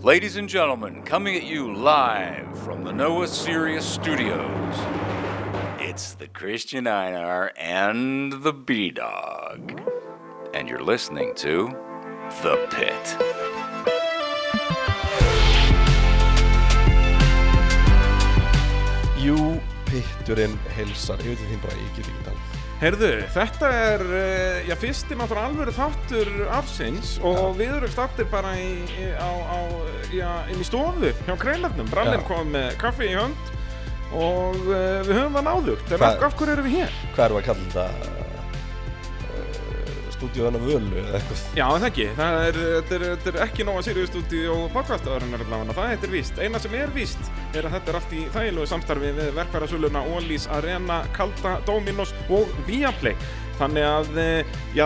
Ladies and gentlemen, coming at you live from the Noah Sirius Studios, it's the Christian Einar and the B Dog. And you're listening to The Pit. Jú, pitturinn heilsar, ég veit þín bara, ég get ekki talað. Herðu, þetta er, eh, já, fyrsti náttúrulega alvöru þáttur afsins og við erum stattir bara í, í, á, á, já, inn í stofu hjá kreilarnum. Brallin Já. kom með kaffi í hönd og uh, við höfum það náðugt. En Hvað- af, af hverju erum við hér? Hvað erum við að kalla þetta? Uh, Stúdíóðan af völu eða eitthvað? Já, en það ekki. Það er, þetta er, þetta er ekki nóga sirjustúti og podcastaðurinnar allavega. Það þetta er víst. Eina sem er víst er að þetta er allt í þægilegu samstarfi við verkvarðasöluna Ólís, Arena, Kalda, Dominos og Viaplay. Þannig að, eh, já,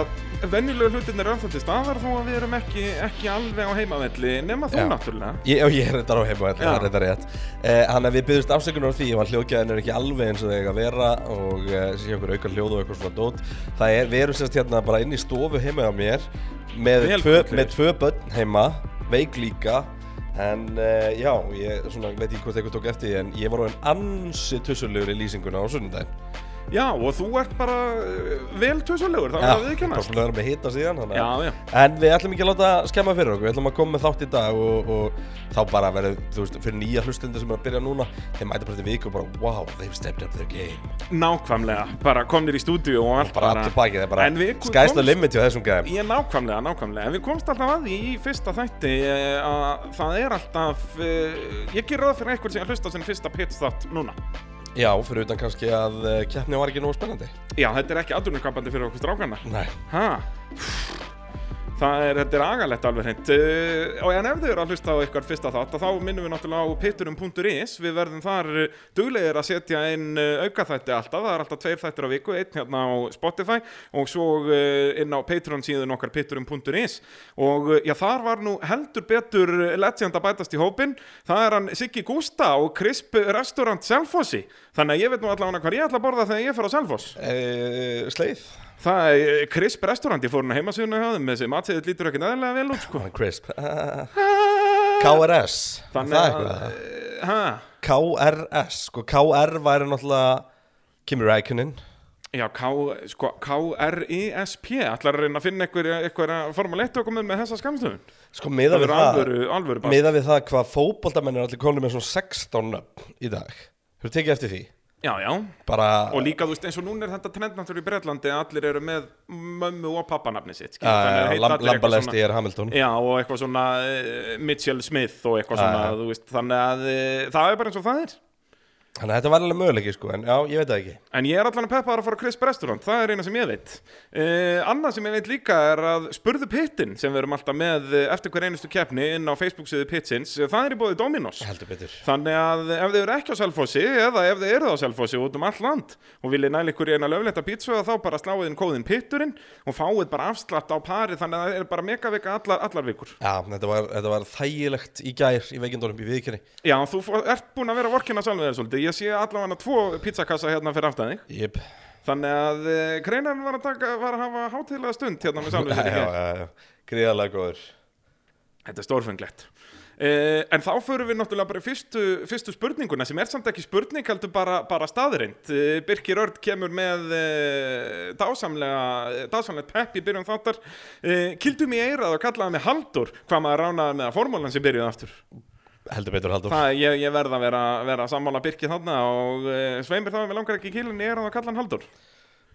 venjulegu hlutin er alltaf til staðar þó að við erum ekki, ekki alveg á heimavelli nema þú Já. náttúrulega. Ég, já, ég er reyndar á heima, það Já. er reyndar rétt. Eh, Þannig að við byggjumst afsökunar á því ef að hljóðgæðin er ekki alveg eins og það eiga að vera og uh, sé okkur auka hljóð og eitthvað svona dót. Það er, við erum sérst hérna bara inn í stofu heima hjá mér með, Vel tvö, fullur. með tvö börn heima, veik líka. En uh, já, ég svona, veit ekki hvort eitthvað tók eftir því en ég var á enn ansi tussulegur í lýsinguna á sunnudaginn. Já, og þú ert bara eh, vel tösulegur, það Já, var við ekki bara næst. búin að vera með hita síðan þannig Já, að- já. En við ætlum ekki að láta skemma fyrir okkur Við ætlum að koma með þátt í dag og, og þá bara verður, þú veist, fyrir nýja hlustundir sem er að byrja núna þeir mæta bara til viku og bara, wow, they've stepped up their game Nákvæmlega, bara komnir í stúdíu og allt bara bara. allir bakið, þeir bara, En við sky's the komst- limit hjá þessum gæðum Ég er nákvæmlega, nákvæmlega, en við komst alltaf að því í fyrsta þætti eh, að það er alltaf, eh, ég ger ráð fyrir einhvern sem að hlusta á sinn fyrsta pitstart núna. Já, fyrir utan kannski að uh, keppni var ekki nógu spennandi Já, þetta er ekki aðdurnuskapandi fyrir okkur strákana. Nei Ha? Það er, þetta er agalegt alveg hreint uh, og en ef þau eru að hlusta á ykkar fyrsta þátt að þá minnum við náttúrulega á pitturum.is við verðum þar eh, duglegir að setja inn eh, aukaþætti alltaf, það er alltaf tveir þættir á viku, einn hérna á Spotify og svo eh, inn á Patreon síðan okkar pitturum.is og eh, já þar var nú heldur betur eh, legend að bætast í hópin það er hann Siggi Gústa og Crisp Restaurant Selfossi, þannig að ég veit nú allavega hvað ég ætla að borða þegar ég fer á Selfoss uh, Sleið Það er Crisp restaurant, ég fór hann heimasöguna hjá þeim með þessi matsiðið lítur ekki næðilega vel út sko. Hann er crisp KRS Þannig Það er að- eitthvað. Ha? KRS, sko KR væri náttúrulega Kimi Rækunin Já, K, sko, K-R-I-S-P ætlar að reyna að finna einhver, einhver formule 1 okkur með þessa skamstöfun Sko miða Það við er það alvöru, alvöru bara. Miðað við það hvað fótboltamenn er allir konum með svona 16 nöfn í dag Hefur tekið eftir því? Já, já, Bara, og líka þú veist eins og núna er þetta trend náttúrulega í Breitlandi að allir eru með mömmu og pappanafni sitt skilur, þannig að uh, lamb, heita allir eitthvað svona- Lambalesti er Hamilton Já, og eitthvað svona uh, Mitchell Smith og eitthvað Já, svona, já. þú veist, þannig að uh, það er bara eins og það er Þannig að þetta var alveg möguleiki sko, en já, ég veit það ekki En ég er allan að peppa að fara á Crisp Restaurant, það er eina sem ég veit. Uh, annað sem ég veit líka er að spurðu pittin sem við erum alltaf með eh, eftir hver einustu keppni inn á Facebook-sviðu pitsins, eh, það er í bóði Dominos. Heldur betur Þannig að ef þið eru ekki á Selfossi eða ef þið eru á Selfossi út um allt land og viljið næla ykkur í eina löfletta pítsu þá bara sláið inn kóðin pitturinn og fáið bara afslátt á parið þannig að það er bara megavika allar, allar vikur. Já, þetta var, þetta var þægilegt í gær í veikindunum í viðkynni Já, þú fó- ert búin að vera að vorkina sjálf með þér svolítið. Ég sé allavega tvo pizzakassa hérna fyrir aftan þig. Jip Þannig að uh, kreinarinn var að, taka, var að hafa hátíðlega stund hérna með sjálfum sér í gær. Gríðalega góður Þetta er stórfenglegt. Uh, en þá förum við náttúrulega bara í fyrstu, fyrstu spurninguna sem er samt ekki spurning heldur bara, bara staðreind. Uh, Birkir Örd kemur með uh, dásamlega, dásamlegt pepp í byrjun þáttar. Uh, Kildum í eirað og kallaði mig Haldur hvað maður ránaði með að formúlan sem byrjuði aftur. Heldur betur, Haldur Það, ég, ég verða að vera, vera að sammála Birkir þarna og uh, sveimir það að við langar ekki kýlun í eirað og kalla hann Haldur.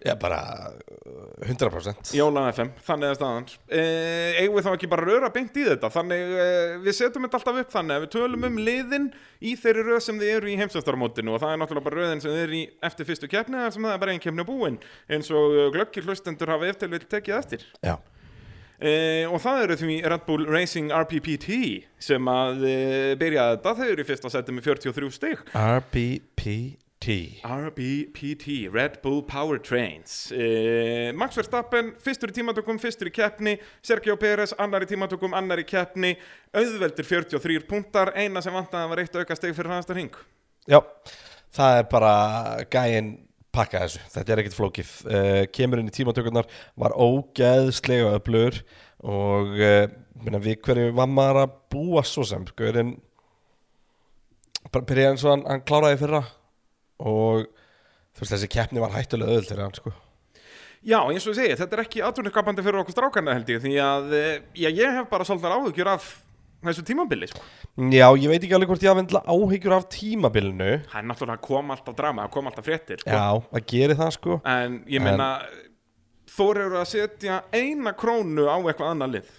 Já, bara uh, 100% Jóla FM, þannig að staðan eh, eigum við þá ekki bara að röra beint í þetta þannig eh, við setjum þetta alltaf upp þannig að við tölum um liðin í þeirri röð sem þið eru í heimsvöftarmótinu og það er náttúrulega bara röðin sem þið eru í eftir fyrstu keppni þar sem það er bara einn keppni búin eins og eh, glöggir hlustendur hafa eftir vil tekið eftir Já Eh, og það eru því Red Bull Racing RPPT sem að eh, byrja þetta, þau eru í fyrsta seti með 43 stig RBPT RBPT, Red Bull Powertrains uh, Max Verstappen, fyrstur í tímatökum, fyrstur í keppni Sergio Pérez, annar í tímatökum, annar í keppni auðveldir 43 punktar eina sem vantaði var eitt auka steg fyrir hans hring Já, það er bara gæinn pakka Eh, þessu, þetta er ekkert flókið uh, kemur inn í tímatökurnar, var ógeðslega öflugur og uh, minna, við hverju var maður að búa svo sem Gaurin bara byrjaði eins og hann, hann kláraði í fyrra og þú veist þessi keppni var hættulega öðvöld fyrir hann sko Já, eins og ég segi, þetta er ekki atvinnuskapandi fyrir okkur strákarna held ég, því að eh, já, ég hef bara svolítið áhugjur af þessu tímabili, sko. Já, ég veit ekki alveg hvort ég hafði endilega áhyggjur af tímabilinu Það er náttúrulega að koma alltaf drama, að koma alltaf fréttir, sko. Já, að gera það sko En ég meina, þóra eru að setja eina krónu á eitthvað annað lið.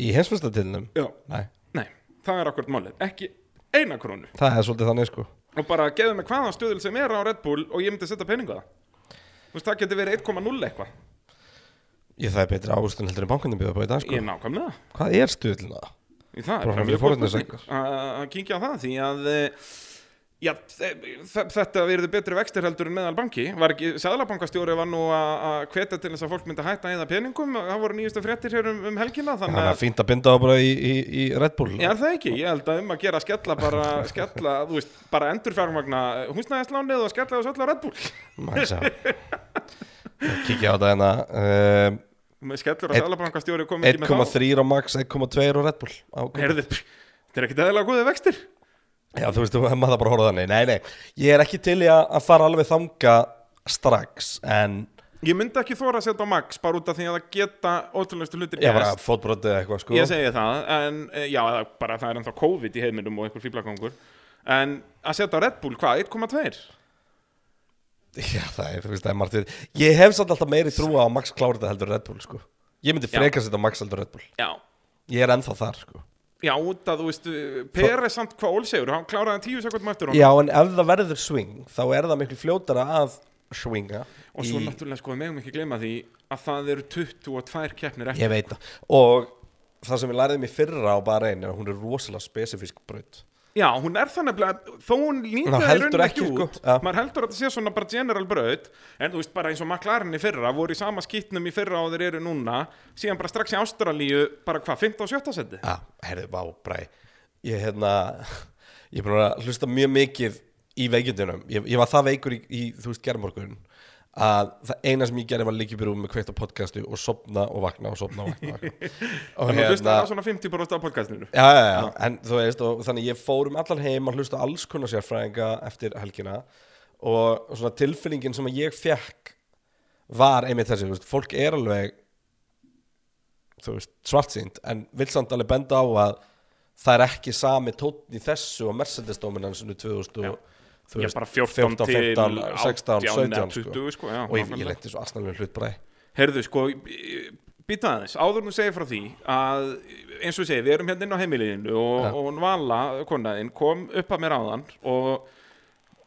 Í hensfjöstatilnum Já. Nei, Nei, það er akkurat málið, ekki eina krónu. það er svolítið þannig sko Og bara geðu mig hvaðan stuðul sem er á Red Bull og ég myndi setja peningu á það. Þú veist, það getur verið 1,0 eitthvað. Ég það er betri ávistun heldur en bankunum býða upp á í dag sko Ég er nákvæmlega. Hvað er stuðlina? Í það Bara er bara fyrir mjög góð forvarnarsengur. spurning að að kynkja á það því að eh, já, þe- þe- þetta verður betri vextir heldur en meðal banki var ekki, Sæðlabankastjóri var nú að að hvetja til þess að fólk myndi hætta eða peningum það voru nýjustu fréttir hér um, um helgina Það þannig er að fínt að binda það bara í, í, í Red Bull Já, er það ekki, ég held að um að gera að skella bara, skella, þú veist, bara endur fjármagna húsnæðislánið og skella þessu öll á Red Bull Mæn sá Kikki á þetta hérna um, Með skellur Einn- að Sæðlabankastjóri kom ekki með þá 1,3 á Max, 1,2 á Red Bull á, Herðu, pff, þetta er ekkit eðalega góðið vextir Já, þú veist, þú maður það bara að horfa þannig Nei, nei, ég er ekki til í að að fara alveg þanga strax En Ég myndi ekki þóra að setja á max bara út af því að það geta ótrúlegustu hlutir ég bara gerst. fótbrotið eða eitthvað sko Ég segi það, en eh, já, það, bara það er ennþá COVID í heiminum og einhver fýblagangur En að setja á Red Bull, hvað, 1,2? Já, það er, þú veist, það er margt við Ég hef samt alltaf meiri trúa á Max klárið þetta heldur en Red Bull, sko Ég myndi Já. frekar setja á Max heldur en Red Bull Já Ég er ennþá þar, sko Já, út að þú veist, Peres samt hvað ólsegur, hann kláraði hann tíu sekundum eftir honum Já, en ef það verður swing, þá er það miklu fljótara að swinga Og svo í- náttúrulega sko, við megum ekki gleyma því að það eru 22 keppnir eftir Ég veit það Og það sem við læriðum í fyrra á bara einu Hún er rosalega spesifísk braut Já, hún er þannig að þó hún lítið Ná, er heldur unn ekki, ekki sko. út Já. Maður heldur að það sé svona bara general braut En þú veist, bara eins og McLaren í fyrra voru í sama skýtnum í fyrra og þeir eru núna Síðan bara strax í Ástralíu, bara hvað, 15 og 17 seti? Já, herðu, vá, bræ Ég er hérna Ég er búin að hlusta mjög mikið í veikindunum Ég, ég var það veikur í, í þú veist, gerðmorgun að það eina sem ég gerði var líkjubir um með kveikt á podcastu og sopna og vakna og sopna og vakna og vakna. og hérna- Þannig að hlusta það svona 50% af podcastinu Já, já, já, en þú veist og þannig ég fór um allan heim að hlusta á alls konar sérfræðinga eftir helgina og svona tilfinningin sem ég fekk var einmitt þessi, þú veist, fólk er alveg þú veist, svartsýnd en vill samt alveg benda á að það er ekki sami tónn í þessu og Mercedes-dominansinu 2000 og þú Já, veist, bara 14 til 15, 16, 18, 17 20, sko, já, og ég, nákvæmlega. ég lendi svo aðstæðanlega hlutbræði Herðu, sko, býta aðeins Áður nú segir frá því að eins og ég segi, við erum hérna inn á heimiliðinu og, Já. og hún Vala, konaðinn, kom upp að mér áðan og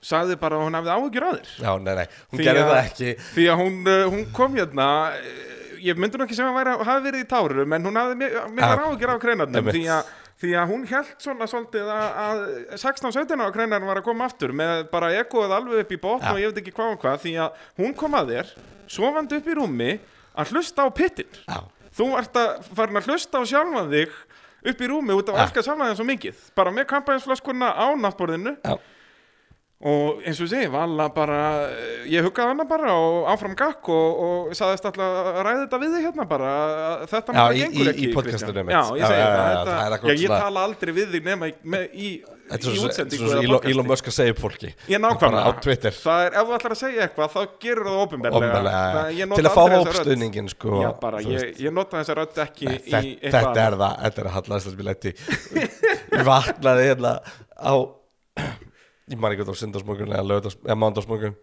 sagði bara að hún hafði áhugjur að þér Já, nei, nei, hún Því gerði að- það ekki Því að hún, eh, hún kom hérna eh, ég myndi nú ekki sem að væri, hafi verið í tárum en hún hafði Já. mér áhugjur á kreinarnum Einmitt. því að, því að hún held svona svolítið að, að 16-17 á kreinarnum var að koma aftur með bara ekoð alveg upp í botn Já. og ég veit ekki hvað og hvað því að hún kom að þér sofandi upp í rúmi að hlusta á pittin Já, þú ert að farin að hlusta á sjálfan þig upp í rúmi út Já. af að elska sjálfan þig svo mikið bara með kampanjansflaskuna á náttborðinu já Og eins og ég segi, Vala bara, ég huggaði hana bara og áfram gakk og, og sagðist alltaf að ræða þetta við þig hérna bara, að þetta Já, náttúrulega í- í- gengur ekki. í podcastinu Kristján. mitt. Já, Já, ég segi já, það, já, þetta, það er akkurat já, ég svona- tala aldrei við þig nema í, með, í, Þetta er í svo sem- útsendingu svo sem eða Elon- podcasti. Elon Musk að segja upp fólki Ég Bara á nákvæmlega. Twitter Það er, ef þú ætlar að segja eitthvað, þá gerur það Ofnbælega, ofinbeglega. ja. Til að fá hópstuðningin sko, Já, bara, þú ég, veist. ég nota þessa rödd ekki Nei, í þetta, þetta er það, þetta er að hallaðist að spila þetta Ég vaknaði hérna á Ég man ekki hvort á sundarsmokun eða, laugardags- eða mándarsmokun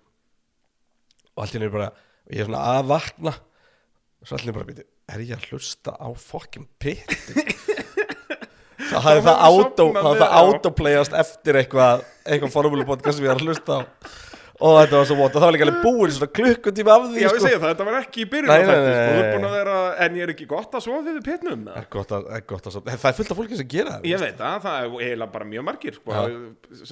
Og allt í henni bara Ég er svona að vakna Svo allt í henni bara býti Er ég að hlusta á fokkin pitti? Það hafði Þá það hafði átó sofnað Það hafði það við, já. autoplayast eftir eitthvað Eitthvað formúlupodcast sem ég er að hlusta á Og þetta var svo vótt Og það var líka alveg búin svona klukkutíma af því Já, ég sko. segi það, þetta var ekki í byrjun á Nei, nei, þetta, nei, nei, sko, þú er búin nei. að vera, en ég er ekki gott að sofa við pittnum, eða? Það er gott að, er gott að sofna. Það er fullt af fólki sem gera það Ég veist. veit það, það er eiginlega bara mjög margir sko,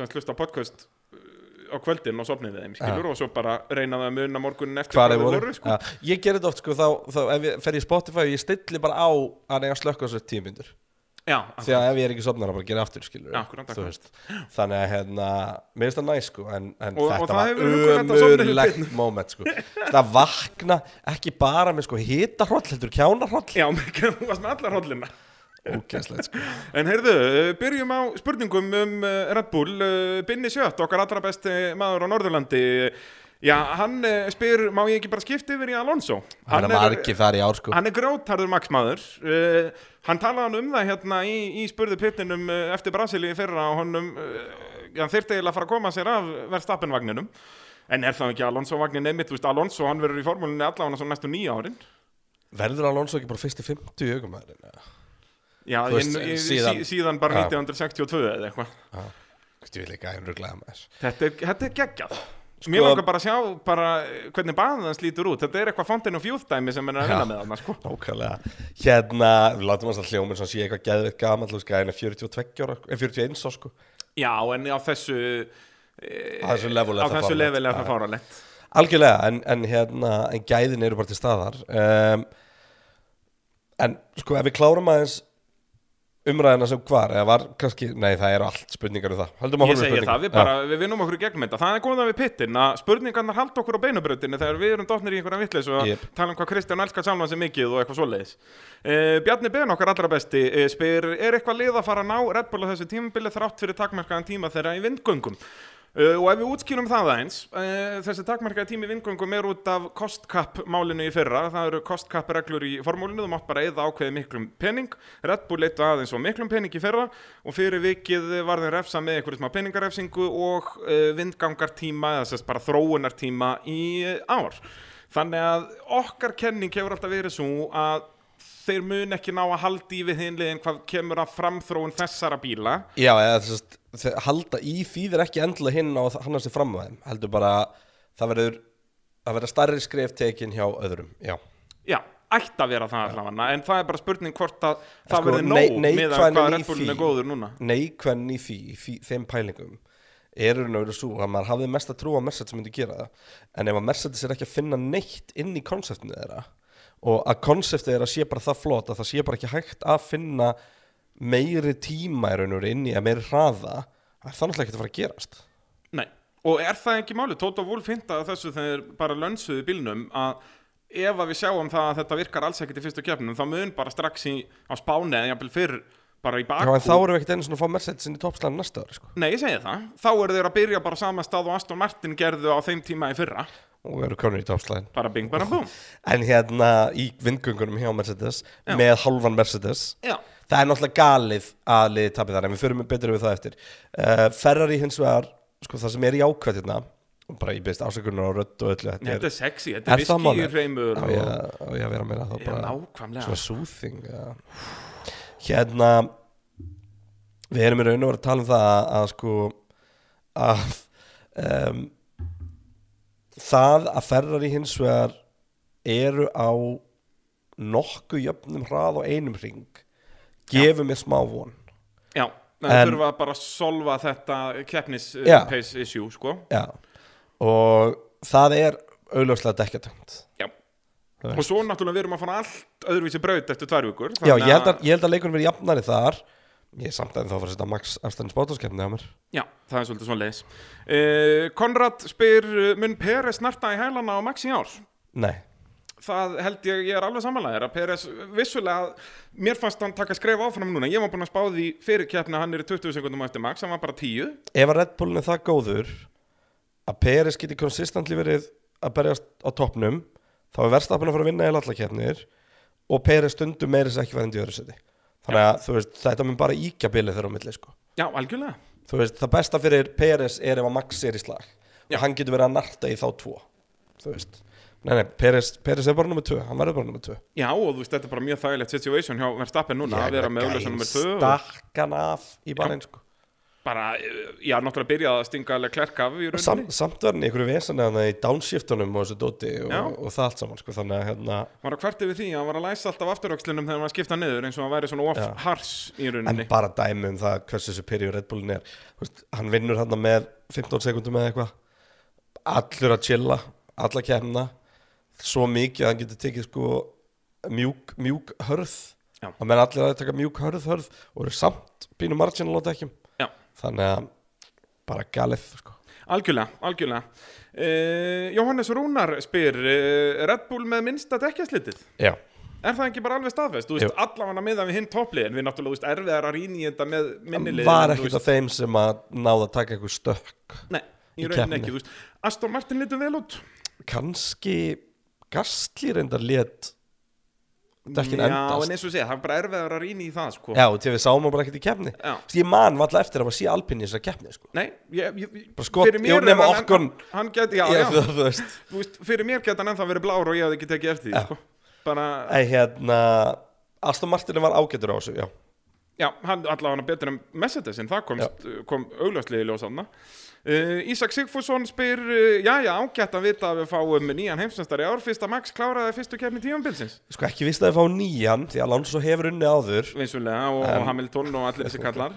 sem hlusta á podcast uh, á kvöldin og sopnið þeim, skilur, og svo bara reyna það að muna morgunin eftir Hvar þeir þeir voru, sko. Já, Ég gerði þetta oft sko þá, þá ef ég fer í Spotify og ég stilli bara á að nega slökka þessu tíu myndur já, því að ef ég er ekki sopnar að bara gera aftur skilur Já, akkúrat, akkúrat. þannig að hérna, mér finnst það næ sko en, en Og- og þetta það hefur huggulegt að var sofna yfir ömurlegt moment sko það vakna ekki bara með sko hitaroll heldur kjánarroll já, mikið, þú varst með alla hrollina ógæslegt sko En heyrðu, uh, byrjum á spurningum um uh, Red Bull. Uh, Binni Sjött, okkar allra besti maður á Norðurlandi. Já, hann uh, spyr, má ég ekki bara skipta yfir í Alonso? það er margir þar í ár sko Hann er grótarður maksmaður. Uh, hann talaði um það hérna í, í spurðu pittinum uh, eftir Brasilíu í fyrra og honum, uh, hann þyrfti eiginlega að fara að koma sér af verðstappinvagninum. En er það ekki Alonso-vagnin einmitt? Þú veist, Alonso, hann verður í formúlinni allavega svona næstu nýja árin. verður Alonso ekki bara fyrst í 50 aukumæðin Já, Þú veist, en, í- síðan- sí, síðan bara Já. 1962 eða eitthvað. ég vil ekki að hann rugglaða með Þetta er, þetta er geggjað Sko- Mér langar bara að sjá bara eh, hvernig baðan hans lítur út Þetta er eitthvað Fountain of Youth dæmi sem er að vinna Já. með hann sko. Nákvæmlega, hérna, við látum hans að hljóma eins og hann sé eitthvað geðveitt gamall, þú veist, gæðin er 42 ára, sko, eh, 41 ára, sko, Já, en á þessu á þessu level Eh, á er það þessu fáránlegt. level er það fáralegt Algjörlega, en, en, hérna, en gæðin eru bara til staðar um, En sko, ef við klárum aðeins umræðina sem hvar eða var kannski, nei það eru allt spurningar um það Höldum að Ég horfa segi spurningar það, við bara, við vinnum okkur í gegnum þetta Það er góða við pittin að spurningarnar halda okkur á beinubrautinu þegar við erum dotnir í einhverja vittleis og Jep. tala um hvað Kristján elskar sjálfan sig mikið og eitthvað svoleiðis uh, Bjarni Ben okkar allra besti uh, spyr, er eitthvað lið að fara að ná Red Bull á þessu tímabili þrátt fyrir takmarkaðan tíma þeirra í vindgöngum Uh, og ef við útskýrum það aðeins, uh, þessi takmarkaði tími vingungum er út af kostkap-málinu í fyrra, það eru kostkap-reglur í formúlinu, þú mátt bara eða ákveði miklum pening, Red Bull leittu aðeins og miklum pening í fyrra og fyrir vikið var þeim refsa með einhverjum smá peningarefsingu og uh, vindgangartíma, eða sérst bara þróunartíma í eh, ár. Þannig að okkar kenning hefur alltaf verið svo að þeir mun ekki ná að haldi við hinliðin hvað kemur að framþróun þessara bíla. Já, eða þú veist, þe- halda í þýðir ekki endilega hinn á að hann að sé fram að þeim Heldur bara, það verður, það verður starri skref tekin hjá öðrum, já Já, ætti að vera það allavega en það er bara spurning hvort að það sko, verði nei- nóg með að neikvæðnin í hvað Red Bullin er því- góður núna neikvæðin í því, í því þeim pælingum eru náður svo að maður hafði mest að trúa að Mercedes myndi gera það en ef að Mercedes er ekki að finna neitt inn í konseptinu þeirra og að konseptið þeirra sé bara það flott að það sé bara ekki hægt að finna meiri tíma í raun og veru inn í að meiri hraða það er það náttúrulega ekki að fara að gerast Nei, og er það ekki máli? Tóta Wolf hintaði þessu þegar þeir bara lönsuðu bílnum að ef að við sjáum það að þetta virkar alls ekkert í fyrstu keppnum þá mun bara strax í, á spáni eða jafnvel fyrr bara í Já, en þá bakku erum við ekkert einu svona að fá Mercedes inn í toppslæðan næsta ári sko. Nei, ég segi það, þá eru þeir að byrja bara á sama stað og Aston Martin gerðu á þeim tíma í fyrra og eru konur í toppslæðan bara bing bara búm en hérna í vindgöngunum hjá Mercedes Já. með halvan Mercedes Já, Það er náttúrulega galið að liði tapir þar en við förum betur við það eftir uh, Ferrari hins vegar, sko það sem er í ákvæð hérna, og bara ég beðist ásökunar á rödd og öllu Nei, þetta þetta er sexy, þetta er viski í reymur Á og... ég á ég að vera meira þá Já, bara nákvæmlega svona soothing ja. Hérna við erum í raun og vera að tala um það að, að sko að um, það að Ferrari hins vegar eru á nokkuð jöfnum hrað og einum ring gefur mér smá von Já, það En- þurfa bara að solva þetta keppnis Já. uh, pace issue, sko Já. og það er augljóslega dekkjatönd Já Það Og svo náttúrulega við erum að fara allt öðruvísi braut eftir tvær vikur Já, þannig ég held að, ég held að leikunum verið jafnari þar ég er samt að þá að fara að setja Max Afstæðin spátaskeppni á mér Já, það er svolítið svona leis uh, Konrad spyr uh, Mun Peres snarta í hælana á Max í ár? Nei, Það held ég, ég er alveg samanlæðir að Peres vissulega, mér fannst hann taka skref áfram núna, ég var búin að spá því fyrir keppni að hann er í 20 sekundum á eftir Max, hann var bara 10 ef að Red Bullin er það góður að Peres geti konsistantli verið að berjast á toppnum þá er verðstapin að fara að vinna í allakeppnir og Peres stundum meiris ekki verðandi í öðru seti þannig að þú veist, þetta mun bara íkja bilið þeirra á milli sko. Já, algjörlega þú veist, það besta fyrir Peres er ef að Max er í slag Já. og hann getur verið að narta í þá tvo þú veist, nei nei, Peres, Peres er bara nummer 2, hann verður bara nummer 2 Já, og þú veist, þetta er bara mjög þægilegt situation hjá Verstappen núna að vera með auðvitað nummer 2 og stakkan af í barinn sko. bara, eh, já, náttúrulega byrjaði að stinga alveg klerk af í Sam, rauninni samt var hann í einhverju vesana þannig í downshiftunum og þessu dóti og, Já. og það allt saman sko, þannig að hérna var að kvarti við því að hann var að læsa alltaf afturöxlunum þegar hann var að skipta niður eins og hann væri svona Já. off hars í en rauninni bara dæmi um það hversu superior Red Bullin er Þú veist, hann vinnur hann með 15 sekundum eða eitthvað allur að chilla, alla kemna svo mikið að hann getur tekið sko mjúk, mjúk hörð Já. og menn allir að taka mjúk hörð hörð og eru samt pínu marginal á dekkjum Já. þannig að bara galið sko. Algjörlega, algjörlega. Uh, Jóhannes Rúnar spyr, uh, Red Bull með minnsta dekkjaslitið? já, Er það ekki bara alveg staðfest? Þú veist, Jú. allavega miðað við hinn toppliðin, við náttúrulega, þú veist, erfiðar að rýna í þetta með minnilið. var ekkert af þeim sem að náða að taka einhver stökk Nei, í í rauninni keppni. ekki, þú veist. Aston Martin litur vel út. kannski gastli reyndar let dekkin Já, endast en eins og segja, það er bara erfiðar að rýna í það, sko. já, til við sáum hann bara ekkert í kefni Já. ég man valla eftir að maður sé alpinn í þessari kefni sko. Nei, ég, ég, ég- Bara skot- jú, er nema hann- Ocon. Hann geti, já, já, ég, þú, þú veist þú veist, fyrir mér geti hann ennþá verið blár og ég hafði ekki tekið eftir því, Já. sko. Bara, Ei, hérna, Aston Martin var ágætur á þessu já. Já, hann allavega hann betur en Mercedes en það komst, kom augljóslega í ljós hann uh, Ísak Sigfússon spyr uh, já, já, ágætt að vita að við fáum nýjan heimsnestari ár fyrst að Max kláraði fyrstu kefni tímanbilsins sko ekki vist að þið fá nýjan því að Alonso hefur unni áður vinsulega og Hamilton og allir þessi kallar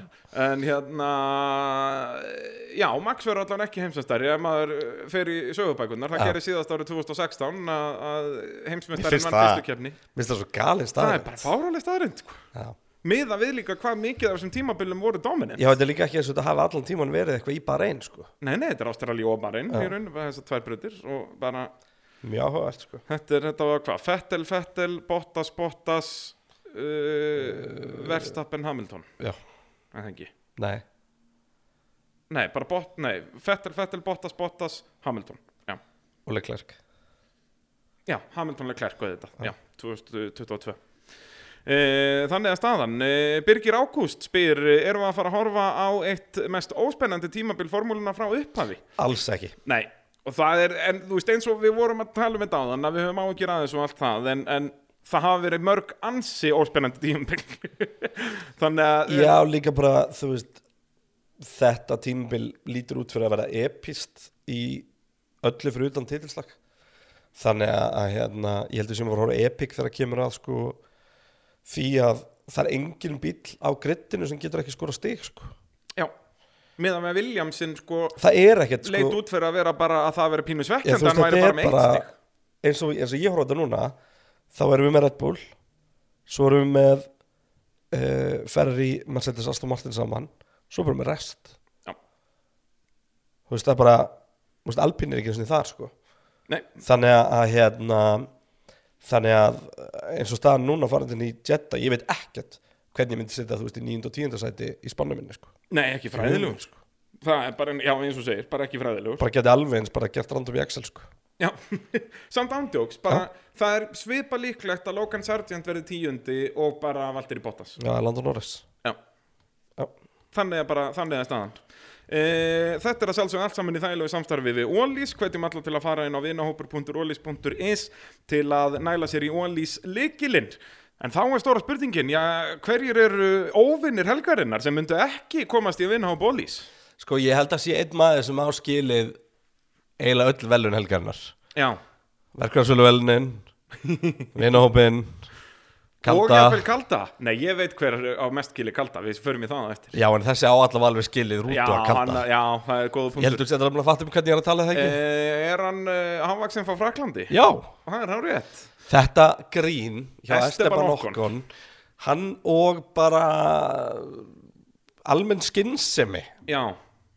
en hérna já, Max verður allavega ekki heimsnestari ef maður uh, fer í sögubækunar það Já. gerir síðast árið 2016 að, að Mér finnst heimsmestarin vann fyrstu það- kefni Mér finnst það svo galinn það staðar er bara fáraleg staðrind Já. miða við líka hvað mikið af þessum tímabilum voru dominant Já, þetta er líka ekki eins og þetta hafa allan tíman verið eitthvað í bara einn sko. Nei, nei, þetta er Ástralíu og Bahrein í raun, bara þessar tvær brutir og bara, Mjög áhugavert sko. þetta, er, þetta var hvað, Fettel, Fettel, Bottas, Bottas, uh, Verstappen, Hamilton, Já, en það ekki. nei Nei, bara bot, nei, Fettel, Fettel, Bottas, Bottas, Hamilton, já, Og Leclerc já, Hamilton Leclerc og þetta, já, 2022. Uh, þannig að staðan, uh, Birgir Ágúst spyr, eh, erum við að fara að horfa á eitt mest óspennandi tímabil formúluna frá upphafi? Alls ekki Nei, og það er, en þú veist eins og við vorum að tala um þetta áðan að við höfum áhyggjur aðeins og allt það en, en það hafa verið mörg ansi óspennandi tímabil þannig að Já, líka bara, þú veist Þetta tímabil lítur út fyrir að vera epist í öllu fyrir utan titilslag Þannig að, að hérna, ég heldur sem að voru að horfa epic þegar kemur að sko því að það er engin bíll á grittinu sem getur ekki skora stig sko. já, meðan með Williamson sko, Það er ekkert sko, leit út fyrir að vera bara að það veri pínu Já, svekkjandi þú veist, hann væri þetta bara sko. er með bara eitt stig eins og, eins og ég horf á þetta núna þá erum við með Red Bull svo erum við með uh, Ferrari, Mercedes, Aston Martin saman svo erum við með rest Já. þú veist, það er bara þú veist, Alpine er ekki eins og þar sko. Nei, þannig að, að hérna, þannig að eins og staðan núna farandinn í Jetta ég veit ekkert hvernig ég myndi setja þú veist í 9. og 10. sæti í spannu minni sko. nei, ekki fræðilegur sko. það er bara, já eins og þú segir, bara ekki fræðilegur bara geti alveg eins bara gert random í Excel sko. Já, samt ándjóks, bara það er svipa líklegt að Logan Sargent verði tíundi og bara Valtteri Bottas já, Landon Norris Já já, þannig að bara, þannig að staðan e, Þetta er að sjálfsögum allt saman í þægilegu samstarfi við Ólís, hvetjum alla til að fara inn á vinahópur.ólís.is til að næla sér í Ólís lykilinn En þá er stóra spurningin, já, hverjir eru óvinnir helgarinnar sem myndu ekki komast í vinahóp Ólís? Sko ég held að sé einn maður sem áskilið eiginlega öll velun helgarinnar Já, Verkvæðsvölu velunin Vinahópin og Kalda jafnvel kalda Nei, ég veit hver á mest kili kalda, við förum í það á eftir Já en þessi á allavega alveg skilið rútu Já, að hann, kalda já, það er góða Ég punktur heldur þetta að fatta um hvernig ég er að tala það e, ekki Er hann uh, hafvaksinn frá Fraklandi? Já Það er hann rétt Þetta grín hjá Esteban Esteban Ocon. Okkon Hann og bara almenn skinnsemi Já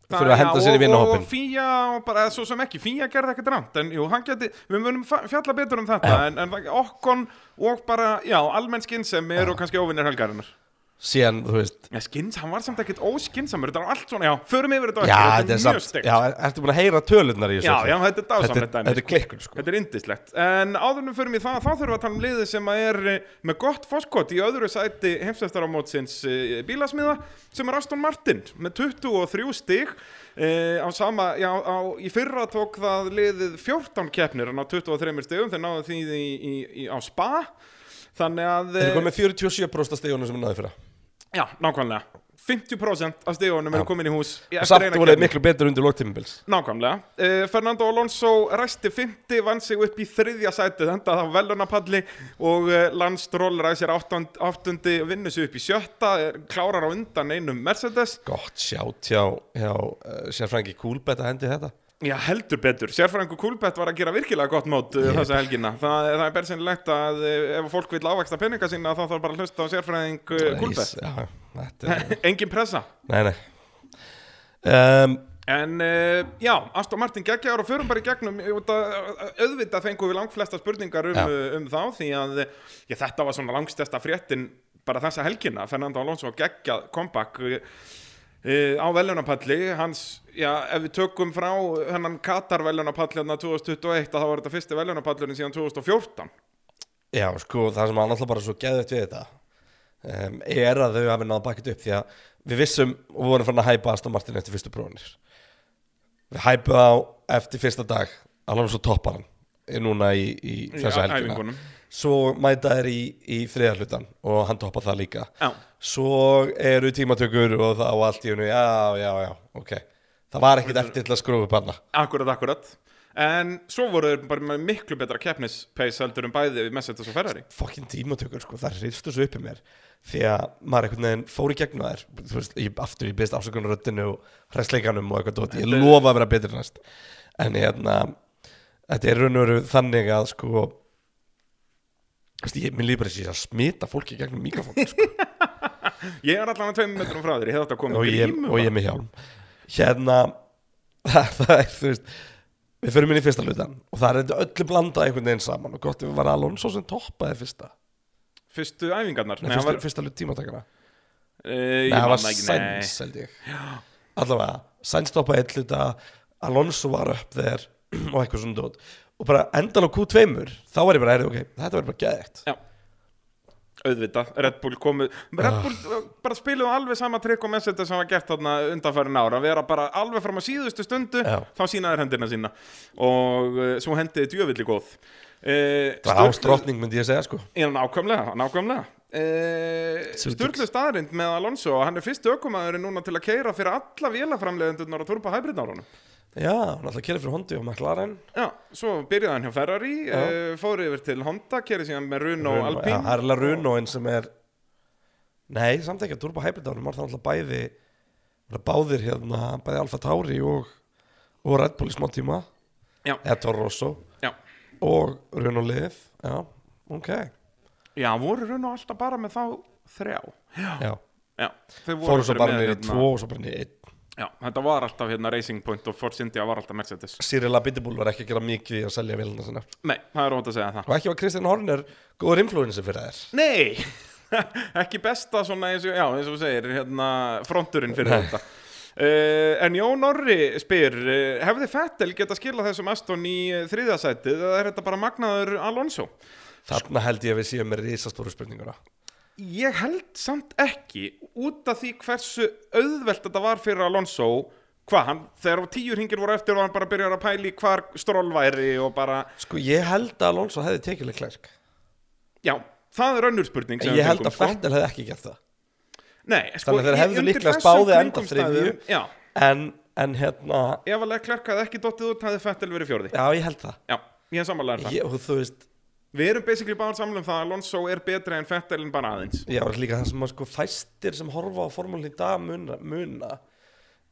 Það- Fyrir að henda já, sér í og- vinahópinn. Og Fía, og bara, eh, svo sem ekki, Fía gerði ekkert rámt En jú, hann geti, við munum fa- fjalla betur um þetta En, en það- okkon og bara, já, almenn skinnsemi eru kannski óvinnir helgarinnar síðan þú veist Já, skinns, hann var samt ekkert óskinnsamur Þetta var allt svona, já, förum yfir þetta á Já, eftir, þetta er mjög samt steikt. Já, ertu búin að heyra tölurnar í þessu Já, öllu? já, þetta er dásamlegt Þetta er- dæmi, Þetta er klikkun sko Þetta er indislegt En áðurnum fyrir mig það, þá þurfum við að tala um liðið sem að er eh, með gott foskot í öðru sæti heimsveftaramótsins bílasmiða sem er Aston Martin með 23 stig eh, á sama, já, á, í fyrra tók það liðið 14 keppnir en á 23 stigum þeir náðu því í, í, í, á spa Þannig að Þeir eh, eru komið 47% stíðunum sem er náði fyrir Já, nákvæmlega 50% af stigunum eru komin í hús í eftir Samt eina voru þeir keppni. miklu betur undir lóktímubils Nákvæmlega. Uh, Fernando Alonso ræsti 50, vann sig upp í þriðja sætið, enda það velunapalli og uh, Lance Stroll ræsir áttundi, áttundi vinnur sig upp í sjötta, er, klárar á undan einum Mercedes. Gott sjátt hjá, hjá uh, sérfrængi Kúlbett eh, að hendi þetta Já, heldur betur. Sérfræðingur Kúlbett var að gera virkilega gott mót yep. þessa helgina. Það, það er bersynlegt að eh, ef fólk vil ávægsta peninga sína þá þarf bara að hlusta á sérfræðing eh, Kúlbett. Já, þetta er Engin pressa. Nei, nei um, En uh, já, Aston Martin geggjar og förum bara í gegnum út að auðvitað fengum við langflesta spurningar um, Já. uh, um þá því að já, þetta var svona langstesta fréttin bara þessa helgina, Fernando Alonso geggjað comeback uh, uh, á veljónapalli, hans já, ef við tökum frá hennan Katar veljónapalli hann 2021 að þá var þetta fyrsti veljónapallurinn síðan 2014 Já, sko, það sem að náttúrulega bara svo geðvægt við þetta um, er að þau hafi náða bakið upp því að við vissum og vorum fann að hæpa Aston Martin eftir fyrstu prófinir Við hæpum á eftir fyrsta dag alveg svo toppar hann er núna í, í þessa Í helgina æfingunum. Svo mæta þeir í, í þriðarlutan og hann toppar það líka Já, Svo eru tímatökur og það á allt í hennu Já, já, já, ok Það var ekkit eftir til að skrúfa upp hana akkurat, akkurat En svo voru þeir bara með miklu betra keppnispeis heldur en bæði við Mercedes og Ferrari fokkin tímatökur sko, það hristu svo uppi mér því að maður einhvern veginn fór í gegnum þær þú veist, ég, aftur ég byrst afsökunar röddinu og hræsleikanum og eitthvað dóti, ég lofa að vera betur næst en hérna þetta er raun og veru þannig að sko þú veist, ég, minn líður bara þessi að smita fólki í gegnum mikrofón sko, Ég er allan að tveim metrum frá þér, ég hefði átt að koma og, með ég, grímu og ég með hjálm hérna það er þú veist við förum inn í fyrsta hlutan og það er þetta öllu blandað einhvern veginn saman og gott ef við var Alonso sem toppaði fyrsta, Fyrstu æfingarnar nei, fyrsta, hann var, fyrsta hlut tímatakana uh, Nei, ég það var man ekki, nei. Sainz, held ég Allavega, Sainz stoppaði eitt hluta Alonso var upp þeir og eitthvað svona dót og bara endal á Q2 þá var ég bara, heyrðu, ok, þetta verður bara geðitt Já Auðvitað, Red Bull komu Ah. Red Bull uh, bara spiluðu alveg sama trikk og Mercedes sem var gert þarna undanfærin ára að vera bara alveg fram á síðustu stundu Já. þá sínaði hendina sína og uh, svo hendiði djöfulli góð uh, Það var ástrótning, myndi ég segja, sko Já, nákvæmlega, nákvæmlega Uh, Svo Sturlu staðarind með Alonso hann er fyrst ökumæðurinn núna til að keira fyrir alla vélaframleðendurnar að turpa hybridnárunum Já, hún ætla að kera fyrir Hondi og McLaren Já, svo byrjaði hann hjá Ferrari uh, fór yfir til Honda, kerið síðan með Runo, Runo Já, Alpine það er alveg Runoinn sem er Nei, samt ekki að Turbo Hybrid ánum var það alltaf bæði voru báðir hérna, bæði Alfa Tauri og, og Red Bull í smá tíma Já. eða Toro Rosso Já. og Runo liðið Já, ok Já, voru Runo alltaf bara með þá þrjá Já. Já, þau voru fóru svo aldrei bara með niður í hérna- tvo og svo bara niður í einn Já, þetta var alltaf hérna Racing Point og Force India var alltaf Mercedes Cyril Abitibúl var ekki að gera mikið í að selja vilna sinna Nei, það er ótt að segja það og ekki var Kristján Horner góður influencer fyrir þær Nei, ekki besta svona eins og, já, eins og þú segir, hérna fronturinn fyrir þetta uh, En Jón Orri spyr uh, Hefði Fettel geta skilað þessum Aston í uh, þriðasætið eða er þetta bara magnaður Alonso? þarna held ég að við séum með risastóru spurninguna Ég held samt ekki út af því hversu auðvelt þetta var fyrir Alonso hvað, hann, þegar tíu hringir voru eftir var hann bara byrjar að pæli hvar stról væri og bara, sko ég held að Alonso hefði tekið Leclerc já, það er önnur spurning sem en við ég held fengum, að Fettel hefði ekki gert það sko. Nei, sko, Þannig að þeir ég- hefðu undir líklegast þessum báði enda kringumstæðum- þriðju. Já, en, en hérna ef að Leclerc hafði ekki dottið út hafði Fettel verið fjórði já ég held það Já, ég hef samanlega um það ég, og þú veist Við erum basically báðan samlega um það að Alonso er betri en Fettel en bara aðeins Já, og líka það sem að sko fæstir sem horfa á formúlun í dag muna, muna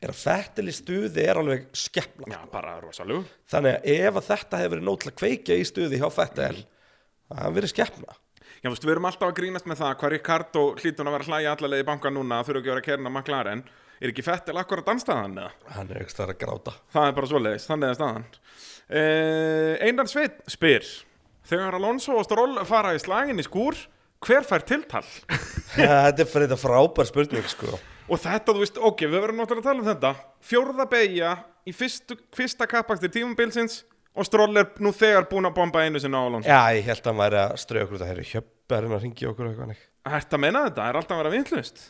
er að Fettel í stuði er alveg skeppla Já, bara rosalug Þannig að ef að þetta hefur verið nóg til að kveikja í stuði hjá Fettel það hefur verið skeppna Já, þú veist, við erum alltaf að grínast með það hvað Ricardo hlýtur að vera að hlæja allavega í banka núna að þurfa ekki að vera að kerna McLaren er ekki fett til akkur að danstaðan eða? Hann er ekki stær að gráta Það er bara svoleiðis, þannig að staðan uh, Einar Sveit spyr Þegar Alonso og Stroll fara í slagin í skúr hver fær tiltal? Þetta er fyrir þetta frábær spurning sko og þetta, þú veist, ok, við verðum náttúrulega að tala um þetta Fjórða beigja í fyrstu, fyrsta kappaktir tímumbilsins og Stroll er nú þegar búin að bomba einu sinna á Alonso Já, ég held að hann væri að ströða okkur út að heyra hjöpparinn að ringi okkur eitthvað neitt Þetta meina þetta, er alltaf að vera vintlust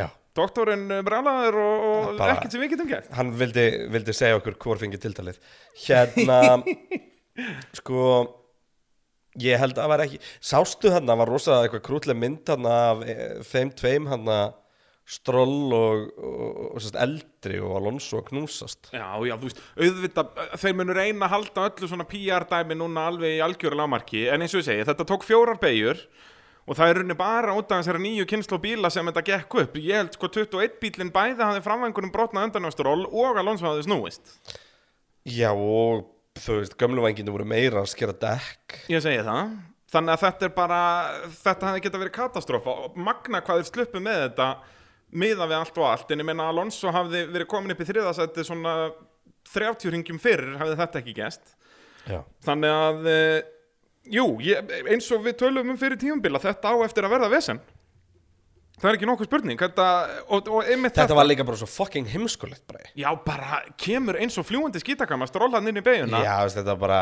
Já, Doktorinn brálaður og, og Já, bara- ekkert sem við getum gert hann vildi, vildi segja okkur hvort fengi tiltalið Hérna Sko Ég held að það var ekki Sástu þarna var rosa eitthvað krútlega mynd þarna af eh, þeim tveim þarna Stroll og, og, og, og sérst, eldri og Alonso að knúsast Já, já, þú veist, auðvitað, þeir munu reyna að halda öllu svona PR-dæmi núna alveg í algjöru lámarki, en eins og ég segi, þetta tók fjórar beigjur og það er runni bara út af þessari nýju kynslu bíla sem þetta gekk upp. Ég held sko 21 bílinn bæði hafði framvængunum brotnað undanjóstaról og Alonso hafði snúist. Já og þú veist, gömlu vænginu voru meira að skera dekk Ég segi það Þannig að þetta er bara, þetta hefði geta verið katastrófa og magna hvað þeir sluppu með þetta miða við allt og allt en ég meina Alonso hafði verið komin upp í þriðasætti svona 30 ringjum fyrr hafði þetta ekki gæst Já, þannig að e, jú, ég, eins og við tölum um fyrir tíumbila þetta á eftir að verða vesen það er ekki nokkuð spurning þetta, og, og einmitt þetta var líka bara svo fucking heimskulegt bara já bara kemur eins og fljúandi skítakama strólaðan inn í beiguna Já, þú veist, þetta bara,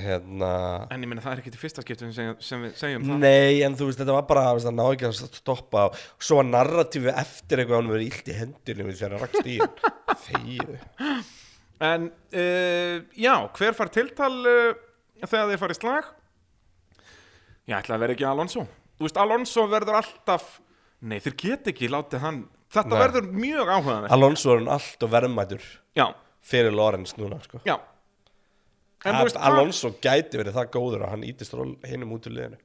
hérna en ég meina það er ekki til fyrsta skiptum sem, sem við segjum það Nei, en þú veist, þetta var bara, þú veist, það náði ekki að stoppa og svo var narratífið eftir eitthvað hann verið illt í hendunum þegar hann rakst í hann Þegið En uh, já, hver far tiltal uh, þegar þið farið slag? Ég ætla að vera ekki Alonso Þú veist, Alonso verður alltaf Nei, þeir get ekki látið hann Þetta Nei. verður mjög áhugaðan Alonso er hann allt og verðmætur Já, fyrir Lorenz núna, sko já En þú Al veist, Alonso... Alonso gæti verið það góður að hann íti stról hinnum út úr liðinu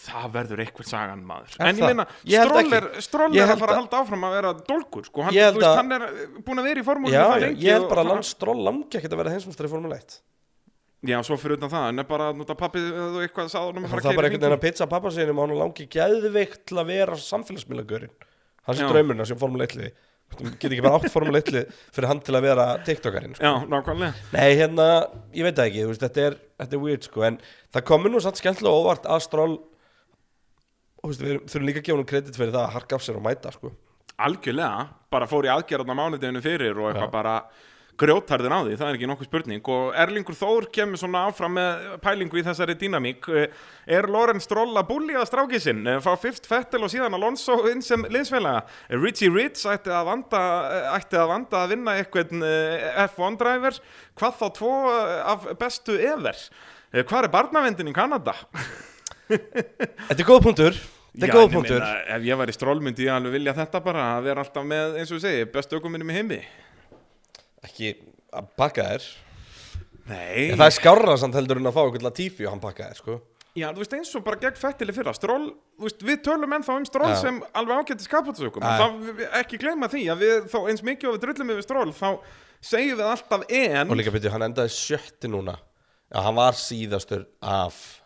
það verður eitthvað sagan maður Er En ég það? meina, Ég held Stroll er, ekki. Stroll Ég er held að fara að- að halda áfram að vera dolgur sko. hann, Ég held þú veist, að- hann er búin að vera í formúlinu Já, það já, lengi ég held og bara að fara- Lance Stroll langi ekkert að vera heimsmestari í Formule 1 Já, svo fyrir utan það, en er bara að nota pappi þú eitthvað sagði honum að Það fara er að bara keyra í einhvern veginn hringi. að pizza pappa sinni og hann langi gæðveikt til að vera samfélagsmiðlagurinn Hans Já. er draumurinn að sé Formule 1 liði Get ekki bara átt Formule 1 liði fyrir hann til að vera TikTokarinn sko. Já, nákvæmlega Nei, hérna, ég veit það ekki, þú veist, þetta er, þetta er weird sko En það komur nú samt skemmtilega á óvart að Stroll Þú veist, við erum- þurfum líka að gefa hann kredit fyrir það að harka af sér og mæta sko algjörlega, bara fór í aðgerðarna mánudeginu fyrir og eitthvað bara grjótarðin á því, það er ekki nokkuð spurning og Erlingur Þór kemur svona áfram með pælingu í þessari dýnamík Eh, er Lorenz Stroll að búlja strákið sinn Eh, fá fyrst Fettel og síðan Alonso inn sem liðsfélaga, Eh, Richie Ritz ætti að vanda, eh, ætti að, vanda að vinna eitthvað F1 driver hvað þá tvo eh, af bestu ever, Eh, hvað er barnavendin í Kanada? Þetta er góð punktur, þetta er Já, góð en ég punktur meina, ef ég var í Stroll myndi ég alveg vilja þetta bara að vera alltaf með, eins og við segi, bestu ökuminnum í heimi Ekki að pakka þér Nei, En það er skárra samt heldur en að fá eitthvað Latifi og hann pakkaði, sko já, þú veist eins og bara gegn fettili fyrra Stról, þú veist, við tölum ennþá um stról Já. sem alveg ágætti skapatsökum Já. þá ekki gleyma því að við þá eins mikið og við drullum yfir stról þá segjum við alltaf en Og líka byrju, hann endaði sjötti núna Já, hann var síðastur af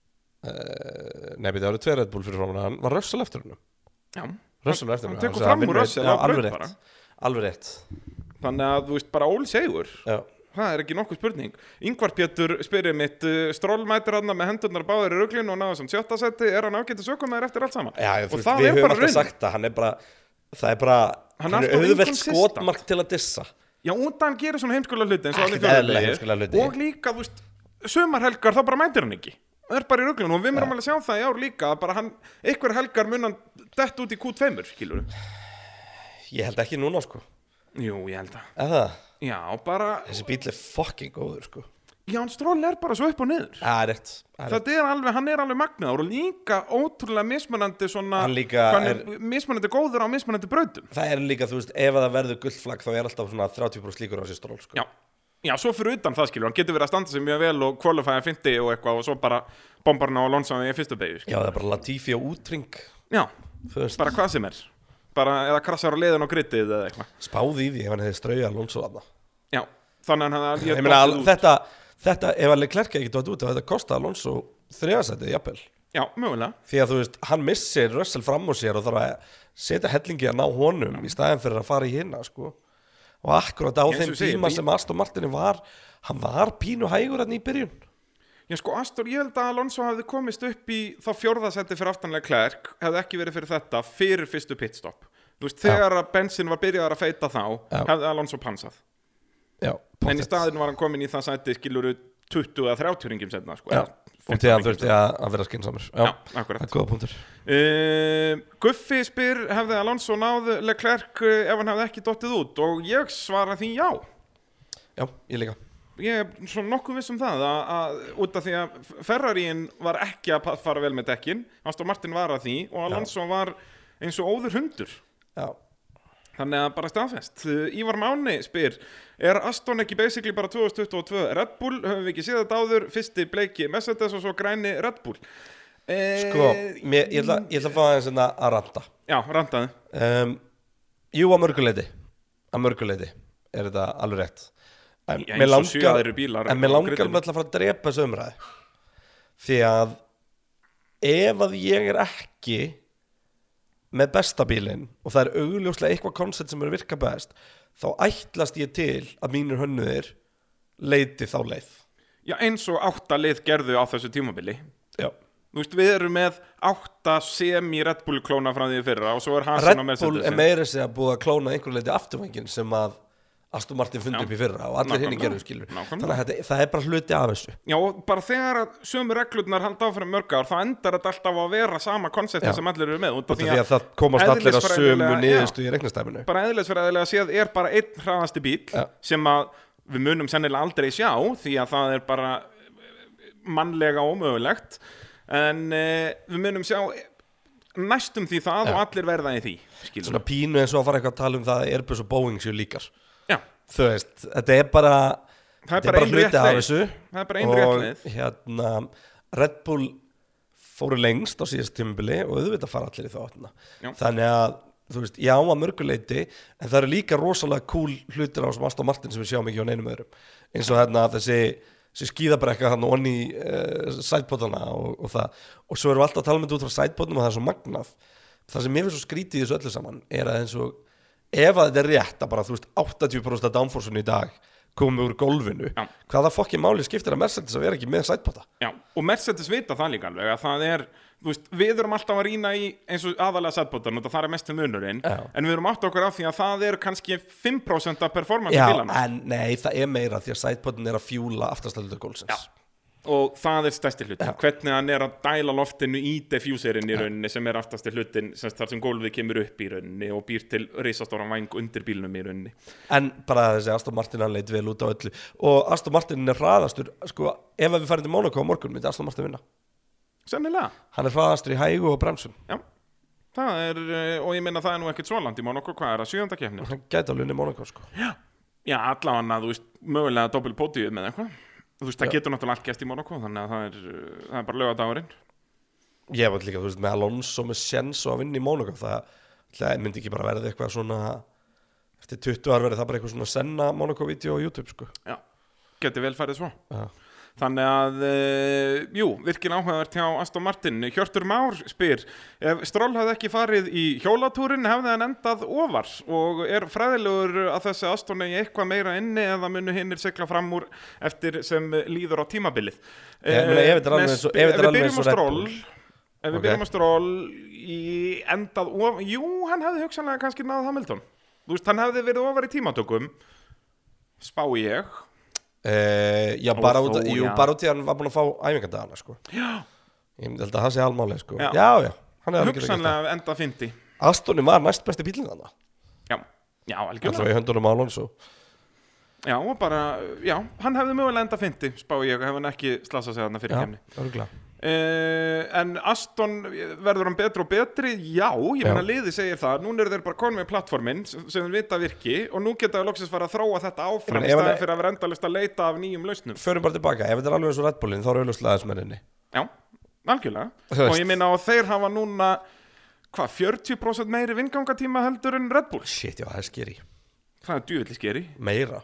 uh, Nei, byrju, það eru tveir Red Bull fyrir framan hann Var Russell eftir húnum? já, Russell var eftir hann húnum tekur fram úr Russell á braut alveg bara. rétt Alveg rétt þannig að þú veist bara ól segur Já, það er ekki nokkuð spurning Yngvar Pétur spyrir mitt uh, Stról mætir hann með hendurnar báðir í ruglinu og náða sem sjötta seti er hann ágætti sökum eftir allt saman já og þú, það við er höfum bara alltaf raun sagt það Hann er bara, það er bara Hann Hann, er er alltaf auðvelt inconsistent. skotmark til að dissa Já, út að hann gerir svona heimskulega hluti eins og Ekkert allir fjórðunglegir. eðlilega heimskulega hluti. Og líka, þú veist, sumar helgar þá bara mætir hann ekki Það er bara í ruglunum og við myndum alveg að sjá það í ár líka að bara hann, einhver helgar mun hann dett út í Q2, skilur Ég held ekki núna, sko Jú, ég held að Eða, Já, bara, þessi bíl er fucking góður, sko já, hann stról er bara svo upp og niður Það er rétt það er rétt. Þetta er alveg, hann er alveg magnaður og líka ótrúlega mismunandi svona Hann líka hvað hann Mismunandi góður á mismunandi brautum Það er líka, þú veist, ef að það verður gullflagg þá er alltaf svona 30% líkur á sér stról sko. Já, já, svo fyrir utan það skilur, hann getur verið að standa sig mjög vel og kvalifæða finti og eitthvað og svo bara bombar hann á Alonso í fyrstu beigju Já, það er bara Latifi og útring Já, þú veist, bara hvað sem er bara eða krassar á leiðin og grittið eða eitthvað spáði í því ef hann hefði strauja Alonso þarna já, þannig að hann Ég meina, al- þetta, þetta, ef hann klerka ekki dótt út þá þetta kosta Alonso þriðasætið, jafnvel já, mögulega því að þú veist, hann missir Russell fram úr sér og þarf að setja hellingi að ná honum í staðin fyrir að fara í hinna sko. og akkurat á Ég, eins þeim og segir, tíma ég- sem Aston Martin var hann var pínu hægur hann í byrjun já, sko, Astor, ég held að Alonso hafði komist upp í þá fjórðasetti fyrir aftanlega klærk hefði ekki verið fyrir þetta, fyrir fyrstu pitstop þú veist, þegar að bensin var byrjaðar að feita þá, Já. hefði Alonso pansað Já, en í staðin var hann komin í það sæti skiluru 20 eða 30 ringim setna sko, Já, eða og til 15 hann hringjum þurfti að, að vera skinsamur Já, Já, akkurat. það er góða punktur Uh, Guffi spyr hefði Alonso náð Leclerc eh, ef hann hefði ekki dottið út og ég svara því já Já, ég líka ég er svona nokkuð viss um það að, að, út af því að Ferraríin var ekki að pa- fara vel með dekkin Aston Martin var að því og Alonso var eins og óður hundur Já, þannig að bara staðfest Uh, Ívar Máni spyr er Aston ekki basically bara 2022 Red Bull, höfum við ekki séð þetta áður fyrsti bleiki Mercedes og svo græni Red Bull eh, sko, mér, ég, ætla, ég ætla að fá aðeins hérna að ranta já, randaði um, Jú, að mörguleiti að mörguleiti er þetta alveg rétt en Já, mér eins og sjö langar, aðrir bílar en mér á langar griddinu. um alltaf að fara að drepa þessu umræði því að ef að ég er ekki með besta bílinn og það er augljóslega eitthvað koncept sem er að virka best þá ætlast ég til að mínir hönnuðir leiti þá leið Já, eins og átta lið gerðu á þessu tímabili Já. Þú veist, við erum með átta semi-Red Bull klóna frá því í fyrra og svo er Hasan Red og Bull Mercedes er meira sig að búa að klóna einhver leiti afturvængin sem að Aston Martin fundi Já. upp í fyrra og allir henni Nákvæmlega. gerðu skilur Nákvæmlega. þannig að þetta, það er bara hluti af þessu Já, og bara þegar að sömu reglurnar halda áfram mörg ár, þá endar þetta alltaf á að vera sama konsepti Já. sem allir eru með út af því að það komast allir að sömu eðlisfræðilega- niðurstu í reiknastæminu Já, bara eðlisfræðilega séð er bara einn hraðasti bíl Já. sem að við munum sennilega aldrei sjá því að það er bara mannlega ómögulegt en eh, við munum sjá næstum því það og allir verða í því skilur. svona pínu eins og að fara eitthvað að tala um það að Airbus og Boeing séu líkar Já, þú veist, þetta er bara Það er þetta bara ein rétt hluti af leið. þessu Það er bara ein rétt og hérna Red Bull fóru lengst á síðast tímubili og auðvitað fara allir í þá áttina Já. þannig að þú veist, já að mörguleiti en það eru líka rosalega cool hlutir á sem Aston Martin sem við sjáum ekki á neinum öðrum eins og hérna þessi, þessi skíðabrekka hann onni uh, sætbótana og, og það og svo erum við alltaf að tala með þetta út frá sætbótnum og það er svo magnað það sem mér finnst svo skrítið í þessu öllu saman er að eins og ef að þetta er rétt að bara þú veist 80% af downforceinu í dag komi úr gólfinu Já. hvaða fokki máli skiptir að Mercedes að vera ekki með sætbóta Já, og Mercedes vita það líka alveg að það er, þú veist, við erum alltaf að rýna í eins og aðalega sætbótan og það er mest til munurinn, Já. en við erum átt okkur af því að það er kannski 5% af performance Já, bílana en nei, það er meira því að sætbótin er að fjúla aftastallutur gólfsins Já. og það er stærsti hlutin, Já. hvernig hann er að dæla loftinu í diffuserinn í rauninni sem er aftasti hlutin, sem þar sem gólfið kemur upp í rauninni og býr til reisastóran væng undir bílnum í rauninni. En bara þessi Aston Martin hann leit vel út á öllu Og Aston Martin er hraðastur Sko, ef að við færum til Monaco á morgun myndi Aston Martin vinna Sennilega, Hann er hraðastur í hægu og bremsum já. Það er, eh, og ég minna það er nú ekkert svoland í Monaco, hvað er það, sjöfunda kefni? Hann gæti alveg unni Monaco sko Já, allavega, þú veist, mögulega doppel pótíu með eitthvað. Þú veist, það getur náttúrulega allt gæst í Monaco, þannig að það er, uh, það er bara lögadagurinn. Ég var líka, þú veist, með Alonso með Senso að vinna í Monaco Það, það myndi ekki bara verði eitthvað svona Eftir 20 ár verði það bara eitthvað svona Senna Monaco-vídeó á YouTube sko Já, getur vel farið svo. Já. Þannig að, uh, jú, virkilega áhugavert hjá Aston Martin. Hjörtur Már spyr, ef Stroll hafði ekki farið í hjólatúrin, hefði hann endað ofar og er fræðilegur að þessi Aston eigi eitthvað meira inni eða munu hinnir segla fram úr eftir sem líður á tímabilið. Ég meina, ef þetta er alveg Eh, með eins og- sp- ef þetta er alveg við eins og byrjum á Red Stroll, Bull. ef við Ok. byrjum á Stroll í endað ofar, jú, hann hefði hugsanlega kannski náð Hamilton. Þú veist, hann hefði verið ofar í tímatökum, spá ég. Uh, já, Og bara þó, út, að, jú, Eh, já. bara út í að hann var búin að fá æfingadagana sko. Já. Ég myndi held að það sé almáli sko. Já. já. já, hann er alveg ekki að gera Hugsanlega enda fyndi. það Astonin var næst besti bílinn þannig Já, já, algjörlega Alltaf í höndunum á Alonso Já, og bara, já, hann hefði mögulega enda fyndi spá ég, hefði hann ekki slasað sig þarna fyrir Já, kemni örgulega uh, En Aston, verður hann betri og betri? Já, ég meina Já. liði segir það Nún eru þeir bara konum með plattformin sem sem þeir vita virki og nú geta við loksins fara að þróa þetta áfram meina, í ef hann staðan er- fyrir að vera endalist að leita af nýjum lausnum Förum bara tilbaka, ef þetta er alveg eins og Red Bullin þá er auðvitað aðeins með henni Já, algjörlega Þú veist. Og ég meina að þeir hafa núna hvað, 40% meiri vingangatíma heldur en Red Bull Shit, já, það er skeri Það er djúvillig skeri Meira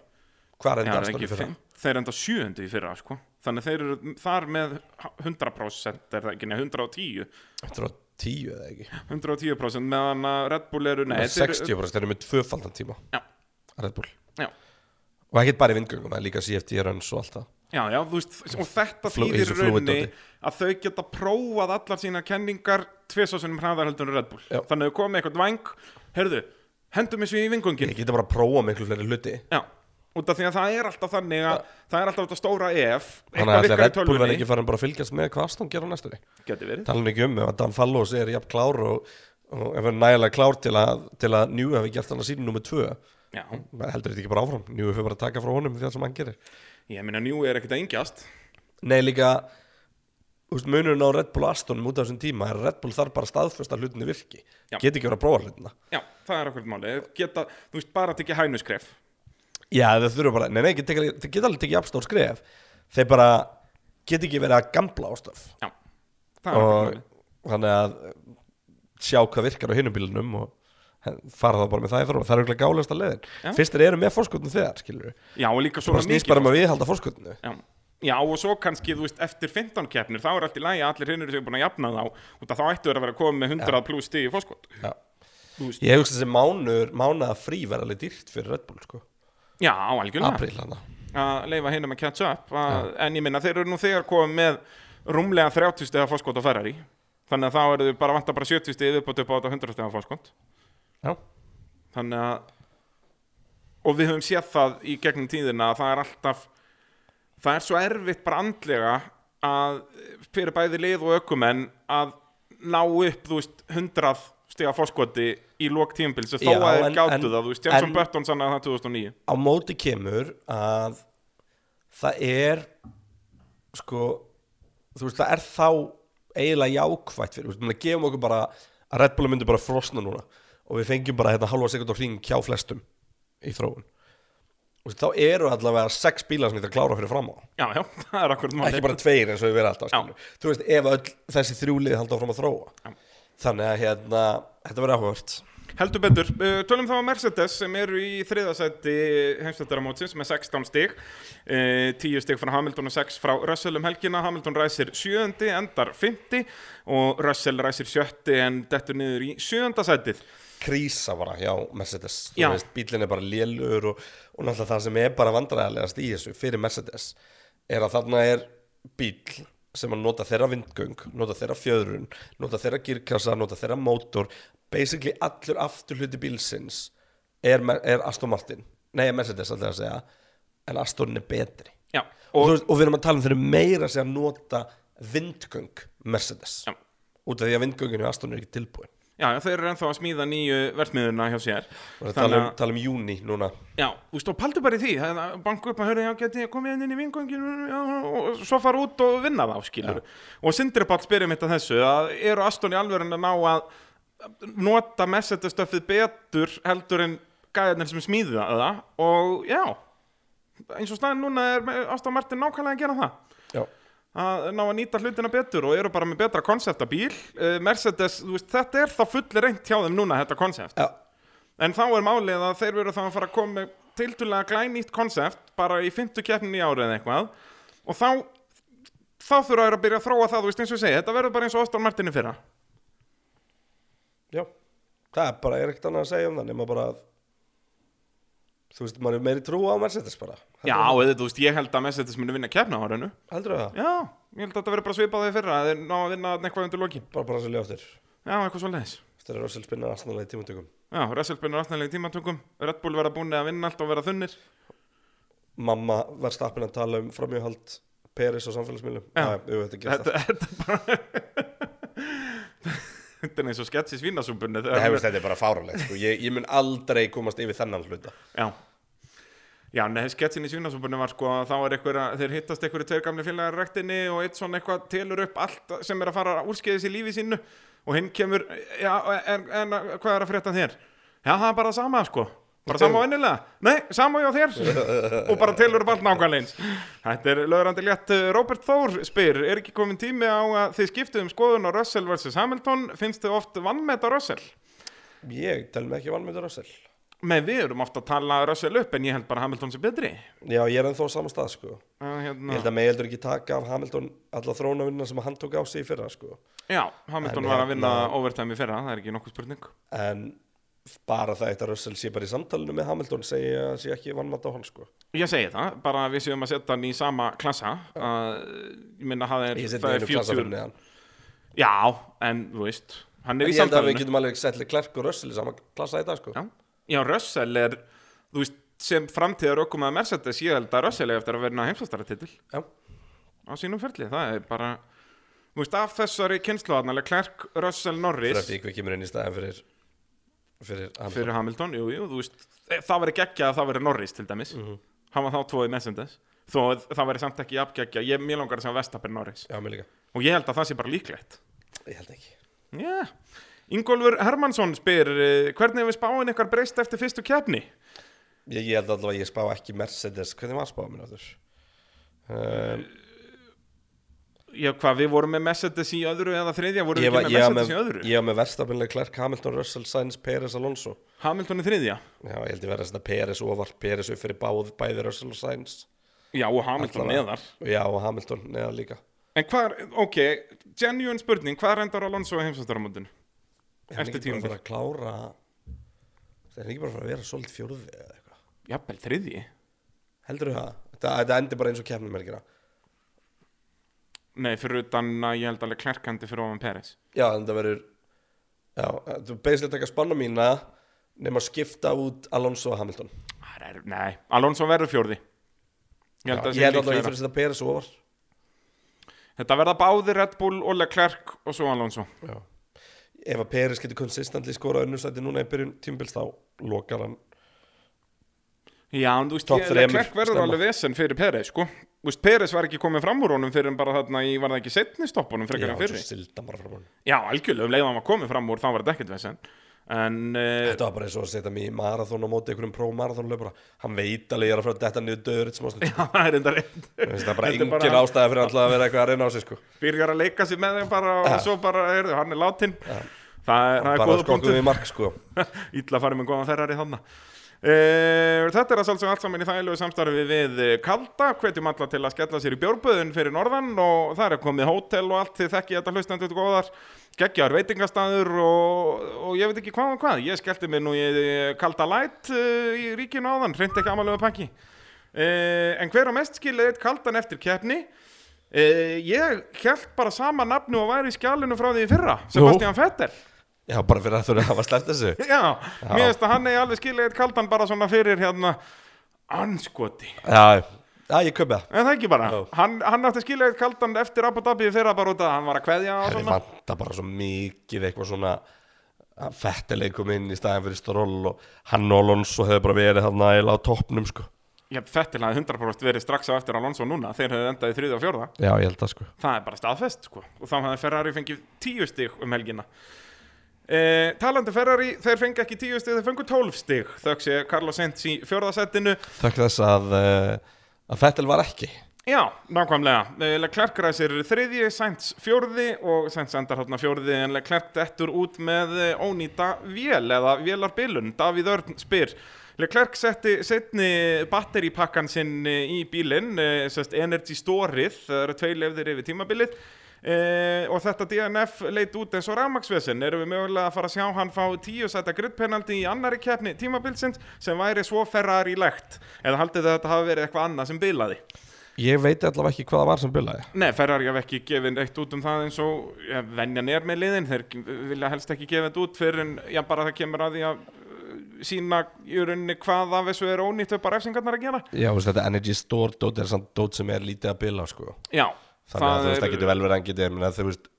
Hvað er Já, enda það er Astonin ekki fyrir fimm, þeir enda sjöundu í fyrra sko. þannig að þeir eru þar með 100% er það ekki, nei 110 það? 110 eða ekki 110% meðan að Red Bull eru nei, Nei, þeir 60 eru... þeir eru með tvöfaldan tíma Já. Red Bull já, Og ekkert bara í vindgöngum, það er líka CFD runs og allt það já, já, þú veist og þetta Flú- þýðir eins og fluid raunni dóti. að þau geta prófað allar sína kenningar tvisasunum hraðar heldur en Red Bull Já. þannig að þau komið eitthvað væng heyrðu, hendum þessu í vingungin Ég geta bara að prófa miklu fleiri hluti já, út af því að það er alltaf þannig að það er alltaf þetta stóra ef Þannig að ætli eitthvað virkar í Red Bull verði tölvunni ekki farin bara að fylgjast með hvað Aston gera á næstunni geti verið talan ekki um ef að Dan Fallos er jafn klár og, og ef hann er nægilega klár til að, til að Njú hefði gert hann að sínu nummer tvö já, heldur þetta ekki bara áfram, Njú hefur bara að taka frá honum því að sem hann gerir ég meina njú er ekkert að engjast Nei líka úst, munurinn á Red Bull og Aston út af þessum tíma er að Red Bull þarf bara að staðfesta hlutinni virki Já. geti ekki verið að prófa hlutina Já, það er akkurat máli geta, Þú veist, bara tekið hænuskref Já, þau þurfa bara, nei, nei, þeir geta, þeir geta alveg tekið jafnstór skref þeir bara geti ekki verið að gambla á stöf Já, það er akkurat og máli þannig að sjá hvað virkar á hinum bílunum og fara þá bara með það í þróun það er auðvitað gálegasta leiðin Já. fyrst þeir eru með fórskotnu þegar skilur Já, og líka bara svona snýst mikið bara um að viðhalda fórskotnu Já. Já, og svo kannski, þú veist, eftir 15 keppnir þá er allt í lagi að allir hinnur séu búin að jafna þá út að þá ættu þeir að vera að koma með 100 pluss stíði fórskot Já. Þú veist. ég hugsa þessi mánur, mánaða frí verða alveg dýrt fyrir Red Bull sko Já, algjörlega apríl hana að leifa hinnum að catch up að, en ég minna, þeir eru nú þegar komið með rúmlega 30 stíða fórskot á Ferrari þannig að þá eru þau bara vanta bara 70 stíði viðbútt upp á þetta 100 stíða fórskot já, þannig að og við höfum séð það í gegnum tíðina að það er alltaf það er svo erfitt bara andlega að fyrir bæði lið og ökumenn að ná upp þú veist hundrað stiga fórskoti í lók tímpils þó Já, að þeir en- gáttu en- það, þú veist, Jansson en- Button sann að það 2009 á móti kemur að það er sko þú veist það er þá eiginlega jákvætt fyrir, þú veist, maður gefum okkur bara að Red Bull myndi bara frosna núna og við fengjum bara hérna halva sekund á hring hjá flestum í þróun og þá eru allavega sex bílar sem þetta klára fyrir fram á Já, já, það er akkurat ekki bara tveir eins og við verðum alltaf skilur. þú veist ef öll þessi þrjúlið halda áfram að þróa Já. þannig að hérna þetta verður áhugavert Heldur betur, uh, tölum þá að Mercedes sem eru í þriðasætti heimstöldaramótsins með 16 stig uh, 10 stig frá Hamilton og 6 frá Russell um helgina, Hamilton ræsir 7 endar 50 og Russell ræsir 7 en dettur niður í 7. sætið krísa bara hjá Mercedes Já. þú veist, bílinn er bara lélur og, og náttúrulega það sem er bara vandræðalegast í þessu fyrir Mercedes er að þarna er bíl sem að nota þeirra vindgöng, nota þeirra fjöðrun nota þeirra girkassa, nota þeirra mótor basically allur afturhluti bílsins er, Me- er Aston Martin nei, er Mercedes alltaf að segja en Aston er betri Já, og, og og, og við erum að tala um þeir eru meira sem að nota vindgöng Mercedes Já. út af því að vindgönginu Aston er ekki tilbúin já, þeir eru ennþá að smíða nýju verðsmiðuna hjá sér og það tala um, tala um júni núna Já, þú veist, og paldu bara í því, það er banku upp að höra, já, geti ég komið inn inn í vingönginu já, og svo fara út og vinna þá, skilur. Og Sindri Pall spyrir mitt að þessu, að eru Aston í alvörun að ná að nota messetastöfið betur heldur en gæðarnir sem smíða það og já, eins og staðin núna er Aston Martin nákvæmlega að gera það Já, að ná að nýta hlutina betur og eru bara með betra konsept af bíl Eh, Mercedes, þú veist, þetta er þá fullir reynt hjá þeim núna þetta konsept Já. en þá er málið að þeir veru þá að fara að koma með tildulega glænýtt konsept bara í fymtu keppnin í árið eða eitthvað og þá þá þurfa þeir að byrja að þróa það, þú veist, eins og ég segi þetta verður bara eins og Aston Martin í fyrra já Það er bara, er ekkert annað að segja um það nema bara að þú veist, maður er meiri trú á Mercedes bara Já, eða þú veist, ég held að Mercedes muni vinna keppna á árinu Heldur það? Já, ég held að þetta verður bara svipað þeir fyrra að þeir ná að vinna þarna eitthvað undir lokin Bara bara sér ljóftir Já, eitthvað svo leiðis Eftir að Russell spinnar aðstæðanlega í tímatökum Já, Russell byrjar aftanlega í tímatökum Red Bull verða búin að vinna allt og verða þunnir Mamma var stappin að tala um framjöhald Peris á samfélagsmiðlum Já. Æ, jú, þetta gerist þetta, þetta er bara Þetta er eins og sketch í svínasúpunni Nei, hefur, þetta er bara fáralegt sko. ég, ég mun aldrei komast yfir þennan hluta Já Já, neða, sketchin í svínasúpunni var sko að þá er einhver að þeir hittast einhverju tveir gamli félagar í rektinni og eitt svona eitthvað telur upp allt sem er að fara úrskeiðis í lífi sínu og hinn kemur, já, en, en hvað er að frétta þér? Já, það er bara sama sko Bara sama og ennilega? Nei, sama og hjá þér og bara telur upp allt nákvæmlega eins Þetta er lögrandi létt Robert Þór spyr, er ekki komin tími á að þið skiptuð um skoðun á Russell vs. Hamilton finnst þið oft vannmeta Russell? Ég tel mig ekki vanmyndur Russell Nei, við erum oft að tala Russell upp en ég held bara Hamilton sem betri Já, ég er ennþá á sama stað sko. Að, Ég hérna, held að mig heldur ekki taka af Hamilton alla þrónavinnina sem hann tók á sig í fyrra sko. Já, Hamilton En var að vinna hérna- overtime í fyrra, það er ekki nokkuð spurning en bara það eitt að Russell sé bara í samtalinu með Hamilton segja að sé ekki vannmatt á hann sko. Ég segi það, bara að við séum að setja hann í sama klassa að, Ég minna það er, ég setja það einu er klasa future fyrir neðan Já, en þú veist, hann er ég í held að við samtalinu getum alveg settlega Klerk og Russell í sama klasa í dag sko. Já, já Russell er þú veist, sem framtíðar okkur með Mercedes ég held að Russell er eftir að verna heimsastaratitil Já. á sínum ferli, það er bara þú veist, af þessari kynsluðarnalega Klerk, Russell, Norris Freddy Kvík kemur inn í staðin fyrir fyrir sko. Hamilton fyrir Hamilton, jú, jú, þú veist e, það verið geggja að það verið Norris til dæmis Mhm. hann var þá tvoðið Mercedes þó að það verið samt ekki jafngeggja, ég mjög langar að segja Vestapir Norris Já, mér líka og ég held að það sé bara líklegt Ég held ekki Já, Ingólfur Hermansson spyr eh, hvernig hefur spáin ykkar breyst eftir fyrstu keppni? Ég, ég held allavega að ég spá ekki Mercedes Hvernig var spáðum minn á þess? Um, já hvað, við vorum með Mercedes í öðru eða þriðja, vorum Ég við var ekki ég með var Mercedes með, í öðru ég var með Verstapinlega Klerk, Hamilton, Russell, Sainz, Peres, Alonso Hamilton í þriðja Já, ég held ég verið að setja Peres ofar Peres upp fyrir báð, bæði Russell og Sainz já og Hamilton Allavega. neðar Já, og Hamilton neðar líka En hvað, ok, genuine spurning, hvað rendar Alonso á heimsvæmstaramótinu? Er hann Eftir ekki bara tímabil. að fara að klára Það er hann ekki bara að fara að vera svolítið fjórði eða eitthvað Jafnvel þriðji? Heldur þú það? Þetta, þetta endur bara eins og kemnum helgina Nei, fyrir utan að ég held alveg klærkandi fyrir ofan Peres. Já, en þetta verður Já, þú beislega taka spanna mína nema að skipta út Alonso og Hamilton Það er, nei, Alonso verður fjórði. Ég Já, held Ég held að það sé alltaf að ég líklega. fyrir að setja Peres ofar Þetta verða báði Red Bull og Leclerc og svo Alonso. Já. Ef að Peres getur konsistentli skorað unnustætti núna í byrjun tímbils þá lokar hann Já, en þú veist, Topp ég- þremur, Leclerc verður stemma. alveg vesen fyrir Peres, sko. Þú veist, Peres var ekki komið fram úr honum fyrir en bara þarna í, var það ekki setni stoppunum frekar en svo fyrir. silda bara fram hann Já, algjörlega, um leiðan hann var komið fram úr, þá var þetta ekkert vesen. En, uh, Þetta var bara eins og að setja mig í marathón á móti einhverjum pró-marathón löpura Hann veit alveg ég er að fara að detta niður döður sem ástætt það er enda reynd. Það er bara Þetta er engin bara- ástæða fyrir alltaf að vera eitthvað að reyna á sig sko byrjar að leika sér með þeim bara og Ja. svo bara, heyrðu, hann er látin ja. það, er- það er Bara góða skokkum punktur við mark sko illa farið með góðan ferrar í þannig Uh, þetta er að sjálfsög allt saman í þægilegu samstarfi við eh, Kalda, hvetjum alla til að skella sér í bjórböðun fyrir norðan og það er komið hótel og allt þið þekki þetta hlustendur góðar, geggjar veitingastæður og, og ég veit ekki hvað og hvað ég skellti mér nú í eh, Kalda Light uh, í ríkinu áðan, hreint ekki amalega pakki uh, en hver á mest skilið eitt Kaldan eftir keppni uh, ég held bara sama nafnu og væri í skjálinu frá því í fyrra, Sebastian Vettel Já, bara fyrir að þú eru að hafa sleppt þessu Já, mér finnst að hann er alveg skilið eitt kaldan bara svona fyrir hérna anskoti, Já, já ég köpa það en það ekki bara Já. hann, hann átti skilið eitt kaldan eftir Abu Dhabi þeirra bara út að hann var að kveðja og Herri, svona vanta bara svo mikið eitthvað svona fettileg kom inn í staðin fyrir Storól og hann og Alonso hefur bara verið þarna eiginlega á toppnum sko Já, Fettil hafði 100% verið strax á eftir Alonso núna, þeir höfðu endað í þriða og fjórða Já, ég held það sko það er bara staðfest sko og þá hafði Ferrari fengið tíu stig um helgina e, talandi Ferrari, þeir fengi ekki tíu stig þeir fengu tólf stig, þöggs ég Carlos Sainz í fjórðasettinu Þökk þess að, uh, að Fettel var ekki Já, nákvæmlega. Leclerc ræsir þriðji, Sainz fjórði og Sainz endar hérna fjórði en Leclerc dettur út með eh, ónýta vél eða vélarbilun. Davíð Örn spyr. Leclerc setti setni batteripakkan sinn eh, í bílinn, eh, sest Energy Storið, það eru tvei lefðir yfir tímabilið eh, og þetta DNF leit út eins og rafmaksvesen. Erum við mögulega að fara að sjá hann fá tíu sæta grittpenaldi í annari keppni tímabilsins sem væri svo ferrari legt eða haldið þið að þetta hafi verið eitthvað annað sem bilaði? Ég veit allavega ekki hvað það var sem bilaði Nei, Ferrari hafa ekki gefið eitt út um það eins og ja, venjan er með liðin, þeir vilja helst ekki gefa þetta út fyrir en já, bara það kemur að því að uh, sína í rauninni hvað af þessu er ónýtt upp á refsingarnar að gera. Já, þú veist, þetta Energy Store dót er samt dót sem er lítið að bila sko Já, Þannig að þú veist, það getur vel verið að hann getur menn að þú veist,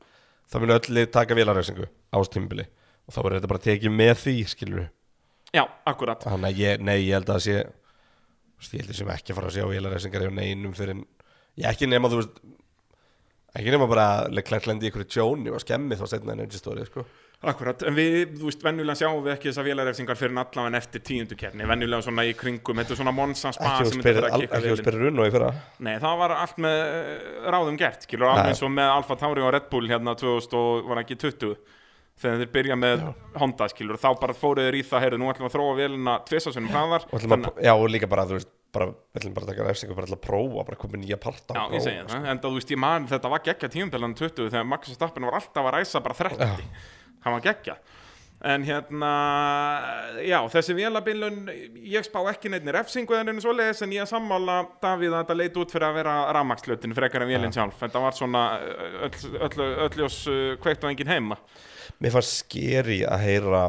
það munu öll lið taka vélarreysingu ástímbili og þá verður þetta bara tekið með því, skilur Já, akkurat. Þannig að ég, nei, ég held að það sé þú veist, ég held að sem ekki að fara að sjá vélarreysingar hjá neinum fyrir en, ég ekki nema, þú veist ekki nema bara að klærlendi ykkur tjóni og skemmi þá setna energy story, sko Akkurat, en við, þú veist, venjulega sjáum við ekki þessar vélarefsingar fyrir en allavega eftir tíundu keppni, venjulega svona í kringum, þetta er svona Monza spa ekki Ah, sem þú þetta spyrir, fyrir að al- kikka ekki þú vélinn. spyrir runn og í fyrra Nei, það var allt með eh, ráðum gert, skilur, Nei. alveg eins og með Alfa Tauri og Red Bull hérna 2000 og var ekki 20 þegar þeir byrja með Honda, skilur, þá bara fóruð þeir í það, heyrðu, nú ætlum við að þróa vélina tvisasunum hraðar, og ætlum að, já, og líka bara, þú veist bara, við ætlum bara að taka refsingu, bara ætlum að prófa bara komið nýja parta já, ég segi það, sko. en þú veist, ég man, þetta var geggja tíumpelan 20 um þegar Max Verstappen var alltaf að ræsa bara 30, hann var geggja. En hérna, já, þessi vélabilun, ég spá ekki neittni refsingu eða neina svoleiðis, en ég er sammála Davíð að þetta leit út fyrir að vera rafmakslutin frekar en vélinn sjálf. Þetta var svona ö, öll, öll, öll ljós ö, kveikt og enginn heima. Mér fannst skeri að heyra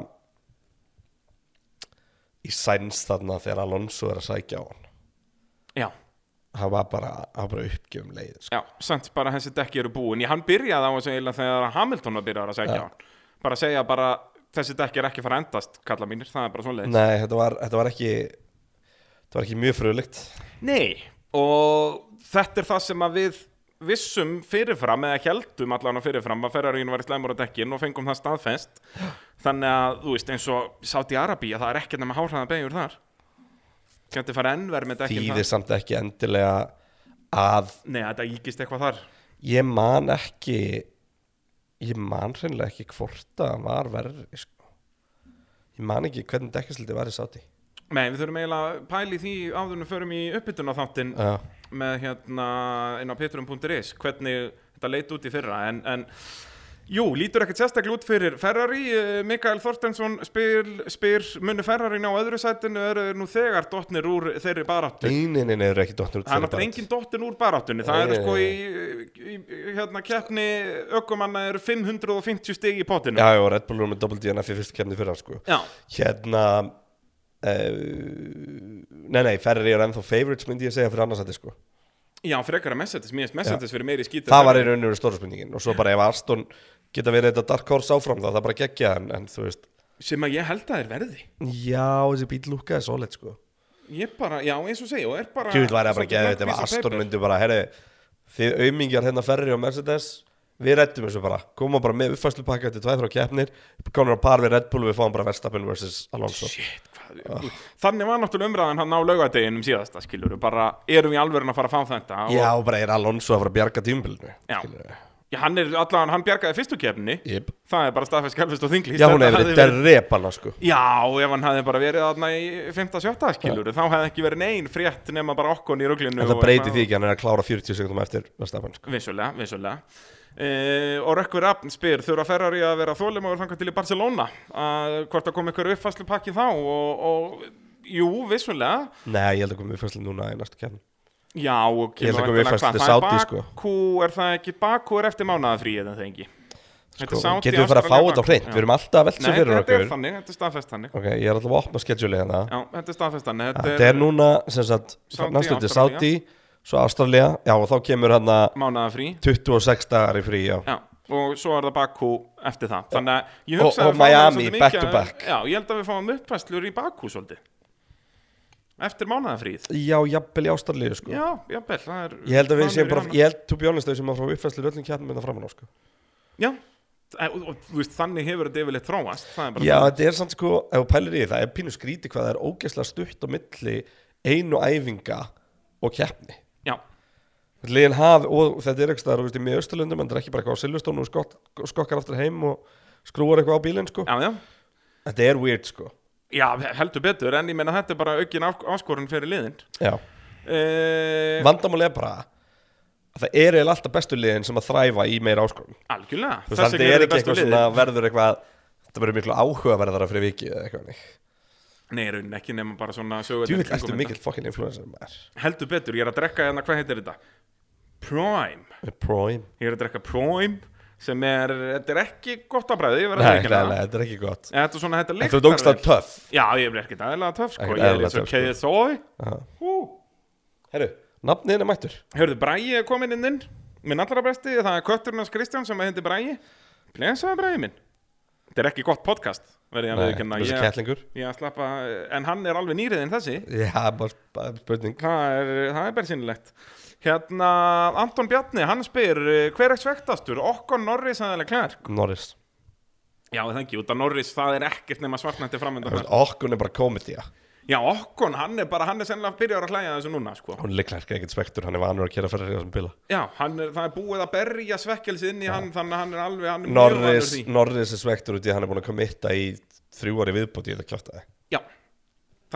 í sæns þarna þegar Alonso er að sækja á hann Já, hann var bara, hann var bara uppgjöfum leið sko. já, samt bara þessi dekki eru búin. Ég, hann byrjaði á þessu eiginlega þegar Hamilton var byrjaði að segja Já. hann. Bara að segja bara, þessi dekki er ekki að fara að endast, kalla mínir, það er bara svoleiðis. Nei, þetta var, þetta var ekki þetta var ekki mjög fröðlegt Nei, og þetta er það sem að við vissum fyrirfram eða heldum allan á fyrirfram að Ferrarín var í slæmur á dekkin og fengum það staðfest þannig að, þú veist, eins og Saudi Arabia, það er ekkert nema hálfhraða beigur þar Gæti fara ennverð með dekkin þýðir samt ekki endilega að Nei, þetta íkist eitthvað þar ég man ekki ég man hreinlega ekki hvort að hann var verri sko. ég man ekki hvernig dekkisliti var í sáti Nei, við þurfum eiginlega að pæli því áður en við förum í uppbytun á þáttinn já, með hérna inn á petrum.is hvernig þetta leit út í fyrra en, en jú, lítur ekkert sérstaklega út fyrir Ferrari, eh, Mikael Þorstensson spyr, spyr muni Ferrari ná öðru sætinu eru þeir nú þegar dottnir úr þeirri baráttu beinin er ekki dottur út fyrir Það er náttúrulega baráttu. engin dottin úr baráttunni, það eru Nei, sko nei, í, í í- hérna, keppni ökumanna eru 550 stig í potinu. já, já, Red Bull er með double DNF í fyrstu kemni fyrir hann sko. Já, hérna uh, nei, nei, Ferrari er ennþá favorites myndi ég segja fyrir annarsæti sko. já, frekar að messages, mér finnst messages fyrir meiri skítið. það var í rauninu stóra spurningin og svo bara ef Aston geta verið þetta dark horse áfram þá það bara geggja en, en þú veist Sem að ég held að þeir verði. já, þessi bíl lúkaði svolít sko Ég bara, já, eins og segja, og er bara... Kjúl væri að bara svolítið geða þetta ef markviss á Aston paper. myndi bara, herri, þið aumingjar hérna Ferri og Mercedes, við rettum þessu bara, komum bara með uppfæslupakka til 2-3 keppnir, konur á par við Red Bull og við fáum bara Verstappen vs. Alonso. Shit, hvað, þannig var náttúrulega umræðan hann á laugadeginum síðasta skilur bara erum við alveg að fara að fá þetta og, Já, og bara er Alonso að fara að bjarga tímbilinu. Já. já, hann er allan, hann bjargaði fyrstu kefni Yep. það er bara staðfæst skjálfist og þingli Já, hún hefur verið derrepana, sko. já, ef hann hefði bara verið þarna í 5-7 skilur þá hefði ekki verið nein frétt nema bara okkon í ruglinu En það breyti því ekki, hann er að klára 40 sekundum eftir Verstappen, sko. vissulega, vissulega Uh, og Rökkvi Rappn spyr þurfa Ferrari að vera þólimáður þangað til í Barcelona uh, hvort að koma ykkur uppfæslu pakki þá og, og jú, vissulega Nei, ég held að koma uppfæslu núna í næstu keppni. Já, og Ég held kemur að komi væntanlega fyrst hvað, til það er Saudi, Bakú, sko. er það ekki Bakú er eftir mánaðafrí eða það ekki Sko, Þetta er Saudi, getum við fara að fá Ástralía, þetta á Bakú, hreint, já. við erum alltaf að velta Nei, þessu fyrir þetta er okkur. þannig, þetta er staðfest þannig Ok, ég er alltaf að opna skedjúli hérna. Já, þetta er staðfest þannig Þetta Ah, Þetta er núna, sem sagt, Saudi, næstu þetta er Ástralía. Saudi, svo Ástralja, já og þá kemur hérna hann að mánaðafrí 26 dagar í frí, já. Já, og svo er það Bakú eftir það Þannig að ég Og- hugsa að og við fáum Miami, svolítið back to mikið- back. Já, ég held að við fáum uppfæstlur í Bakú svolítið Eftir mánaðafríð Já, jafnvel í Ástralju, sko. Já, jafnvel, það er Ég held að við mánuður séum í bara, annað. ég held, to be honest, að við séum að frá uppfæslu öllum kjarnum en það framan á, sko. Já, Eh, og, og, og, þú veist, þannig hefur þetta yfirleitt þróast Það er bara Já, þetta er samt sko, ef þú pælir í því, það er pínu skríti hvað það er ógeðslega stutt á milli einu æfinga og keppni. Já, Liðin haf, og þetta er ekki staðar, þú veist, í mjög östurlundum, en það er ekki bara eitthvað á Silveston og skott, skokkar aftur heim og skrúar eitthvað á bílinn, sko. já, já Þetta er weird, sko. Já, heldur betur, en ég meina þetta er bara aukin á- áskorun fyrir liðin Já. uh, vandamál er bara að það eru eiginlega alltaf bestu liðin sem að þræfa í meira áskorun Algjörlega, þú veist, það vegna er eru ekki bestu eitthvað svona verður eitthvað það verður miklu áhugaverðara fyrir viki eða eitthvað þannig. Nei, í rauninni ekki nema bara svona sögur Þú veit, ertu mikil fokkin influencer maður Heldur betur, ég er að drekka hérna, hvað heitir þetta? Prime Með Prime Ég er að drekka Prime sem er, þetta er ekki gott að bræði, ég verð að Nei, nei, ekki nei, þetta er ekki gott Þetta er svona, þetta En lyktar Þú dóngst það vel. töff Já, ég er ekkert aðeinslega töff, sko Ekkert Ég er eðlilega eins og töff, sko. KSOI Aha. Hú Herru, nafnin er mættur Hörðu, Bræi er komin inn inn Minn allra besti, það er kötturinn hans Kristján sem hendur Bræi Blesaði Bræi minn Þetta er ekki gott podcast verði ég að Nei, viðurkenna. þessi Ég- kettlingur ég að slappa En hann er alveg nýrið en þessi Já, bara bara spurning Það er, það er bersýnilegt Hérna, Anton Bjarni, hann spyr eh, Hver er svektastur? Okkon Norris eða Leclerc? Norris Já, það ekki, út af Norris, það er ekkert nema svartnætti Þú framöndan veist, Okkun er bara komedía Já, Okkon, hann er bara, hann er sennilega byrjar að hlæja að þessu núna, sko Hún liklar ekki ekkert spektur, hann er vanur að kera ferri á þessum bila Já, hann er, það er búið að berja svekkelsið inn í hann Þannig að hann er alveg, hann er mjög vanur Norris, því Norris er svektur út í að hann er búin að kommitta í þrjú ári viðbúti í þetta kjátaði Já,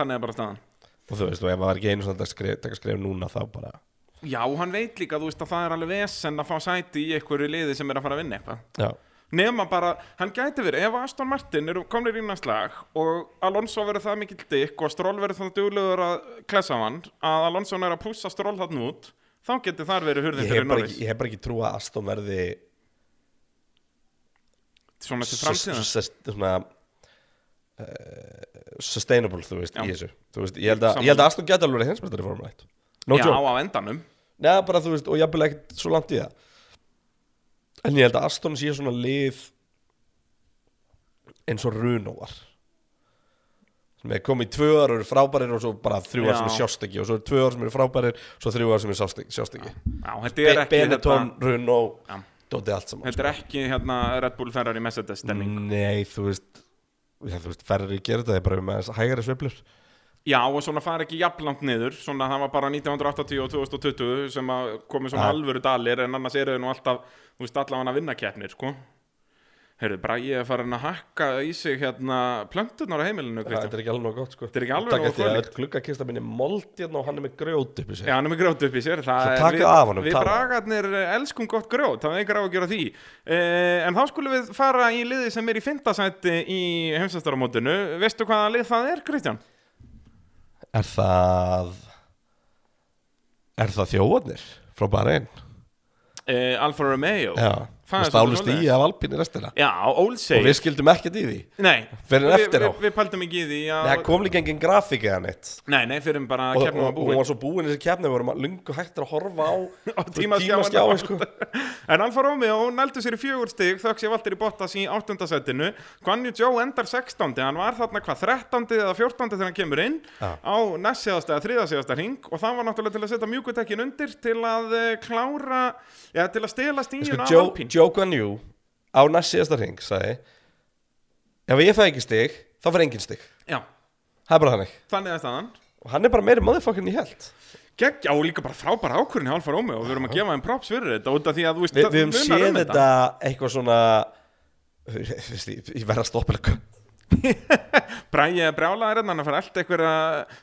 þannig er bara staðan og þú veist, og ef það var ekki einu svona að skrif, taka skrif núna þá bara Já, hann veit líka, þú veist að það er alveg vesen að fá sæti í einhverju liði sem er að fara að vinna eitthvað já, nema bara, hann gæti verið, ef Aston Martin eru komnir í næst lag og Alonso verður það mikill dykk og Stroll verður þannig duglegur að klessa á hann að Alonso er að pússa Stroll þarna út þá getur þar verið hurðin ég hef, fyrir bara Norris ekki, ég hef bara ekki trú að Aston verði svona til sus- framtíðan sus- svona uh, sustainable, þú veist, Já. í þessu þú veist, ég held að, Sammála. ég held að Aston geta alveg hinsmestari fórum rætt, no Já, joke á endanum neða bara, þú veist, og jafnvel ekkert svo langt í það en ég held að Aston sé svona lið eins og runóvar sem er komið í tvö ár og eru frábærir og svo bara þrjú ár sem er Já. sjást ekki og svo eru tvö ár sem eru frábærir svo þrjú ár sem er sjást ekki, sjást ekki. Já, þetta er Be- ekki Benetton, þetta, Runo Já. Dóti allt saman þetta er ekki hérna Red Bull Ferrari Mercedes stemning Nei, þú veist já, þú veist, ferri gerir þetta, það er bara með þess hægari sveiflur Já, og svona fara ekki jafnlangt niður Svona það var bara 1980 og 2020 sem að komi svona Ja. alvöru dalir en annars eru þau nú alltaf, þú veist, allavega að vinna keppnir, sko Heyrðu, Bragi er farin að hakka í sig hérna plöntunar á heimilinu, Kristján Þetta er ekki alveg nóg gott sko Þetta er ekki alveg Takk nógu eftir að fróðlegt. öll gluggakista minni mold hérna og hann er með grjót upp í sig Já, hann er með grjót upp í sér Það Svo er- takið við- af honum, Við talaðu. bragarnir elskum gott grjót, það er ekki ráð að gera því eh, En þá skulum við fara í liði sem er í fymtasæti í heimsæstaramótinu Veistu hvaða lið það er, Kristján? Er það Er það þjóðarnir frá bara einn Eh, Alfa Romeo Já, Það það er stálust svolítið í af Alpín í restina Já, Olsey Og við skildum ekkert í því Nei, Fyrir við- eftir á. Við, við pæltum ekki í því Nei, að það kom líka engin grafík eða neitt Nei, nei, fyrir um bara Og, að og, keppnum að og hún búi var svo búin þessi keppni Við vorum að lungu hættir að horfa á Á tímaskjáin. tímaskjáin, sko. En Alfa Romeo nældu sér í fjögur stig þökk sér Valtteri Bottas í áttundasætinu Guanyu Joe endar 16. Hann var þarna hvað 13. eða 14. þegar hann kemur inn Já. á næstsíðasta eða þriðasíðasta hring og það var náttúrulega til að setja mjúkutekkin undir til að eh, klára eða til að stela sko, stíðuna á Joe, Alpín Joe Guanyu á næst síðasta ring sagði ef ég fæ ekki stig þá fær engin stig Já, það er bara þannig þannig að staðan og hann er bara meiri motherfucking í held Gekkja og líka bara frábæra ákvörðin hjá Alfa Romeo og við erum að gefa þeim props fyrir þetta út af því að þú veist Vi, það við höfum munar séð um þetta eitthvað svona Veist, ég, ég verð að stoppa eitthvað Bræði að brjála er hérna, hann að fara allt einhverja,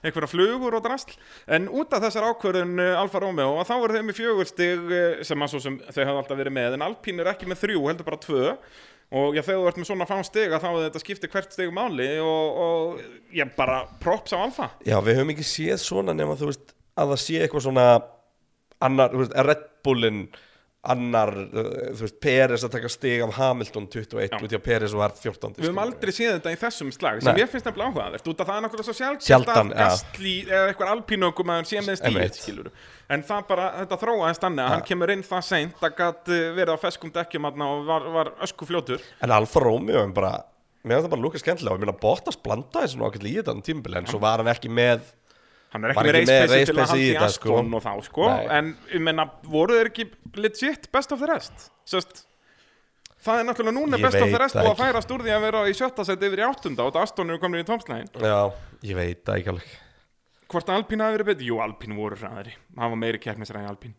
einhverja flugur og drasl en út af þessar ákvörðun eh, Alfa Romeo og þá voru þeim í fjögurstig eh, sem, að svo sem þau hafði alltaf verið með en Alpín er ekki með þrjú, heldur bara tvö og já, þegar þú ert með svona fán stiga þá þetta skiptir hvert stig máli og, og ég bara props á Alfa já við höfum ekki séð svona nema þú veist að það sé eitthvað svona annar, þú veist, Red Bullin annar, uh, þú veist, Peres að taka stig af Hamilton 21 út í að Peres var 14 Við höfum skilur aldrei séð þetta í þessum slag sem Nei. ég finnst nefnilega áhugaðvert út af það er náttúrulega svo sjálfsagt Sjaldan, að ja. Gastli eða eitthvað alpínökum að hann sé með stíð Einmitt. skilur en það bara, þetta þróaðist þannig að hann kemur inn það seint að gat uh, verið á feskum dekkjum hann og var, var ösku fljótur En Alfa Romeo er bara Mér finnst það bara lúka skemmtilega og ég meina Bottas blandaði þessu nákvæmlega í þetta tímbil en svo var hann ekki með hann er Var ekki með ekki með reispeysi til racepace að halda í í þetta, Aston sko. og þá sko Nei. en ég menna, voru þeir ekki legit best of the rest Sest, það er náttúrulega núna Ég best of veit the rest það og að ekki. færast úr því að vera í sjötta seti yfir í áttunda og þetta Aston eru komin í tómslægin Já, ég veit það ekki alveg hvort Alpín hafi verið betur, jú Alpín voru hraðari það var meiri keppnisræði Alpín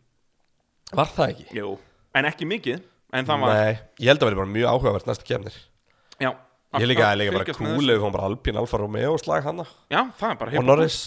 Var það ekki? Jú, en ekki mikið En það var Nei, ég held að verði bara mjög áhugavert næstu kemnir já, Ég líka að líka bara fylgjast með þessu. kúli ef hún bara Alpín Alfa Romeo og slag hana Já, það er bara og hip- Norris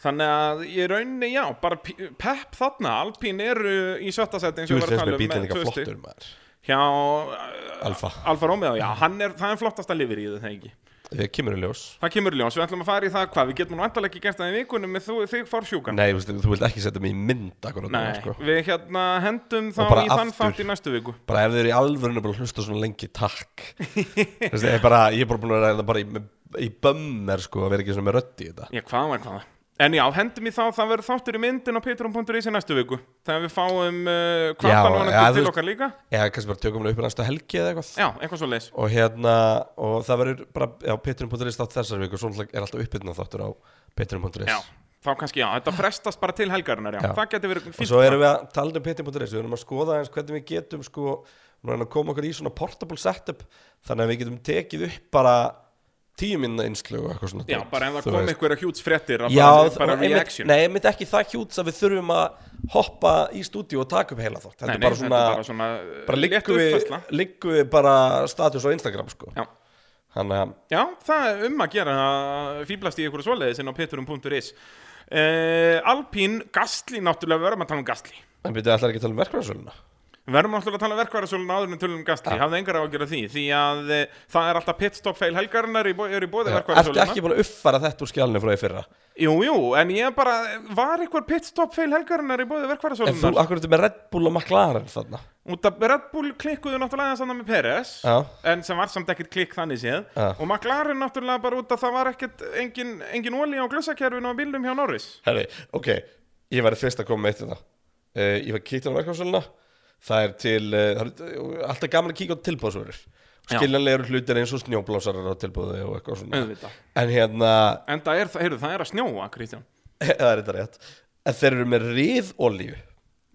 Þannig að ég raunni, já, bara p- pepp þarna Alpín eru í sjötta seti eins Þú og veist við þess með varum að tala bílinn um eitthvað tvö stig. flottur maður Hjá uh, Alfa. Alfa Romeo, já, hann er, það er flottasta lifir í það ekki Þegar kemur í ljós Það kemur í ljós, við ætlum að fara í það hvað Við getum nú endalega ekki gert það í vikunum með þú, þig fór sjúkan Nei, þú veist, þú vilt ekki setja mig í mynd akkurat núna, sko. við hérna hendum þá Og bara í þann aftur. þátt í næstu viku bara ef þið eru í alvörinu bara að hlusta svona lengi takk Þú veist, ég, er bara, ég er bara búin að ræða bara í, í bömmer sko, að vera ekki svona með rödd í þetta Já, hvað var hvaða? En já, hendum í þá, það verður þáttur í myndin á patreon.is í næstu viku Þegar við fáum uh, Já, kvartan og já, hann þú til veist- okkar líka eða kannski bara tökum við upp í næsta helgi eða eitthvað Já, eitthvað svo leis og hérna, og það verður bara já, Petrin.is þátt þessar viku og svo náttúrulega er alltaf uppbyrna þáttur á Já, Petrin.is þá kannski já, þetta frestast bara til helgarinnar já. Já. Það geti verið og fínt svo erum við að tala um Petrin.is við erum að skoða eins hvernig við getum sko, við erum að koma okkur í svona portable setup þannig að við getum tekið upp bara tíminna einslu og eitthvað svona Já, dót, bara ef þú það kom veist. einhverja hjúts fréttir að Já, bara, það- bara og einmitt, reaction nei, einmitt ekki það hjúts að við þurfum að hoppa í stúdíu og taka upp heila þátt þetta Nei, er nei, bara svona, þetta er bara svona uh, bara létt liggum við, uppfærsla. liggum við bara status á Instagram sko Já. þannig að Já, það er um að gera að fýblast í ykkur svoleiðis inn á patreon.is uh, Alpín, Gastli náttúrulega, við verðum að tala um Gastli En byrjuðu ætlar ekki að tala um verkvæðarsöluna? Við verðum náttúrulega að tala um verkvarðarsölun áður en tölum um gasli, hafðu engar á að gera því því að e, það er alltaf pitstop fail helgarinnar í, bó- eru í bóði Ertu verkvarðarsöluna ekki búin að uppfæra þetta úr skjálni frá því fyrra? Jú, jú, en ég bara, var eitthvað pitstop fail helgarinnar í bóði En þú, verkvarðarsölunar akkur ertu með Red Bull og McLaren þarna? út af Red Bull klikkuðu náttúrulega þannig með Peres Já. en sem var samt ekkert klikk þannig séð Já. og McLaren náttúrulega bara út af það var ekkert engin, engin olí á glössakerfinu á bílnum hjá Norris Herri, ok, ég væri fyrst að koma með eitt þetta. Uh, ég var kíkt á verkvæðarsöluna, það er til, uh, það er uh, alltaf gaman að kíka á tilbúðsverður. Já. Skiljanlegur hlutir eins og snjóblásarar á tilbúðu og eitthvað svona. Auðvitað. En hérna, en það er, heyrðu, það er að snjóa, Kristján það er þetta rétt, en þeir eru með riðolíu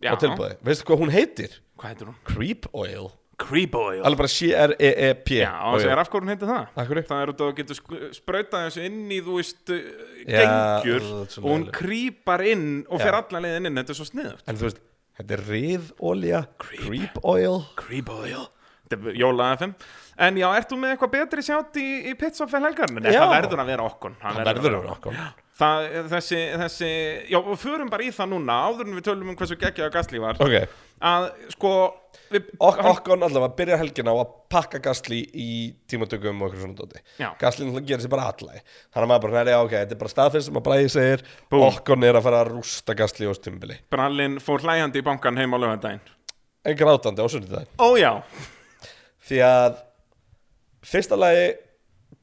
Já. á tilbúðu. Veistu hvað hún heitir? Hvað heitir hún? Creep oil. Creeboil Alveg bara E C-R-E-E-P Já, og það er af hvernig heitir það Af hverju? Það er út af að geta sk- sprautað þessu inn í, þú veist, uh, Já, gengjur það er svo og hún leiðilegt. krýpar inn og Já. fer allan leiðin inn, þetta er svo sniðugt. En þú veist, þetta er riðolja Creep, oil Creeboil. Þetta er Jóla FM. En já, ert þú með eitthvað betri sjátt í, í Pitsofell helgarinn? Nei, Já. það verður að vera okkon. Það verður að vera okkur Það, þessi, þessi, já, og förum bara í það núna, áður en við tölum um hversu geggjaða gastlíf var, Ok, að, sko, við, ok, okkon allavega byrja helgina á að pakka gasli í tímatökum og okkur svona dóti Já. Gasli náttúrulega gerir sér bara allæg Þannig að maður bara, næri, ok, þetta er bara staðfinn sem að bræði segir Búm. Okkon er að fara að rústa gasli á stimbili brallinn fór hlæjandi í bankan heim á lögandaginn. En grátandi á sunnudaginn Ó já, Því að fyrsta lagi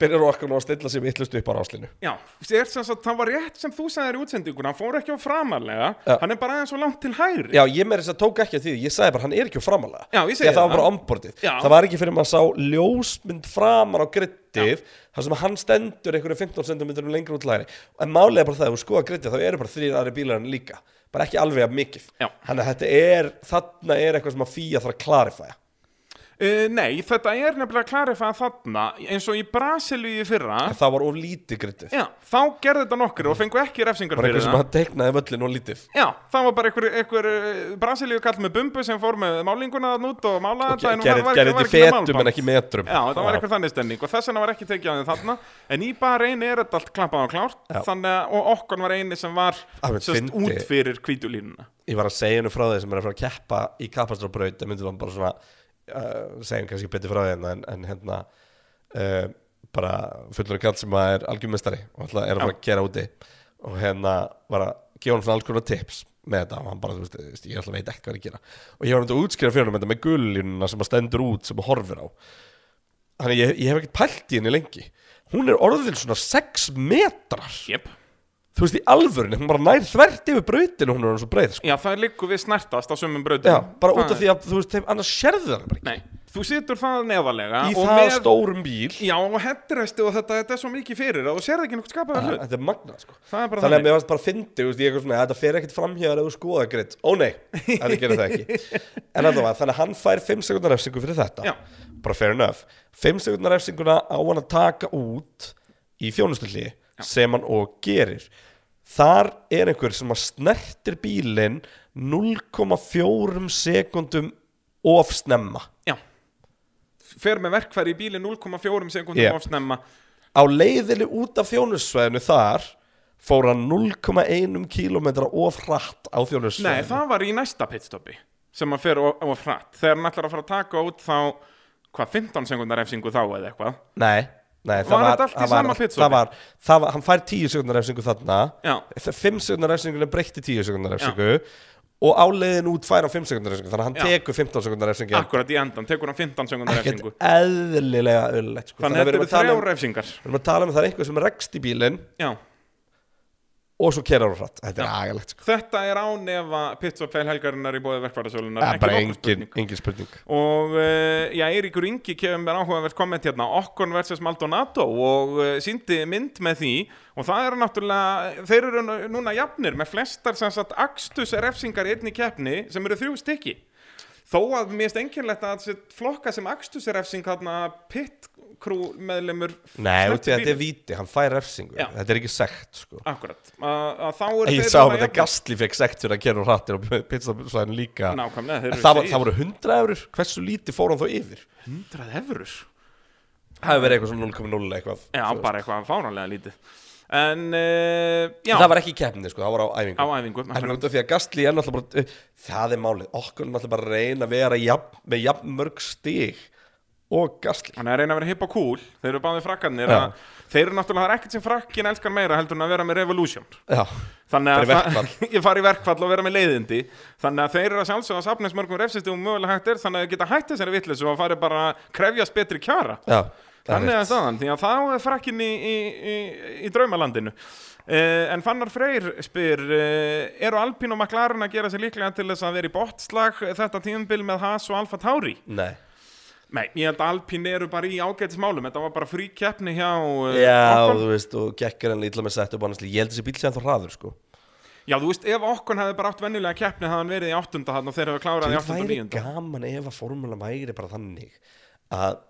byrjar okkon á að stilla sér vittlust upp á ráslinu Já, er sem sagt, það var rétt sem þú sagðir í útsendingun, hann fór ekki á framarlega, Já. hann er bara aðeins svo langt til hægri. Já, ég með þess að tók ekki að því, ég sagði bara hann er ekki á framalega Já, ég segi Því að það var það. bara ombordið Já. Það var ekki fyrir maður sá ljósmynd framar á grittið þar sem hann stendur einhverju 15 cm lengur út læri En málið er bara það, ef þú skoða grittið þá eru bara þrýr aðri bílar en líka Bara ekki alveg að mikið Já. Þannig að þetta er, þarna er eitthvað sem að fýja þarf að klarifæja Uh, nei, þetta er nefnilega klarifæða þarna, eins og í Brasilíu í fyrra, En það var of lítið grittið já, þá gerði þetta nokkri og fengu ekki refsingar Bara fyrir eitthvað sem það. að teiknaði völlin og lítið Já, það var bara einhver, einhver Brasilíu kall með bumbu sem fór með málinguna þarna út og málaði Og ge- en hún gerði var- var gerði var þetta í með málband. fetum en ekki metrum Já, það var eitthvað þannig stemning og þess vegna var ekki tekið að þeim þarna en í bara einu er þetta allt klappað og klárt Já. þannig að og okkur var eini sem var Alveg sest, fyndi. út fyrir kvítulínuna ég var að segja hennu frá þeir sem er að fara að keppa í kapastróbraut það myndi maður bara svona uh, segja hennu kannski betur frá þeir en, en hérna uh, bara fullur kall sem að er algjörmestari og alltaf er að fara að gera úti og hérna var að gefa hann svona alls konar tips með þetta og hann bara, þú veist, þú veist, ég alltaf veit ekki hvað er að gera og ég var um að útskýra fyrir hann þetta með gullínuna sem að stendur út sem að horfir á þannig að ég, ég hef ekkert pælt í henni lengi hún er orðin svona 6 metrar yep. þú veist, í alvörunni, hún bara nær þvert yfir brautinu hún er hann svo breið, sko Já, það er líku við snertast á sömum bröðum Já, bara út af því að þú veist, þeim, annars sérðu það bara Nei, þú situr það neðalega ekki í og það stórum bíl Já, og hettiræsti og þetta, þetta er svo mikið fyrir og þú sérð ekki nokkuð skapaða hlut Þetta er magnað sko Það er Þannig bara að þannig. mér varst bara að fyndi, þú veist, ég er eitthvað svona Þetta fer ekkert framhjáður ef þú skoða gritt Ó nei, þetta gerir það ekki En allavega, þannig að hann fær 5 sekundar refsingu fyrir þetta Já. Bara fair enough 5 sekundar refsinguna á hann að taka út Í þjónustulli Sem hann og gerir Þar er einhver sem að snertir bílinn 0,4 sekundum of snemma Já Fer með verkfæri í bíli 0,4 sekundum Yep. yep. ofsnemma á leiðinni út af þjónussvæðinu þar fór hann 0,1 km of hratt á Nei, þjónussvæðinu það var í næsta pitstopi sem að fer og, og hratt þegar hann ætlar að fara að taka út þá hvað, 15 sekundar refsingu þá eða eitthvað nei, nei, það Var var, þetta allt í það var, sama pitstopi? það var, það var hann fær 10 sekundar refsingu þarna Já. 5 sekundar refsingunni breytti 10 sekundar refsingu og á leiðin út fær hann 5 sekundar refsingu þannig að hann Já. tekur 15 sekundar refsingu Akkurat í endan, tekur hann 15 sekundar ekkert refsingu eðlilega öllegt sko. Þannig að við erum að þetta eru tala um- þrjá refsingar við erum að tala um að það er einhver sem rekst í bílinn Já og svo kerar hann hratt þetta er agalegt sko. Þetta er án efa pizza feil helgarinnar í bóði verkvarðasölunar það er bara engin, engin spurning Og uh, já, Eiríkur Ingi kemur með áhugavert komment hérna Okkon vs. Maldonado og uh, síndi mynd með því og það eru náttúrulega, þeir eru nú- núna jafnir með flestar sem sagt akstus refsingar í einni keppni sem eru þrjú stykki þó að mér er einkennlegt að þessi flokka sem akstus refsing þarna pit crew meðlemur Nei, snerti út í að þetta er bílinn. víti, hann fær refsingu Já. Þetta er ekki sekt, sko Akkurat, að, að þá eru Ég þeir sá núna að þetta jafnir. gastli fekk sekt fyrir að gera hrattir og pizzasvæðin líka Nákvæmlega, þeir En eru það, var, segir. það voru 100 eurur, hversu lítið fór hann þá yfir? 100 efurur Það hefur verið eitthvað svona 0,0 eitthvað Já, þú veist. bara eitthvað fáranlega lítið En, uh, já, En Það var ekki í keppni, sko, það var á á æfingu æfingu En út af því að gastli er náttúrulega bara uh, Það er málið, okkur er náttúrulega bara að reyna að vera jafn, með jafn mörg stig og gastli Hann er að reyna að vera hipp og cool Þeir eru báðið frakkanir Já. að, Þeir eru náttúrulega, það er ekkert sem frakkin elskar meira heldur en að vera með Revolution Já, Þannig Fara í að ég fari í verkfall og vera með leiðindi Þannig að þeir eru að sjálfsögða að safna eins mörgum refsistum mögulega hægt er Þannig að þeir geta hætt þessari vitleysu og fari bara að krefjast betri kjara já það Þannig er að staðan, því að þá er frakkin í, í, í, í draumalandinu Uh, en Fannar Freyr spyr uh, eru Alpín og McLaren að gera sér líklega til þess að vera í botslag þetta tíðumbil með Haas og Alfa Tauri? Nei Nei, ég held að Alpín eru bara í ágætismálum Þetta var bara frí keppni hjá uh, Já, og Ocon. þú veist, og gekkar hann illa með sett upp annars, ég held þessi bíl sem þá hraður, sko Já, þú veist, ef okkur hefði bara átt venjulega keppni það hann verið í áttunda hann og þeir hefur klárað í Það áttunda og væri níunda gaman ef að formúlan væri bara þannig að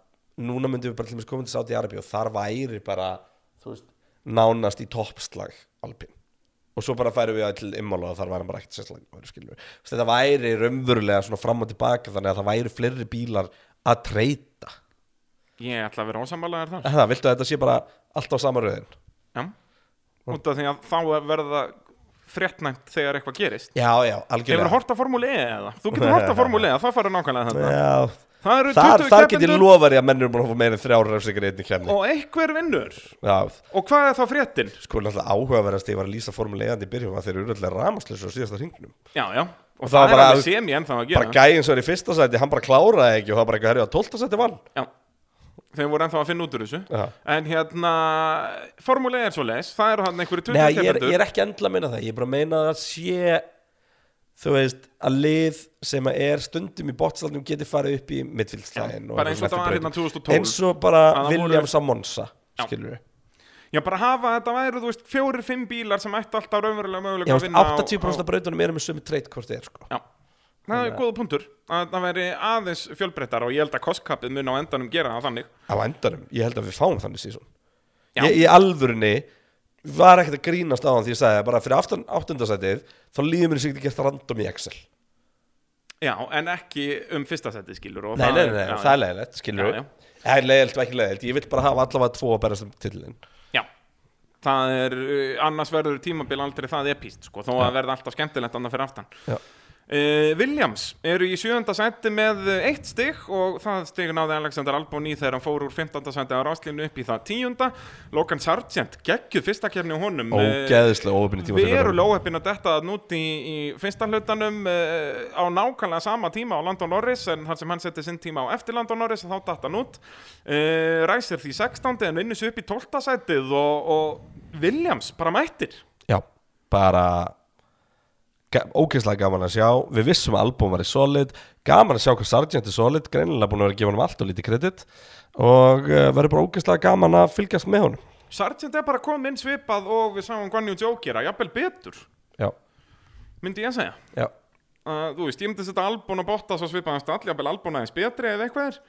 núna myndum við bara til þess komið til Saudi Arabi og þar væri bara þú veist, nánast í toppslag Alpin og svo bara færum við að til Immola og þar væri hann bara ekkert sérslega þetta væri raunverulega svona fram og tilbaka þannig að það væri fleiri bílar að treyta Ég ætla að vera ósammálaðar þar Það, viltu að þetta sé bara allt á sama röðin? Já, út af því að þá er verða fréttnæmt þegar eitthvað gerist Já, já, Hefur algjörlega þú hort að formúli E eða? Þú getur hort að formúli E, það fara nákvæmlega þetta Já, Það eru þar, 20 þar get ég keppendur lofari að mennur búin að fá meira en þrjár refsingar í einni klemni og einhver vinnur Já, Og hvað er þá fréttin? sko náttúrulega áhugaverðast ég var að lýsa formulegandi í byrjum að þeir eru alltaf rámaslösa á síðasta hringnum Já, já, og það var það er bara- alveg sem ég ennþá bara að gera gæinn sem er í fyrsta sæti, hann bara kláraði ekki og það var bara eitthvað herrið á tólta sæti vann Já, þeir voru ennþá að finna út úr þessu Já. En hérna, formúli E er svo leis Það eru hann einhverju 20 Nei, ég er, keppendur. ég er ekki endla að minna það, ég er bara að meina að það sé þú veist, að lið sem að er stundum í bottslæðnum geti farið upp í midfylgslæðin Já, bara eins og þetta var hérna 2012. eins og bara það voru- William Samonsa Já. skilur við Já, bara hafa þetta væri, þú veist, fjórir, fimm bílar sem ætti alltaf raunverulega mögulega Já, að veist, vinna á- 80% af á- brautunum eru með sömu treytkort er sko Já, það er góða punktur að það væri aðeins fjölbreyttar og ég held að kostkappið mun á endanum gera það þannig á endanum, ég held að við fáum þannig sísón Já. ég, ég alvörunni var ekkert að grínast á hann því ég sagði það, bara fyrir aftan áttundasætið þá líður mér sér ekki gert random í Excel nei, Já, en ekki um fyrsta seti skilur og nei, það- nei, nei, já, það er leiðilegt, skilur Já, við það er leiðilegt og ekki leiðilegt, ég vil bara hafa allavega tvo að berast um titlinn Já, það er, uh, annars verður tímabil aldrei það epíst, sko, þó að verða alltaf skemmtilegt annað fyrir aftan Já. Uh, Williams eru í sjöönda seti með uh, eitt stig og það stig náði Alexander Albon í þegar hann fór úr 15. seti á ráslinu upp í það tíunda Logan Sargent geggjuð fyrsta kefni á honum Eh, ógeðislega óöfnir tíma Við erum lóheppin að detta að núti í, í fyrsta hlutanum uh, á nákvæmlega sama tíma á Landon Norris en þar sem hann setti sinn tíma á eftir Landon Norris þá datt hann út uh, ræsir því 16. en vinnur svo upp í 12. sætið og, og Williams bara mættir já, bara ga- ógeðslega gaman að sjá við vissum að album var í solid gaman að sjá hvað Sargent er solid greinilega búin að vera að gefa hann allt og lítið kredit og uh, verður bara ógeðslega gaman að fylgjast með honum Sargent er bara komin inn svipað og við sáum Guanyu Jókera, jafnvel betur já, myndi ég að segja já, uh, þú veist, ég myndi setja Albon og Bottas á svipaðan stall, jafnvel Albon aðeins betri eða eitthvað er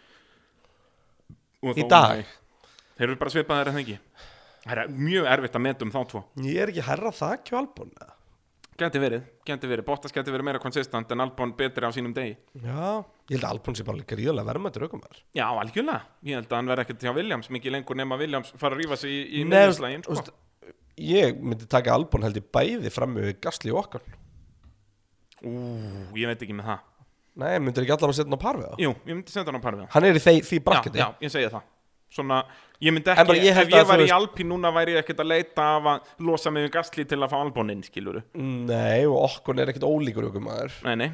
Og Í þó- dag? Nei. Þeir eru bara svipaðir eða ekki Það er mjög erfitt að meta um þá tvo ég er ekki herra það ekki á album Gæti verið, gæti verið, Bottas gæti verið meira konsistant en Albon betri á sínum degi Já, ég held að Albon sé bara líka ríðarlega verðmættur aukumar Já, algjörlega, ég held að hann verði ekkert hjá Williams mikið lengur nema Williams fara að rífa sig í, í Nei, miðjuslaginn sko. veist, Ég myndi taka Albon held ég bæði fram með gasli og okkar Ú, ég veit ekki með það Nei, myndir ekki allavega setja hann á par við það Jú, ég myndi senda hann á par við Hann er í þeir, því það Já, brakketi já, ég segi það Svona, ég myndi En bara ekki, ég held ef ég að þú væri í veist- Alpín núna væri ég ekkert að leita af að losa mig um gasli til að fá Alboninn, skiluru Nei, og okkar er ekkit ólíkur aukumar Nei, nei,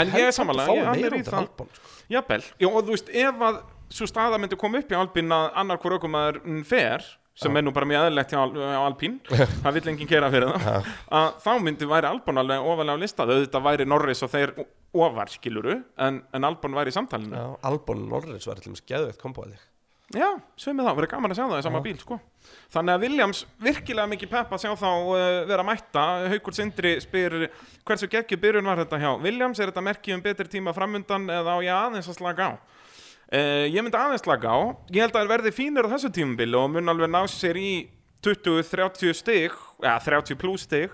en ég er samanlega, ég hann er í það Albon, sko. Jafnvel, já og þú veist ef að svo staða myndi koma upp í Alpín að annar hver aukumæður fer sem er nú bara mjög aðeinlegt hjá, Al- á Alpín það vill enginn gera fyrir það að þá myndi væri Albon alveg ofalega á lista þetta væri Norris og þeir o- ofar skiluru en, en Albon væri í samtalinu já, Albon og Norris var allir geðveitt komboði já, sveimið það, verið gaman að sjá það í sama bíl sko. þannig að Williams virkilega mikið peppa sjá þá uh, vera að mætta Haukur Sindri spyr hversu geggju byrjun var þetta hjá Williams, er þetta merki um betri tíma framundan eða á ég aðeins að slaka á Uh, ég myndi aðeins laga á Ég held að það verði fínir á þessu tímubili og mun alveg ná sér í 20-30 stig eða 30 pluss stig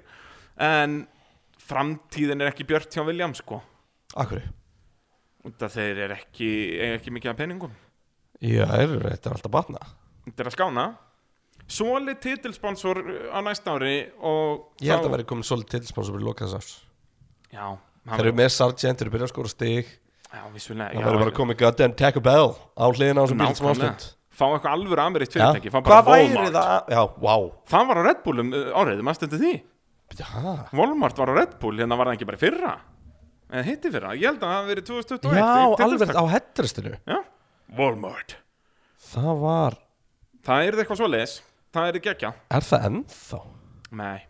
en framtíðin er ekki björt hjá William sko Akkur Út af þeir er ekki, eiga ekki mikið af peningum Já, er, þetta er alltaf batna Þetta er að skána Soli titilsponsor eh, á næsta ári og Ég held þá- að vera komin svolítið tilspánsum í lokað þess árs Já, hann- Þeir eru með Sargent, þeir eru byrjað að skora stig já vissulega Það já, verður bara komið goddamn Taco Bell á hliðina á þessum bíl sem nákvæmlega. ástund Fá eitthvað alvöru amerikt Já. fyrirtæki fá bara Hvað væri Walmart. það? Já, wow Það var á Red Bullum uh, árið, maður stundi því Já, Walmart var á Red Bull, hérna var það ekki bara í fyrra eða hitti fyrra, ég held að það hafi verið 2021 já í titilstak. alveg á hettastinu Já, Walmart Það var, Það er eitthvað svoleiðis, það er ekki ekki er það ennþá? Nei,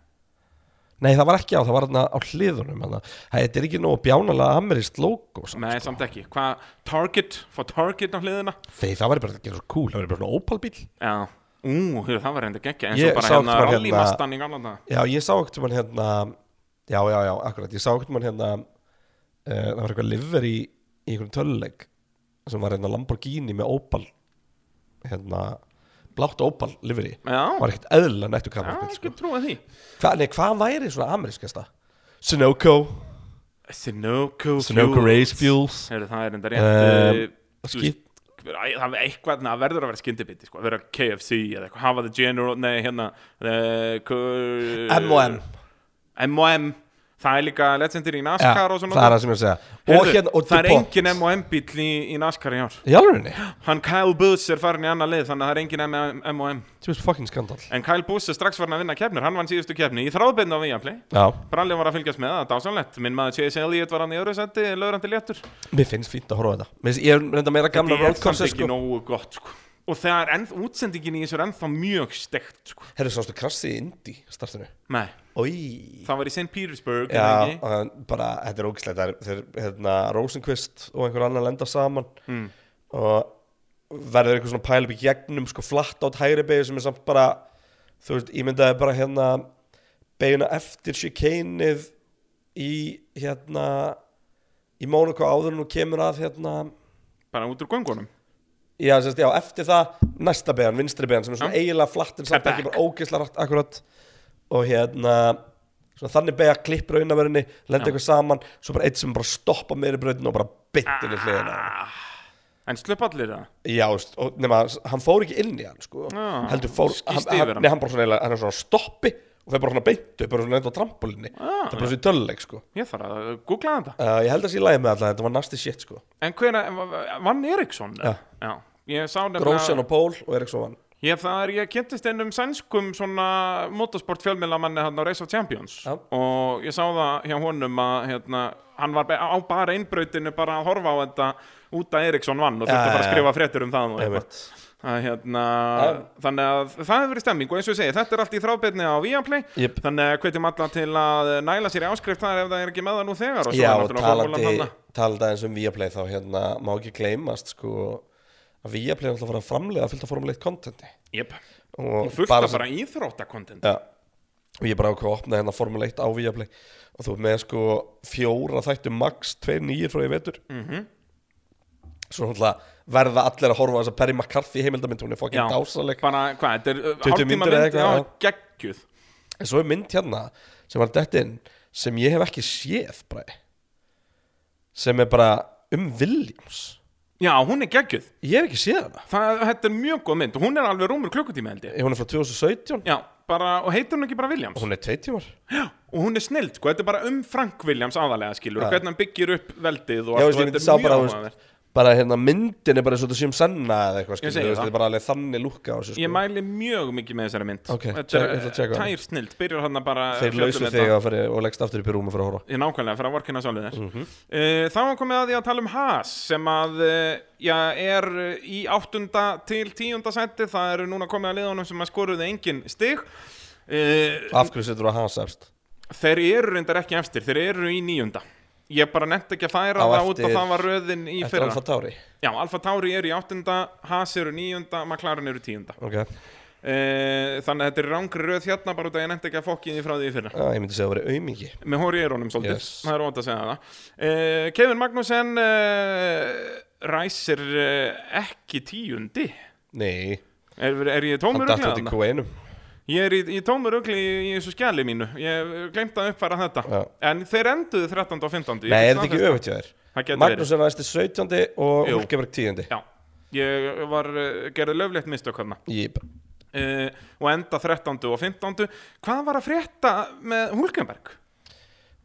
Nei, það var ekki á, það var hérna á hliðunum hérna. Það þetta er ekki nógu bjánalega ameríst logo samt. sko. nei, samt ekki Hvað, Target, fá Target á hliðina Þeir, það væri bara að gera svo cool, það væri bara svona opalbíl Já, ú, hér, það var reynda ekki ekki En Ég svo bara sá hérna bara Rally hérna- Mustang í gamla þetta Já, ég sá ekkert um hann hérna já, já, já, akkurat, ég sá ekkert mann hérna uh, það var eitthvað liver í, í einhvern töluleik sem var hérna Lamborghini með Opal hérna, blátt Opal liver í Já. var sko? ekkert eðlilega nættu Já, kamerun ekki trúa því Hva, nei, hvað væri svona amerískasta? Sunoco Sunoco Sunoco Race Fuels Heru, Það er enda Um, rétt uh, þú skip- veist, æ, Það er eitthvað, na, verður að vera skyndibiti sko, að vera KFC eða eitthvað, hafa the general Nei, hérna uh, kur- M&M. M&M Það er líka legendary í Já, NASCAR það og er svona það sem ég er að segja Heyrðu, Og hérna, og það er DuPont. engin M&M bíl í, í NASCAR í ár Í alvegni? Hann Kyle Busch er farin í annað lið þannig að það er engin M&M M&M. Þú veist fucking skandal En Kyle Busch er strax farin að vinna keppnir Hann vann síðustu keppni í þráðbyrna á Viaplay Já, Brallið var að fylgjast með það, dásanlegt Minn maður Chase Elliott var hann í öðru sendi, löðrandi léttur mér finnst fínt að horfa á þetta Mér finnst, ég er reynda meira gamla Þetta er samt rollkorsa ekki sko. nógu gott sko. Og það er enn, útsendingin í þessu er ennþá mjög stekt sko. Herru, sástu krassið í Indi startinu Nei, Í það var í St. Petersburg Já, en ekki? en bara, þetta er ógislega Það er, þeir, hérna, Rosenqvist og einhver annar lenda saman mm. Og verður eitthvað svona pæla upp í gegnum Sko flatt átt hægri beigju sem er samt bara Þú veist, ég myndaði bara hérna Beiguna eftir chikanið Í, hérna Í Mónaco áður en hún kemur að hérna Bara út úr göngunum Já, sérst, já, eftir það næsta beðan, vinstri beðan sem er svona Já. eiginlega flatt en samt Step ekki back. bara ógeðslega rætt akkurat og hérna svona þannig beða klippur á innaverinni lenda eitthvað saman, svo bara eitt sem bara stoppa meiri bröðin og bara byttin í hliðina á honum. Ah. En slupp allir það Já, veist, og nema, hann fór ekki inn í hann sko, Já, heldur fór skýst hann, yfir hann, Ah, hann. nei, hann bara svona, eiginlega- hann er svona á stoppi og þeir bara svona beintu, bara svona neitt á trampolinni Já, það er bara svona í töluleik sko Ég þarf að googla þetta uh, ég held að sé í lagi með alla, þetta var nasty shit sko En hvena, vann Eriksson? eða? Já. Ég sá Grósjan og Pól og Eriksson vann Ég, það er, ég kynntist einum sænskum svona motorsport fjölmiðlamanni hérna á Race of Champions Já. og ég sá það hjá honum að hérna, hann var be- á bara einbrautinu bara að horfa á þetta út að Eriksson vann og Já, þurfti já, bara að skrifa fréttur um það og eitthvað. Einmitt. að, hérna, þannig að það hefur verið stemming og eins og ég segi þetta er allt í þráðbyrni á Viaplay Jep. þannig að hvetjum alla til að næla sér í áskrift þar ef það er ekki með það nú þegar og svo Já, er og náttúrulega formúlan talandi, þarna. talandi eins um Viaplay þá hérna má ekki gleymast sko að Viaplay er alltaf að fara að framlega fylgta formuleitt kontenti Jep. og fullt bara, sem- bara íþróttakontent ja, og ég bara ákveð að opna hérna formuleitt á Viaplay og þú er með sko fjóra þættu max, tveir nýjir frá ég veitur mm Mhm. -hmm. svo náttúrulega verða allir að horfa á þess að Perry McCarthy heimildamynd hún er Já. fokkin dásaleg bara, hvað, þetta er uh, 20 hálftíma mínútur eða mynd, eitthvað, já, já. geggjuð en svo er mynd hérna sem var dettin sem ég hef ekki séð bara, sem er bara um Williams Já, hún er geggjuð. ég hef ekki séð hana Það, þetta er mjög góð mynd. Hún er alveg rúmur klukkutíma held ég. Hún er frá 2017 Já, bara, og heitir hún ekki bara Williams? Hún er tveit tímar Já, og hún er snild, sko. Þetta er bara um Frank Williams aðalega, skilur. Já. Og hvernig hann byggir upp veldið og Já, allt. veist, og ég myndi þetta sá er bara mjög þú áhugaverð. veist, Bara hérna myndin er bara svo þetta séum senna eða eitthvað skilur þú segi veist, það. Þetta er bara alveg þannig lúkka á þessu Ég sko mæli mjög mikið með þessari mynd. Ok, ég þetta er ætla að uh, checka hana. tær snild. Byrjar hann að bara... Þeir fjalla um lausu þetta. þig að fara og leggst aftur upp í rúmi fyrir að horfa Ég nákvæmlega fyrir að vorkina sjálfið þér Mhm. uh, Þá var komið að því að tala um Haas sem að uh, já, er uh, í áttunda til tíunda seti það eru núna komið að liðunum sem að skoruðu engin stig uh, Af hverju setur þú að hans efst Þeir eru reyndar ekki efstir, þeir eru í níunda Ég bara nefnt ekki að færa Á það út að eftir- það var röðin í Eftir fyrra Alfa Tauri Já, Alfa Tauri eru í áttunda, Haas eru níunda, McLaren eru tíunda Ok uh, Þannig að þetta er rángri röð hérna bara út að ég nefnt ekki að fokki því frá því í fyrra ah, Ég myndi segja að það veri aumingi með hóri í erónum svolítið, Yes. það er ótt að segja það uh, Kevin Magnussen uh, ræsir uh, ekki tíundi Nei er, er ég Hann tómur datt út ugli í þarna? Q1 hérna. ég er í, í tómur ugli í, í þessu skjali mínu ég glemt að uppfæra þetta Já. en þeir enduðu 13. og 15. Ég Nei, er get þetta ekki staðfest öfitt hjá Það þér gæti Magnús er næstu 17 og Jú. Hulkeberg 10 Já, ég var, uh, gerði löflegt mistök hann Jip uh, og enda 13. og 15. Hvað var að frétta með Hulkenberg?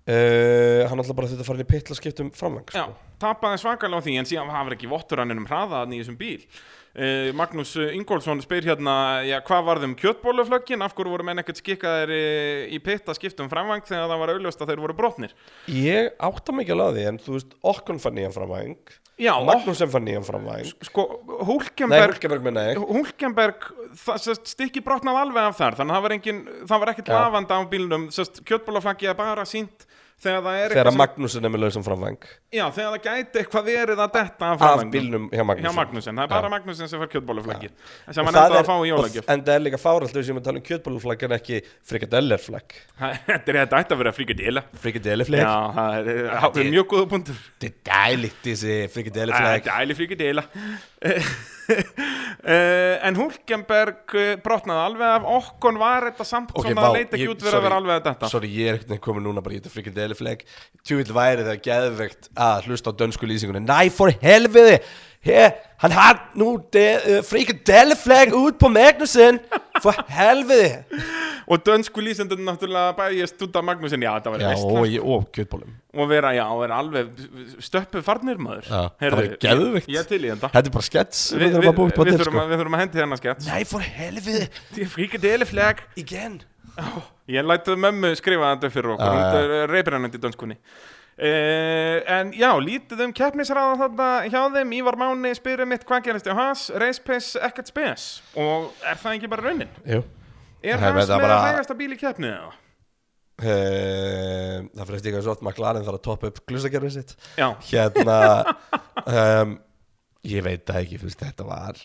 Uh, hann alltaf bara þetta að fara inn í pitla skiptum framvang Já, sko. tapaði svakalega á því en síðan hafði ekki vottur hann um hraðaðan í þessum bíl uh, Magnús Ingólfsson spyr hérna já, hvað varð um kjötbóluflöggin af hverju voru menn ekkert skikkaðir eh, í pitta skiptum framvang þegar það var auðljóst að þeir voru brotnir Ég átta mig ekki alveg að því en þú veist okkon fann nýjan framvæng Já, Magnúsen fann nýjan framvæng sko, Nei, Hulkenberg Hulkeberg minna ég Hulkenberg, það sest, stikki brotnaði alveg af þar þannig að það var, engin, það var ekkert Já. lafandi á bílnum sest, kjötbóluflöggið er bara sínt þegar það er Þegar eitthvað sem- Magnúsen er með lausum framvæng Já, þegar það gæti eitthvað verið að detta af, af framvagninum. bílnum hjá Magnús Hjá Magnusen, það er bara Já. Magnusen sem fær kjötbóluflaggir Og sem hann endaði er- að fá í jólagjöf og- En það er líka fáralt þau sem að tala um kjötbóluflagg en ekki frikadellerflagg Þetta er þetta ætti að vera frikadela Frikadellerflagg Já, það er- það er mjög góða punktur Þetta er dælitt þessi frikadellerflagg Þetta er æli frikadela Eh, En Hulkenberg eh, brotnaði alveg af Okkon var þetta samt Ok, svona vá, að leita ekki ég- út verið að sorry. vera alveg að detta Sorry, ég er eitthvað komin núna bara í þetta frikadellerflagg Tjúvill væri það geðvegt að hlusta á dönsku lýsingunni Næ, for helviði He, Hann har nú de- uh, frikadellerflagg út på Magnusin For helviði Og dönsku lýsendur náttúrulega bæjist út af Magnusen Já, þetta var Já, veistla og, ég- og kjötbólum Og vera, já, og vera alveg stöppu farnir maður Já, það Heyrðu, væri geðveikt. Ég er til í þetta Þetta er bara skets sem við Við, við, þurfum að búið upp á við, þetta þurfum sko að, við þurfum að hérna, hendi þennan skett Nei, for helviði Frikadelefleg Igen Ég lætið mömmu skrifa þetta fyrir okkur, Já, hún já, er eh, ja. reybrenandi í dönskunni. Uh, en já, lítið um keppnisræða þarna hjá þeim, Ívar Máni spyrir mitt hvað gerist í Haas, race pace, ekkert spes. Og er það ekki bara raunin? Jú Er Það er Haas bara- með bara... bara- hægasta bíl í keppnið eða? Uh, það fyrir stíka svo oft McLaren þarf að toppa upp glusakerfið sitt Já, hérna um, ég veit það ekki fyrst þetta var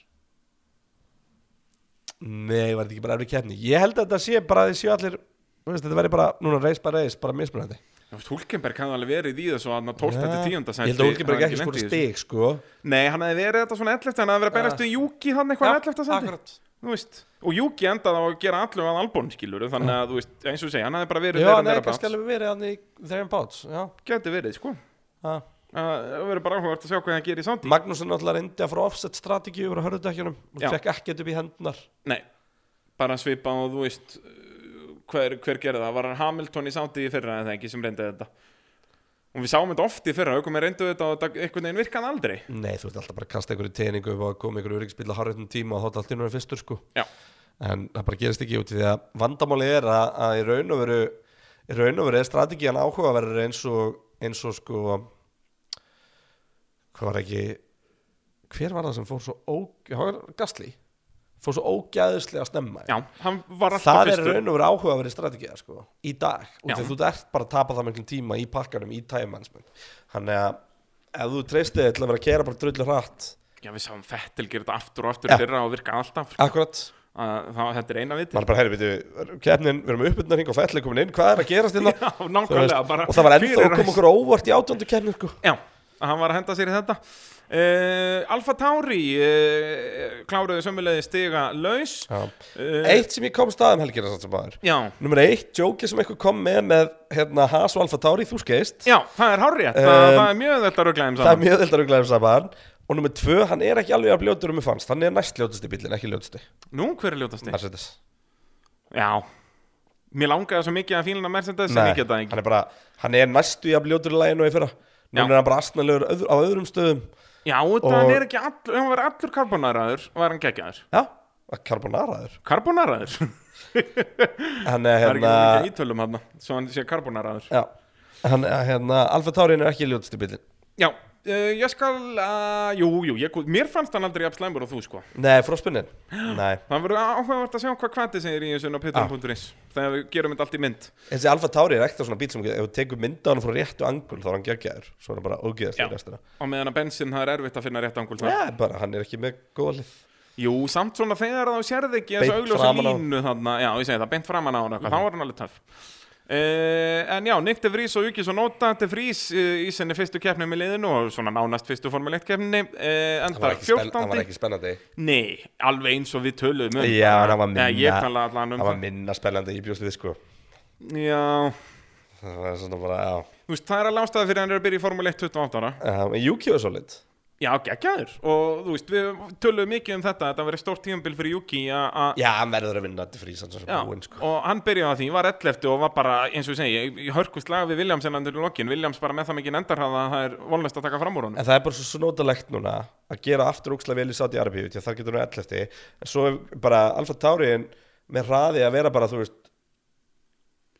nei, var þetta ekki bara erfið keppni ég held að þetta sé bara að þið séu allir þú veist, þetta verði bara, núna reis bara reis bara mismunandi Eh, Hulkenberg hann alveg verið í þessu að 12. til 10. ég held að Hulkenberg ekki skora stig sko Nei, hann hefði verið þetta svona 11. hann hefði verið að berast við Juki hann eitthvað 11. sendi. akkurat Þú veist, og Juki endaði á að gera allum að albón skilur, þannig að þú veist, eins og segja, hann hefði bara verið Ah. já, þeirra nei, meira kannski bát. alveg verið hann í þeirra báts já, Gæti verið, sko. já Það uh, verður bara áhugavert að sjá hvað það gerir í sándi Magnússon náttúrulega reyndi að fara offset strategíu yfir að hörðutekjunum og Já. fekk ekkert upp í hendunar Nei, bara svipa og þú veist uh, hver, hver gerði það, var Hamilton í sándi í fyrra en það ekki sem reyndi þetta og við sáum þetta oft í fyrra, aukum við reyndu þetta og þetta einhvern veginn virkaði aldrei Nei, þú ert alltaf bara að kasta einhverju teiningu og koma einhverju öryggisbíl að hárreitum tíma og þá er allt innur fyrstur sko Já, en það bara gerist ekki út í því að vandamáli er að, að í raun og veru í raun og veru er strategían áhugaverður eins og, eins og sko hvað var ekki hver var það sem fór svo ó, gasli, fór svo ógæðislega snemma já, hann var alltaf það er í fyrstur raun og veru áhugaverður strategíða sko, í dag, út Já. af því að þú ert bara að tapa það miklum tíma í pakkanum, í tæmansmynd þannig að ef þú treystið þig til að vera að kera bara drullu hratt Já, við sáum Fettil gera þetta aftur og aftur Já. í fyrra og virkaði alltaf akkurat uh, þá, Þetta er eina viti maður bara, herri, veitu, keppnin, við erum uppbyrna hring og fættileg komin inn, hvað er að gerast hérna? Já, Þú veist, nákvæmlega bara og það var ennþá fyrir að koma okkur óvart í átjöndu keppnin sko. Já, að hann var að henda sér í þetta uh, Alfa Tauri uh, kláruðu sömulegi stiga laus uh, eitt sem ég kom staðum helgina samt sem aður Já, nummer eitt, jókið sem eitthvað kom með með hérna, Haas og Alfa Tauri, þú skeist Já, það er hárétt, um, Um, það er mjög þetta rugglaðum það er saman mjög heldur að glæðum saman og nummer tvö, hann er ekki alveg að bljótur um mig fannst hann er næst ljótusti bílinn, ekki ljótusti Nú, hver er ljótasti? Mercedes Já, mér langaði svo mikið að fílina Mercedes sem Nei, ég geta það hann ekki er bara, hann er næstu í að bljótur í læginu í fyrra Já. núna er hann bara astnalegur öðru, á öðrum stöðum Já, þetta hann Og- er ekki allur, hann var allur karbonaraður var hann geggjaður já, að karbonaraður Karbonaraður? hann er það er ekki hérna mikið ítölum hann svo hann sé karbonaraður Já, hann, hérna, Alfa Taurin er ekki ljótasti bílinn Já, uh, ég skal, uh, jú, jú, ég, mér fannst hann aldrei jafn slæmur og þú sko Nei, frospunnin Nei, Það verður áhugavert að sjá hvað kvati segir í þessu Ah. á pittum.is þegar við gerum þetta allt í mynd þessi Alfa Tauri er ekkert svona bíl sem ef þú tekur mynda hann frá réttu angul þá er hann geggjaður Svo er hann bara ógeðast í Já. restina á meðan að bensin það er erfitt að finna rétt angul þar. Já, bara, hann er ekki með góða lið Jú, samt svona þegar þá sérði ekki þessu Beint augljósa framan á- Mhm. línu þarna, já, ég segi það, beint framan á hann eitthvað, þá var hann alveg töff. Uh, en já, Nick de Vries og Ukis og Nota de Vries uh, í sinni fyrstu keppni með liðinu og svona nánast fyrstu Formule 1 keppni uh, Hann var endar ekki, spenn, hann var 14. ekki spennandi Nei, alveg eins og við töluðum um Já, en hann var Nei, ég minna- talaði allan um Hann var minna spennandi í bjóstið sko það Já, Það var svona bara, já þú veist, það er að lástaða fyrir að hann er að byrja í Formule 1 28 ára um, Juki var svo lit Já, geggjaður og þú veist, við töluðum mikið um þetta þetta verið stórt tímabil fyrir Juki að Já, hann verður að vinna til frísan sem Já, búinn sko og hann byrjaði á því, var 11 og var bara, eins og ég segi, í hörkust laga við Williams en hann til lokin, Williams bara með það mikið endarhraða að það er vonlust að taka fram úr honum En það er bara svo snótalegt núna að gera aftur ókslega vel í Saudi Arabíu því að þar getur hún 11. En svo er bara Alfa Taurin með hraði að vera bara, þú veist,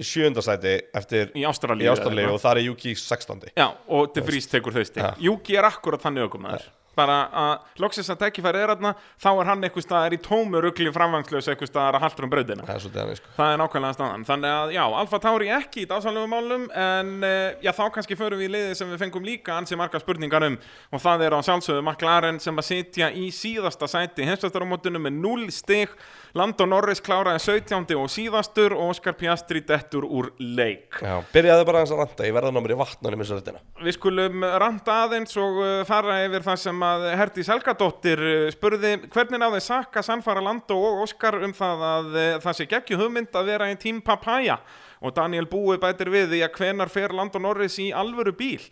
í sjöundasæti eftir í Ástralíu. í Ástralíu og þar er Juki 16. Já, og De Vries tekur þau stig. Já. Juki er akkurat þannig ökum þar. bara að loksins að tækifæri er aðna þá er hann einhvers staðar í tómu rugli framvangslaus einhvers staðar að haldur um brautina það er svolítið hann sko. það er nákvæmlega staðan þannig að já, Alfa Tauri ekki í dásanlegum málum en eh, já, þá kannski förum við í liðið sem við fengum líka ansi margar spurningar um og það er á sjálfsögðu McLaren sem að sitja í síðasta sæti heimsvæstaramótinu með 0 stig Landon Norris kláraði 17. og síðastur og Oscar Piastri dettur úr leik Já, byrjaði bara eins að ranta, ég verða námið í vatnunum eins og þetta Við skulum ranta aðeins og uh, fara yfir það sem að Herdís Helgadóttir uh, spurði hvernig náði Saka, Sanfara Landó og Óskar um það að uh, það sé geggju hugmynd að vera í tím papaya og Daniel Búi bætir við því að hvenar fer Landó Norris í alvöru bíl.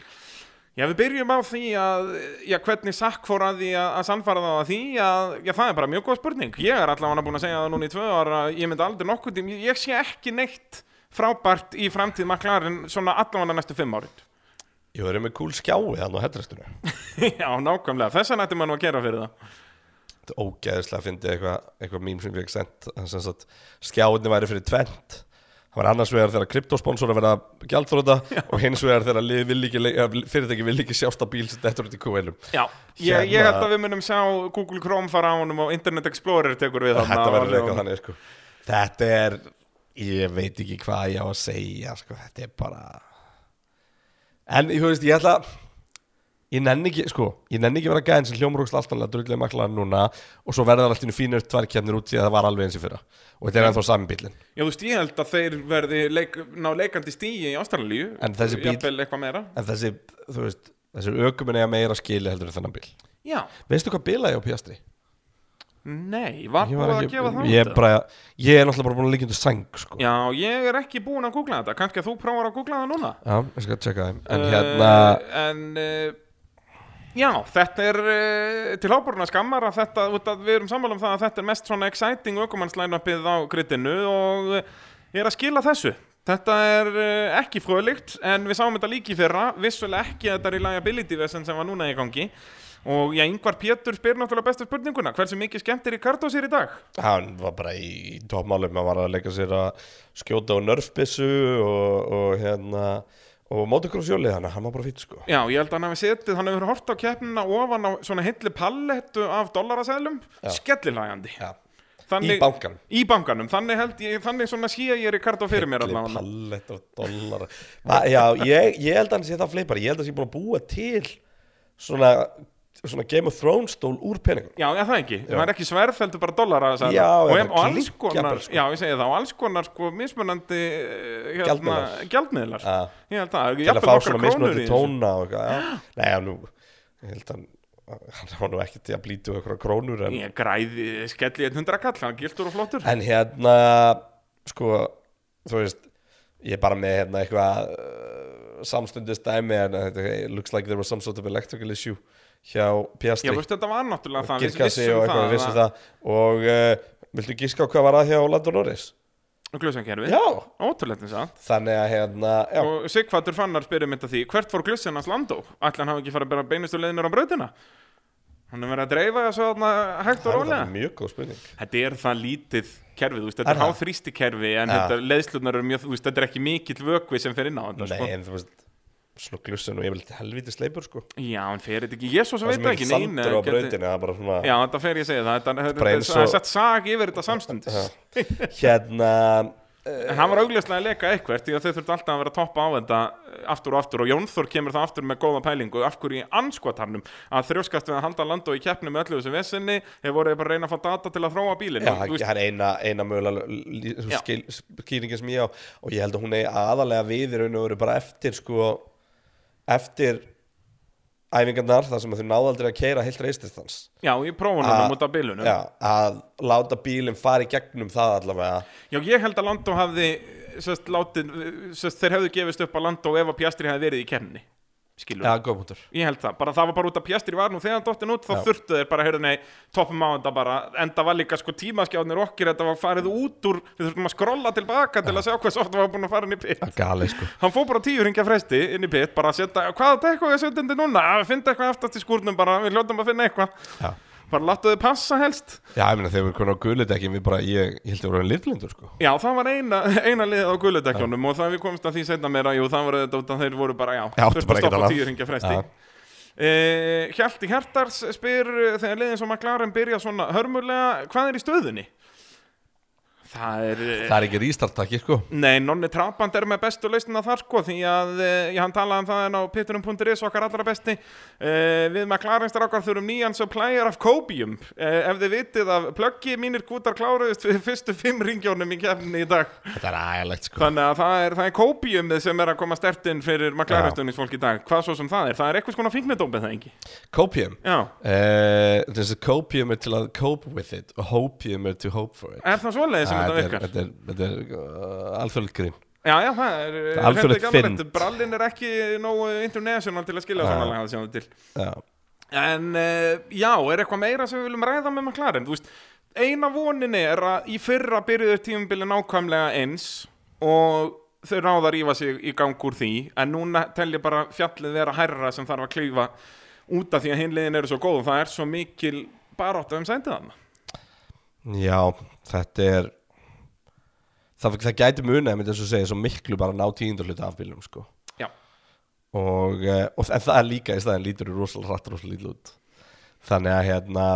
Já, við byrjum á því að, já, hvernig sakk fór að því að, að sannfara þá að því að, já, það er bara mjög góð spurning. Ég er allavega búin að segja það núna í tvö ára, ég myndi aldrei nokkuð tím, ég sé ekki neitt frábært í framtíð maklarinn svona allavega næstu fimm árin. Ég verið með kúl skjái þannig á heldrestunum Já, nákvæmlega, þess að nætti maður nú að gera fyrir það Þetta er ógeðislega að fyndi eitthvað eitthva mím sem ég ekki sendt þannig sem sagt skjáinni væri fyrir tvent það var annars vegar þegar kryptosponsor að vera gjaldfróta og hins vegar þegar lið vil ekki le- eða fyrirtæki vil ekki sjást á bíl sem þetta er í kúveilum Já, ég, ég held Hérna- að við munum sjá Google Chrome fara á honum og Internet Explorer tekur við þarna þetta og- verður eitthvað þannig sko. þetta er ég veit ekki hvað ég á að segja sko. þetta er bara en þú veist ég ætla ég nenni ekki sko ég nenni ekki að vera gæðin sem hljómrúkst alltaf drullið maklar núna og svo verður allt í fínur tvær kemnir út því að það var alveg eins í fyrra og þetta er ennþá sami bílinn Já, þú veist, ég held að þeir verði leik, ná leikandi stíi í Ástralíu En þessi bíll- Jafnvel eitthvað meira en þessi þú veist þessi ökumenn eiga meira skili heldur en þennan bíl Já, veistu hvað bíla ég á Piastri? nei, var Ég búið að ekki- gefa það ég, út? bara, ég er náttúrulega bara búin að líka undir sæng sko. Já, ég er ekki búin að googla þetta, kannski að þú prófar að googla það núna já, ég skal tjekka það en Eh, hérna En, eh, já, þetta er uh, til hábúruna skammar að þetta, út að við erum sammála um það að þetta er mest svona exciting aukumannslænappið á grittinu og eh, ég er að skila þessu Þetta er uh, ekki fröðlíkt en við sáum þetta líki fyrra, vissulega ekki að þetta reliability vesen sem var núna í gangi og já, yngvar Pétur spyr náttúrulega bestu spurninguna, hversu mikið skemmt er í sér í dag? hann var bara í toppmálum hann var að leika sér að skjóta á nörfbissu og, og hérna og motocrossjólið hann, hann var bara fýtt sko Já, ég held að hann hafi setið, hann hefur hort á keppnina ofan á svona hilli pallettu af dollarasælum, skellilægandi já. Í þannig, bankanum. í bankanum, þannig held ég þannig svona sé ég Ricardo fyrir mér Allir allavega pallett og dollara Va, já, ég, ég held að hann sé það fleipar ég held að hann sé búin að búa til svona, svona Game of Thrones stól úr peningum já, já, það ekki, það er ekki sverð heldur bara dollara sagði Já, hann. og, eða em- og alls klinkja bara, konar, sko. já, ég segi það og alls konar sko mismunandi eh, hérna, Gjaldmiðlar. gjaldmiðlar Ja. ég held að, til að fá svona í mismunandi þessu. tóna og eitthvað já. Nei, já, nú, ég held að hann- hann var nú ekki til að blítu okkur krónur en, ég græði, skelli 100 kall hann gildur og flottur en hérna sko, þú veist ég er bara með hérna eitthvað uh, samstundist dæmi en þetta it looks like there was some sort of electrical issue hjá ég Piastri veist þetta var náttúrulega það, við kirkassi og eitthvað, við vissum það, það og uh, viltu gíska á hvað var að hjá Landon Norris? það glöðsankerfi, Já, ótrúlega eins að þannig að hérna já, og Sigfatur Fannar spyrir mynd að því hvert fór glussin hans landó? Ætli hann hafi ekki farið að bera beinustu leiðinir á brautina? Hann er verið að dreifa þessu þarna hægt og það er rólega það mjög góð spurning Þetta er það lítið kerfið, þú veist, þetta Er er það? háþrýsti kerfi en Ja. þetta leðslunar eru mjög, þú veist, þetta er ekki mikill vökvi sem fer inn á þetta Nei, sko. en þú veist svona glussin og ég vil helviti sleipur sko Já, en fer þetta ekki, ég svo sem það veit sem það ekki ekki neina, sandur á brautinu það er bara svona Já, þetta fer ég að segja það, þetta, þetta, Bara þetta, eins þetta og- er sett sag yfir þetta samstundis hérna En hann var augljóslega að leka eitthvert því að þau þurftu alltaf að vera að toppa á þetta eh, aftur og aftur og Jónþór kemur það aftur með góða pælingu af hverju í anskotarnum að þrjóskast við að halda land og í keppnum með öllu þessu vesenni hefur voruð bara að reyna að fá data til að þróa bílinn já, Og, þú það veist, er eina, eina mögulega lí- Já. skil- skýringin sem ég á og ég held að hún eigi aðalega við í raun og veru bara eftir sko eftir æfingarnar þar sem þau náðu aldrei að keira heilt reististans já, í prófunum um út af Ah, bílunum já, að láta bílinn fara í gegnum það allavega Já, ég held að Landó hafði eh, sest, látið, eh, sest, þeir hefðu gefist upp að Landó ef að Pjastri hefði verið í kemni skilur já, góð punktur Ég held það, bara það var bara út að Pjastri var nú þegar dottin út þá Já. þurftu þeir bara, heyrðu nei, toppum á þetta bara enda var líka sko tímaskjáðnir okkir þetta var farið út úr, við þurftum að skrolla tilbaka til að sjá hvað sort var búin að fara inn í pit gali sko Hann fór bara á tíu ringja fresti inn í pit bara að setja, hvaða dekku er setjandi núna að finna eitthvað aftast í skúrnum bara, við hljóttum að finna eitthvað já, bara láttu þau passa helst já ég meina þegar við konum á gulitekkin við bara, ég, ég held að við vorum liðlindur sko Já, það var eina, eina liðið á gulludekjónum og það við komumst að því setna meira, jú, það var þetta út að þeir voru bara, já, Já, áttu þurftu bara að ekkert stoppa annað. tíu ringja fresti. Já. Ja. Uh, Hjalti Hjartars spyr eh, þegar liðin svo McLaren byrja svona hörmulega, hvað er í stöðunni? Það er... eh, Það er ekki rístartaki sko Nei, Nonni Trabant er með bestu lausnina þar sko því að eh, ég hann talaði um það en á pittunum.is okkar allra besti eh, við með klarinsdrakkar þurfum nýjan supplier of Cobium eh, ef þið vitið að plöggi mínir kútar kláruðist við fyrstu fimm ringjónum í kefni í dag Þetta er agalegt sko Þannig að það er, það er kópíum sem er að koma stertinn fyrir Já. maklæraustunningsfólk í dag Hvað svo sem það er, það er eitthvað skona fíkmyndópið það engi Copium Já, Eh, Þessi copium er til að cope with it og hopium er to hope for it er það svoleiðis Eh, sem Ah, þetta þetta virkar? er- Þetta er, þetta er uh, alþjóðlegt grín Já, já, það er er alþjóðlegt hreint ekki alveg fynd. rétt. Brallinn er ekki nógu international til að skilja Já. svona lagað sem það til Já, En uh, já, er eitthvað meira sem við viljum ræða með McLaren? Þú veist, eina vonin er að í fyrra byrjuðu tímabilið nákvæmlega eins og þau ráða að rífa sig í gang úr því en núna tel ég bara fjallið vera hærra sem þarf að klífa út af því að hinliðin eru svo góð og það er svo mikil barátt um sændið hann Já þetta er Það, það gæti munið, myndi þess að segja, svo miklu bara að ná tíundurluta af bílum sko Já, og, eh, og en það er líka í staðin lítur rosalega rætt rosalega lítið út þannig að hérna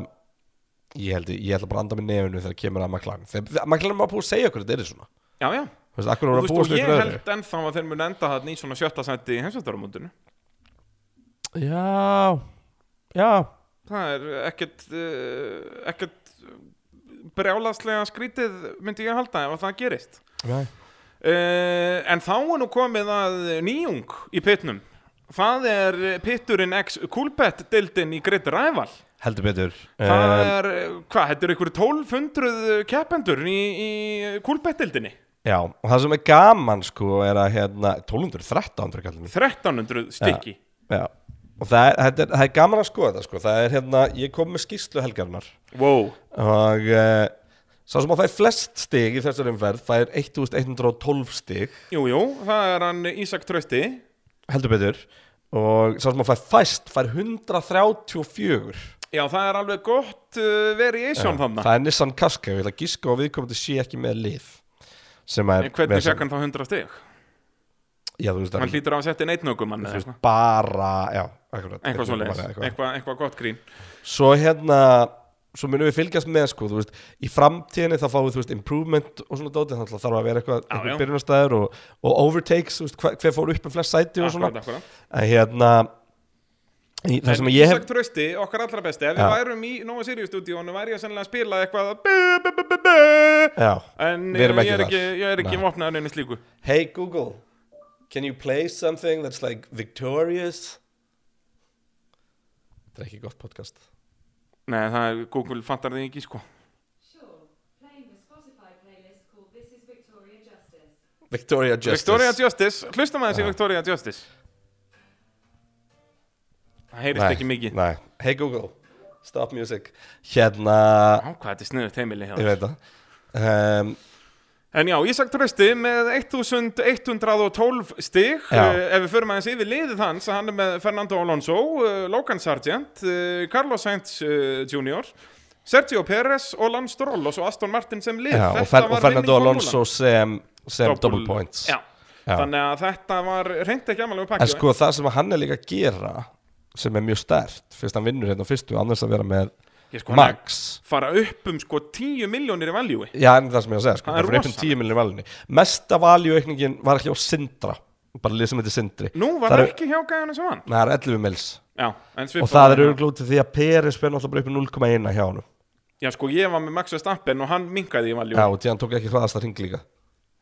ég held ég ætla bara að anda með nefnu þegar kemur að McLaren þegar þegar- McLaren var búið að segja okkur þetta er svona já, já þú veist, akkur voru Og þú að veist, búast og við ég ykkur öðru held ennþá að þeir munu enda þarna í svona sjötta sætti í heimsvættaramótinu já, já Það er ekkert, uh, ekkert brjálaslega skrítið myndi ég halda ef að það gerist Nei. Uh, en þá er nú komið að nýjung í pitnum. Það er pitturinn X Coolbet dildin í Great Rival. heldur betur Það um, er, hvað, þetta eru ykkur 1200 keppendur í, í Coolbet dildinni. já, og það sem er gaman sko er að hérna 1213 fyrir kallum 1300 stykki. já og það er, þetta er, það er gaman að skoða þetta sko það er hérna, ég kom með skýrslu helgarnar Wow. og uh, sá sem að fær flest stig í þessari umferð fær 1112 stig Jú, jú, það er hann Ísak Trösti. heldur betur og sá sem að fær fæst fær 134 Já, það er alveg gott uh, variation þannig. Eh, það er Nissan Kaska og ég ætla að gíska og viðkomandi sé ekki með lið sem að En hvernig fekk hann þá 100 stygg? já, þú veist, Hann hann, hlýtur á að setja neitnögum hann eða þú eitthvað. veist bara já, akkurat, Eitthvað svo leiðis, bara eitthvað. eitthvað, eitthvað gott grín. svo hérna svo munum við fylgjast með sko, þú veist, í framtíðinni þá fáum við þú veist, improvement og svona dótið, þannig að þarf að vera eitthvað, Já, já. eitthvað byrjunastæður og, og overtakes, þú veist, hver, hver fór upp um flest sæti og svona Akkurat, akkurat. að hérna í, það sem En ég Ísak hef Trausti, okkar allra besti, ef Já. við værum í Nova Sirius stúdíónu væri ég sennilega að spila eitthvað að bu- bu- bu- bu- bu- já, En Við ég erum ekki er þar. ekki, ég er ekki Nei. vopnaður einu slíku hey Google can you play something that's like victorious þetta er ekki gott podcast Nei, það er, Google fattar þig ekki sko Sure, playing the Spotify playlist called This Is Victoria Justice. Victoria Justice Victoria Justice, hlustum aðeins í Victoria Justice Það heyrist ekki mikið nei. hey Google stop music hérna Á, hvað þetta er sniðut heimili hjá ég þér. veit það um, En já, Ísak Trausti með 1112 stig Já. uh, Ef við förum aðeins yfir liðið hans Hann er með Fernando Alonso, uh, Logan Sargent uh, Carlos Sainz uh, Jr Sergio Perez og Lance Stroll Og svo Aston Martin sem lið já, Þetta og, fer, var og Fernando vinning Alonso formúlan. sem, sem double, points já. Já. Þannig að þetta var reynd ekki amalegu pakki en sko það sem hann er líka að gera sem er mjög stert fyrst hann vinnur hérna á fyrstu annars að vera með Ég sko, hann er Max að fara upp um sko 10 miljónir í valjúi Já, en það sem ég er að segja, sko, Það það er fyrir einhvern rosalegt. tíu miljonir valinni Mesta valjuaukningin var ekki á Sindra bara lið sem heitir Sindri Nú var Það það eru- ekki hjá gæðanum sem hann Nei, það er 11 mils Já, en hérna. svipað og það er var- örglútið því að Peris fyrir náttúrulega bara upp í 0,1 hjá hann Já sko, ég var með Max Verstappen og hann minkaði í valjúi Já, og því hann tók ekki hraðasta hring líka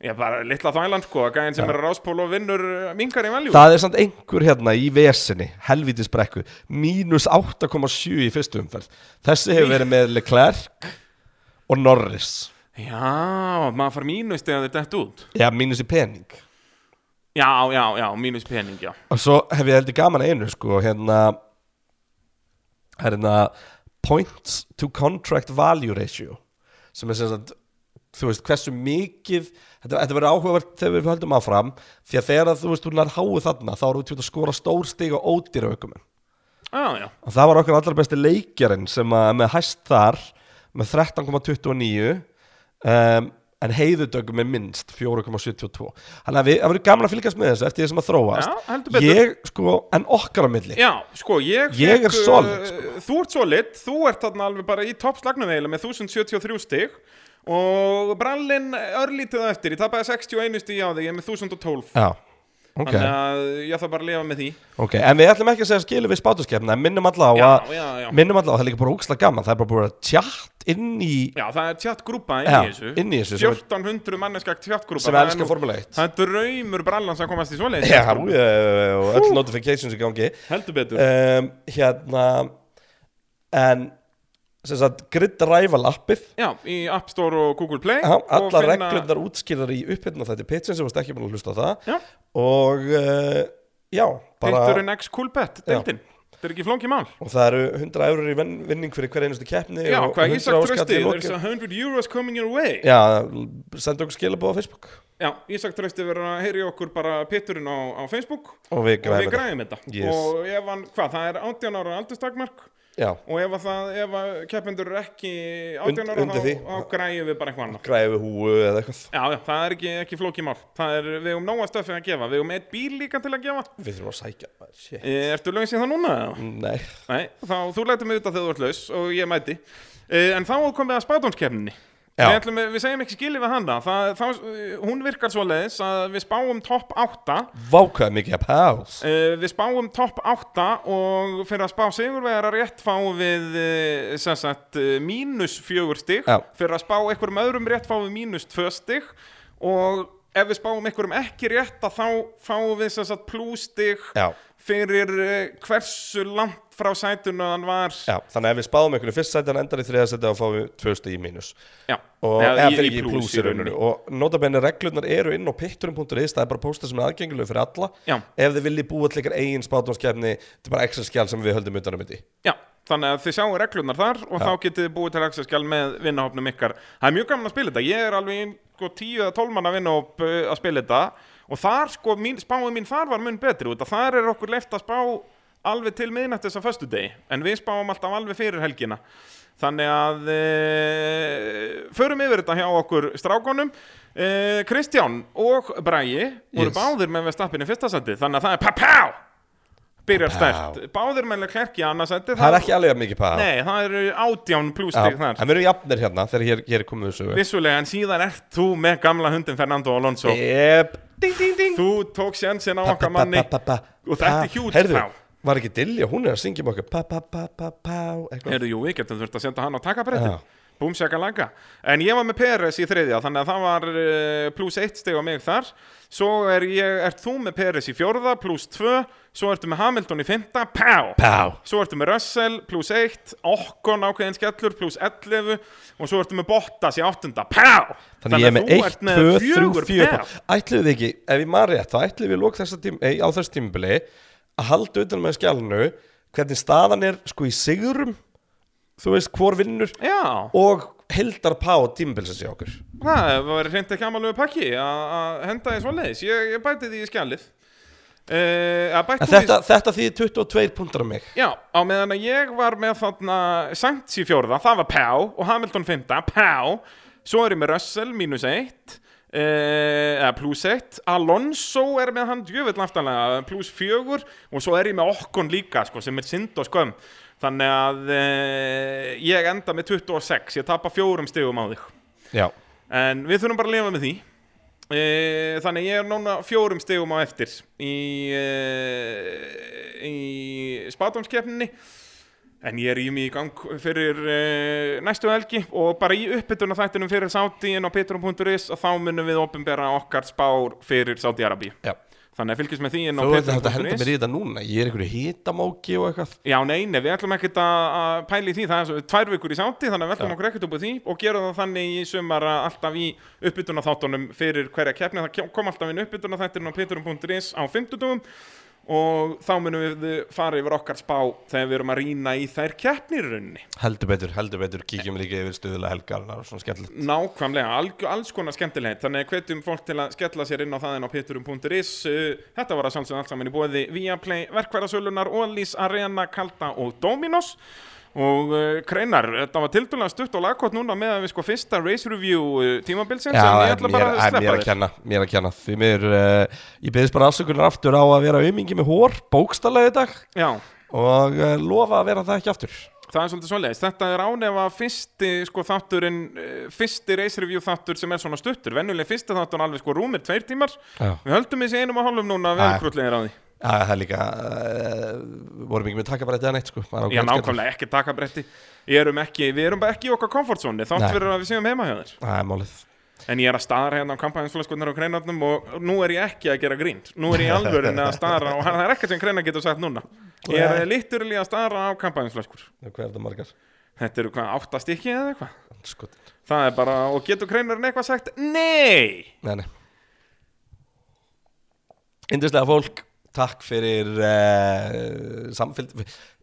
Ég bara litla þvæland sko, að gæðin sem er að ráspóla og vinnur uh, mingar í valjú. Það er samt einhver hérna í vesinni helvítis brekku, mínus 8,7 í fyrstu umferð Þessi hefur verið með Leclerc og Norris Já, maður far mínus þegar þetta dætt út. Já, mínus í pening Já, já, já, mínus pening, já. Og svo hef ég heldur gaman að einu sko hérna hérna points to contract value ratio sem er sem sagt þú veist hversu mikið þetta, þetta verður áhugavert þegar við höldum áfram því að þegar að, þú veist þú nær háu þarna þá erum við tjótt að skora stór stig og ódýra aukumenn Já, já, og það var okkar allar besti leikjarinn sem að með hæst þar með 13,29 um, en heiðudöggum er minnst 4,72 þannig að við, það verður gaman að fylgjast með þessu eftir því sem að þróast Já, heldur betur. ég sko, en okkar á milli Já, sko, ég Ég er uh, solid, sko. Þú ert solid, þú ert þarna alveg bara í toppslagnum eiginlega með 1073 stig Og brallinn örlítið á eftir, ég tapaði 61 stig á þig, ég er með 1012 Já, ok, Þannig að ég þarf bara að lifa með því ok en við ætlum ekki að segja skilu við spátuskefna en minnum alla á Já, að já, já. minnum alla á, að það er líka bara ógslag gaman það er bara búin að tjátt inn í Já, það er tjattgrúpa inn, Já, í þessu. inn í þessu, sem er- 1400 manneska tjattgrúpa sem það er elskar nú- Formule 1. Það er draumur brallans að komast í svoleiðis Já, tjattgrúpu. já, já, já, og öll notifications í gangi Heldur betur um, hérna en sem sagt, grid rival appið Já, í App Store og Google Play Já, og allar finna- reglurnar útskýrar í upphitna þetta pitchin sem varst ekki búin að hlusta á það Já. og uh, já, bara Pitturinn X Coolbet, deildin Þetta er ekki flóngi mál og það eru 100 eurur í venn- vinning fyrir hver einustu keppni Já, og hvað 100 ég sagt áskall í trösti, lokin. there's a 100 euros coming your way Já, senda okkur skilabóð á Facebook Já, ég sagt trösti verður að heyri okkur bara pitturinn á, á Facebook og við og við græðum þetta græðum þetta Yes. og ef hann, hvað, það er 18 ára aldurstakmark Já, og ef að það, ef að keppendur eru ekki 18 ára undir þá, því. þá græðum við bara eitthvað annað græðum við húu eða eitthvað Já, já, það er ekki, ekki flókið mál Það er, við höfum nóga stöfið að gefa Við höfum eitt bíl líka til að gefa Við þurfum að sækja Shit. E, Ertu lögins í það núna? eða? Nei, Nei, þá þú lætur mig vita þegar þú ert laus og ég mæti e, En þá komum við að spátumskefninni Já. við, ætlum, við segjum ekki skilið við hana það, þá, Hún virkar svoleiðis að við spáum topp 8 vákvæða mikið að pás e, Við spáum topp 8 og fyrir að spá sigurvegar að rétt fáum við e, sem sagt e, mínus fjögur stig Já. Fyrir að spá einhverjum öðrum rétt fáum við mínus tvö stig og ef við spáum einhverjum ekki rétt að þá fáum við sem sagt plústig Já. fyrir eh, hversu langt frá sætun að hann var Já, þannig að ef við spáðum einhverju fyrst sæti en endar í þriða sæti þá fáum við tvö stið í mínus Já, og Eða eða í- fyrir í ekki í plús plús í í rauninni og notabenni reglurnar eru inn á pitturum.is það er bara pósta sem er aðgengilega fyrir alla Já. ef þið viljið búa til ykkur eigin spátumskefni þetta er bara extra skjál sem við höldum utanum þetta í Já, þannig að þið sjáu reglunar þar og þá getið þið búið til axaskjál með vinnahopnum ykkar Það er mjög gaman að spila þetta, ég er alveg í, sko, 10 eða 12 manna vinnahop eh, að spila þetta og þar, sko, mín, spáin mín þar var mun betri út að þar er okkur leift að spá alveg til miðnættis á föstudegi en við spáum alltaf alveg fyrir helgina Þannig að e, förum yfir þetta hjá okkur strákonum e, Kristján og Bragi voru Yes. báðir með Vestappin í fyrsta seti þannig að það er papá byrjar Pa-pow. stert báðir með Leclerc í annars seti það er ekki alveg jafn mikið pæða Nei, það eru átján plústig þar en við erum jafnir hérna þegar hér, hér er komið þessu Vissulega, en síðan ert þú með gamla hundin Fernando Alonso yep. ding, ding, ding. Þú tók sjansin á okkar manni Og þetta er hjút herðu, pá var ekki Dilja, hún er að syngja um okkur pa pa pa pa pa eitthvað. Heyrðu, jú, við getum þurft að senda hann á takabrettin Já. Búmsjaka laga En ég var með Peres í þriðja Þannig að það var uh, pluss eitt steg á mig þar Svo er ég, ert þú með Peres í fjórða Pluss tvö Svo ertu með Hamilton í fymta Pá Pá. Svo ertu með Russell pluss eitt Okkon ákveðin skellur pluss 11 Og svo ertu með Bottas í áttunda Pá Þannig ég er með þú 1, ert 2, 3, fjögur 4 pá. Ætluðu þið ekki, ef ég maður rétt þá ætluðu við lók þessa tím, ei, á þessu tímbili að halda utan um með skjálnu hvernig staðan er sko í sigurum þú veist hvor vinnur Já, og heldar pá tímbilsins í okkur það var reynd ekki amalegu pakki að að henda því svoleiðis ég, ég bæti því í skjallið uh, En þetta, þetta því 22 pundar á mig Já, á meðan að ég var með þarna Sainz í fjórða, það var Pá og Hamilton fymta, Pá svo er ég með Russell, mínus eitt eh, eða pluss eitt Alonso er með hann djöfull aftanlega pluss fjögur og svo er ég með Okkon líka, sko, sem er synd og skömm þannig að eh, ég enda með 26, ég tapa fjórum stigum á þig Já, En við þurfum bara að lifa með því e, Þannig að ég er núna fjórum stegum á eftir Í, e, í spátumskeppninni En ég er í mig í gang fyrir e, næstu helgi og bara í uppbytuna þættinum fyrir Sáti inn á petrum.is og þá munum við opinbera okkar spár fyrir Sáti Arabí. já Þannig að fylgjast með því inn á Þú veit þetta henda mér petrum.is. í þetta núna Ég er einhverju hitamóki og eitthvað Já, nei, nei, við ætlum ekkert að að pæla í því, það er svo, tvær vikur í sátti, þannig að við ætlum Já. okkur ekkert upp á því og gera það þannig í sumar að alltaf í uppbytuna þáttunum fyrir hverja keppni, það kem- kom alltaf inn uppbytuna þættirinn á peturum.is á 50 og þá munum við fara yfir okkar spá þegar við erum að rýna í þær keppnir runni. Heldur betur, heldur betur, kíkjum líka yfir stuðulega helgarnar og svona skemmtilegt Nákvæmlega, alg, alls konar skemmtilegt þannig að hvetjum fólk til að skella sér inn á það en á peturum.is Uh, Þetta var að sjálfsögum allt saman í bóði Viaplay, Verkværasölunar, Ólís, Arena, Kalda og Dominos og uh, Kreinar, þetta var tildulega stutt og lagkvæmt núna með að við sko fyrsta race review uh, tímabilsins Já, en ég en ætla mér, bara að en mér sleppa að þér kenna, mér að kenna Því mér, uh, ég beðist bara afsökunar aftur á að vera aumingi með hór, bókstallega í dag Já, Og uh, lofa að vera það ekki aftur það er svolítið svoleiðis þetta er ánefa fyrsti sko þátturinn uh, fyrsti race review þáttur sem er svona stuttur venjuleg fyrsti þáttur er alveg sko rúmir tveir tímar Já. við höldum þessi einum og hálfum núna Já. velkrútlegir á því Já, það er líka, uh, vorum ekki með taka bara þetta neitt sko maður á Já, gott skella. nákvæmlega ekki takabretti Við erum ekki, við erum bara ekki í okkar komfortzóni þátt Nei. fyrir að við séum heima hjá þér Það er málið En ég er að stara hérna á kampanjinsflaskunnar og kreinarnum og nú er ég ekki að gera grínt Nú er ég alvörin að stara og það er ekkert sem kreinar getur sagt núna Ég er liturilega að stara á kampanjinsflaskur Hvað er þetta margar? Þetta eru hvað, átta stykki eða eitthvað Skotin Það er bara, og getur kreinarinn eitthvað sagt Nei! Nei, nei Indislega fólk, takk fyrir uh, samfélg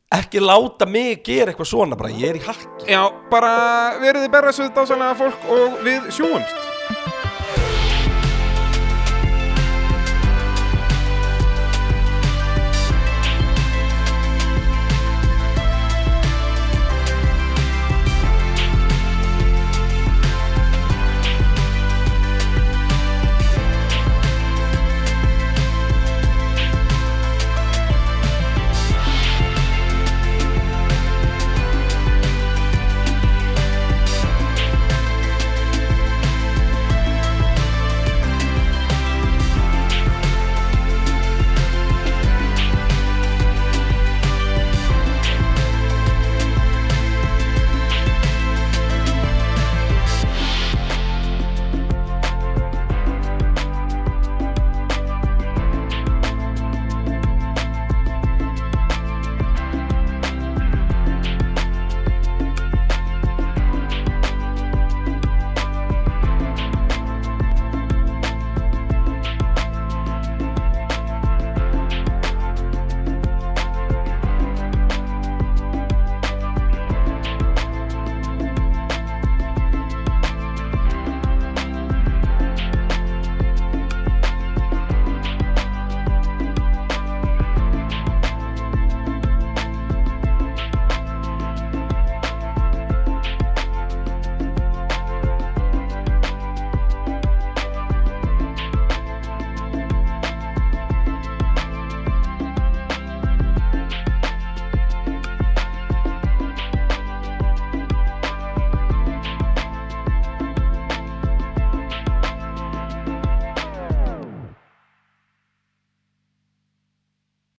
Ekki láta mig gera eitthvað svona bara, ég er í hakki Já, bara veriði berra svo dásalega fólk og við sjúumst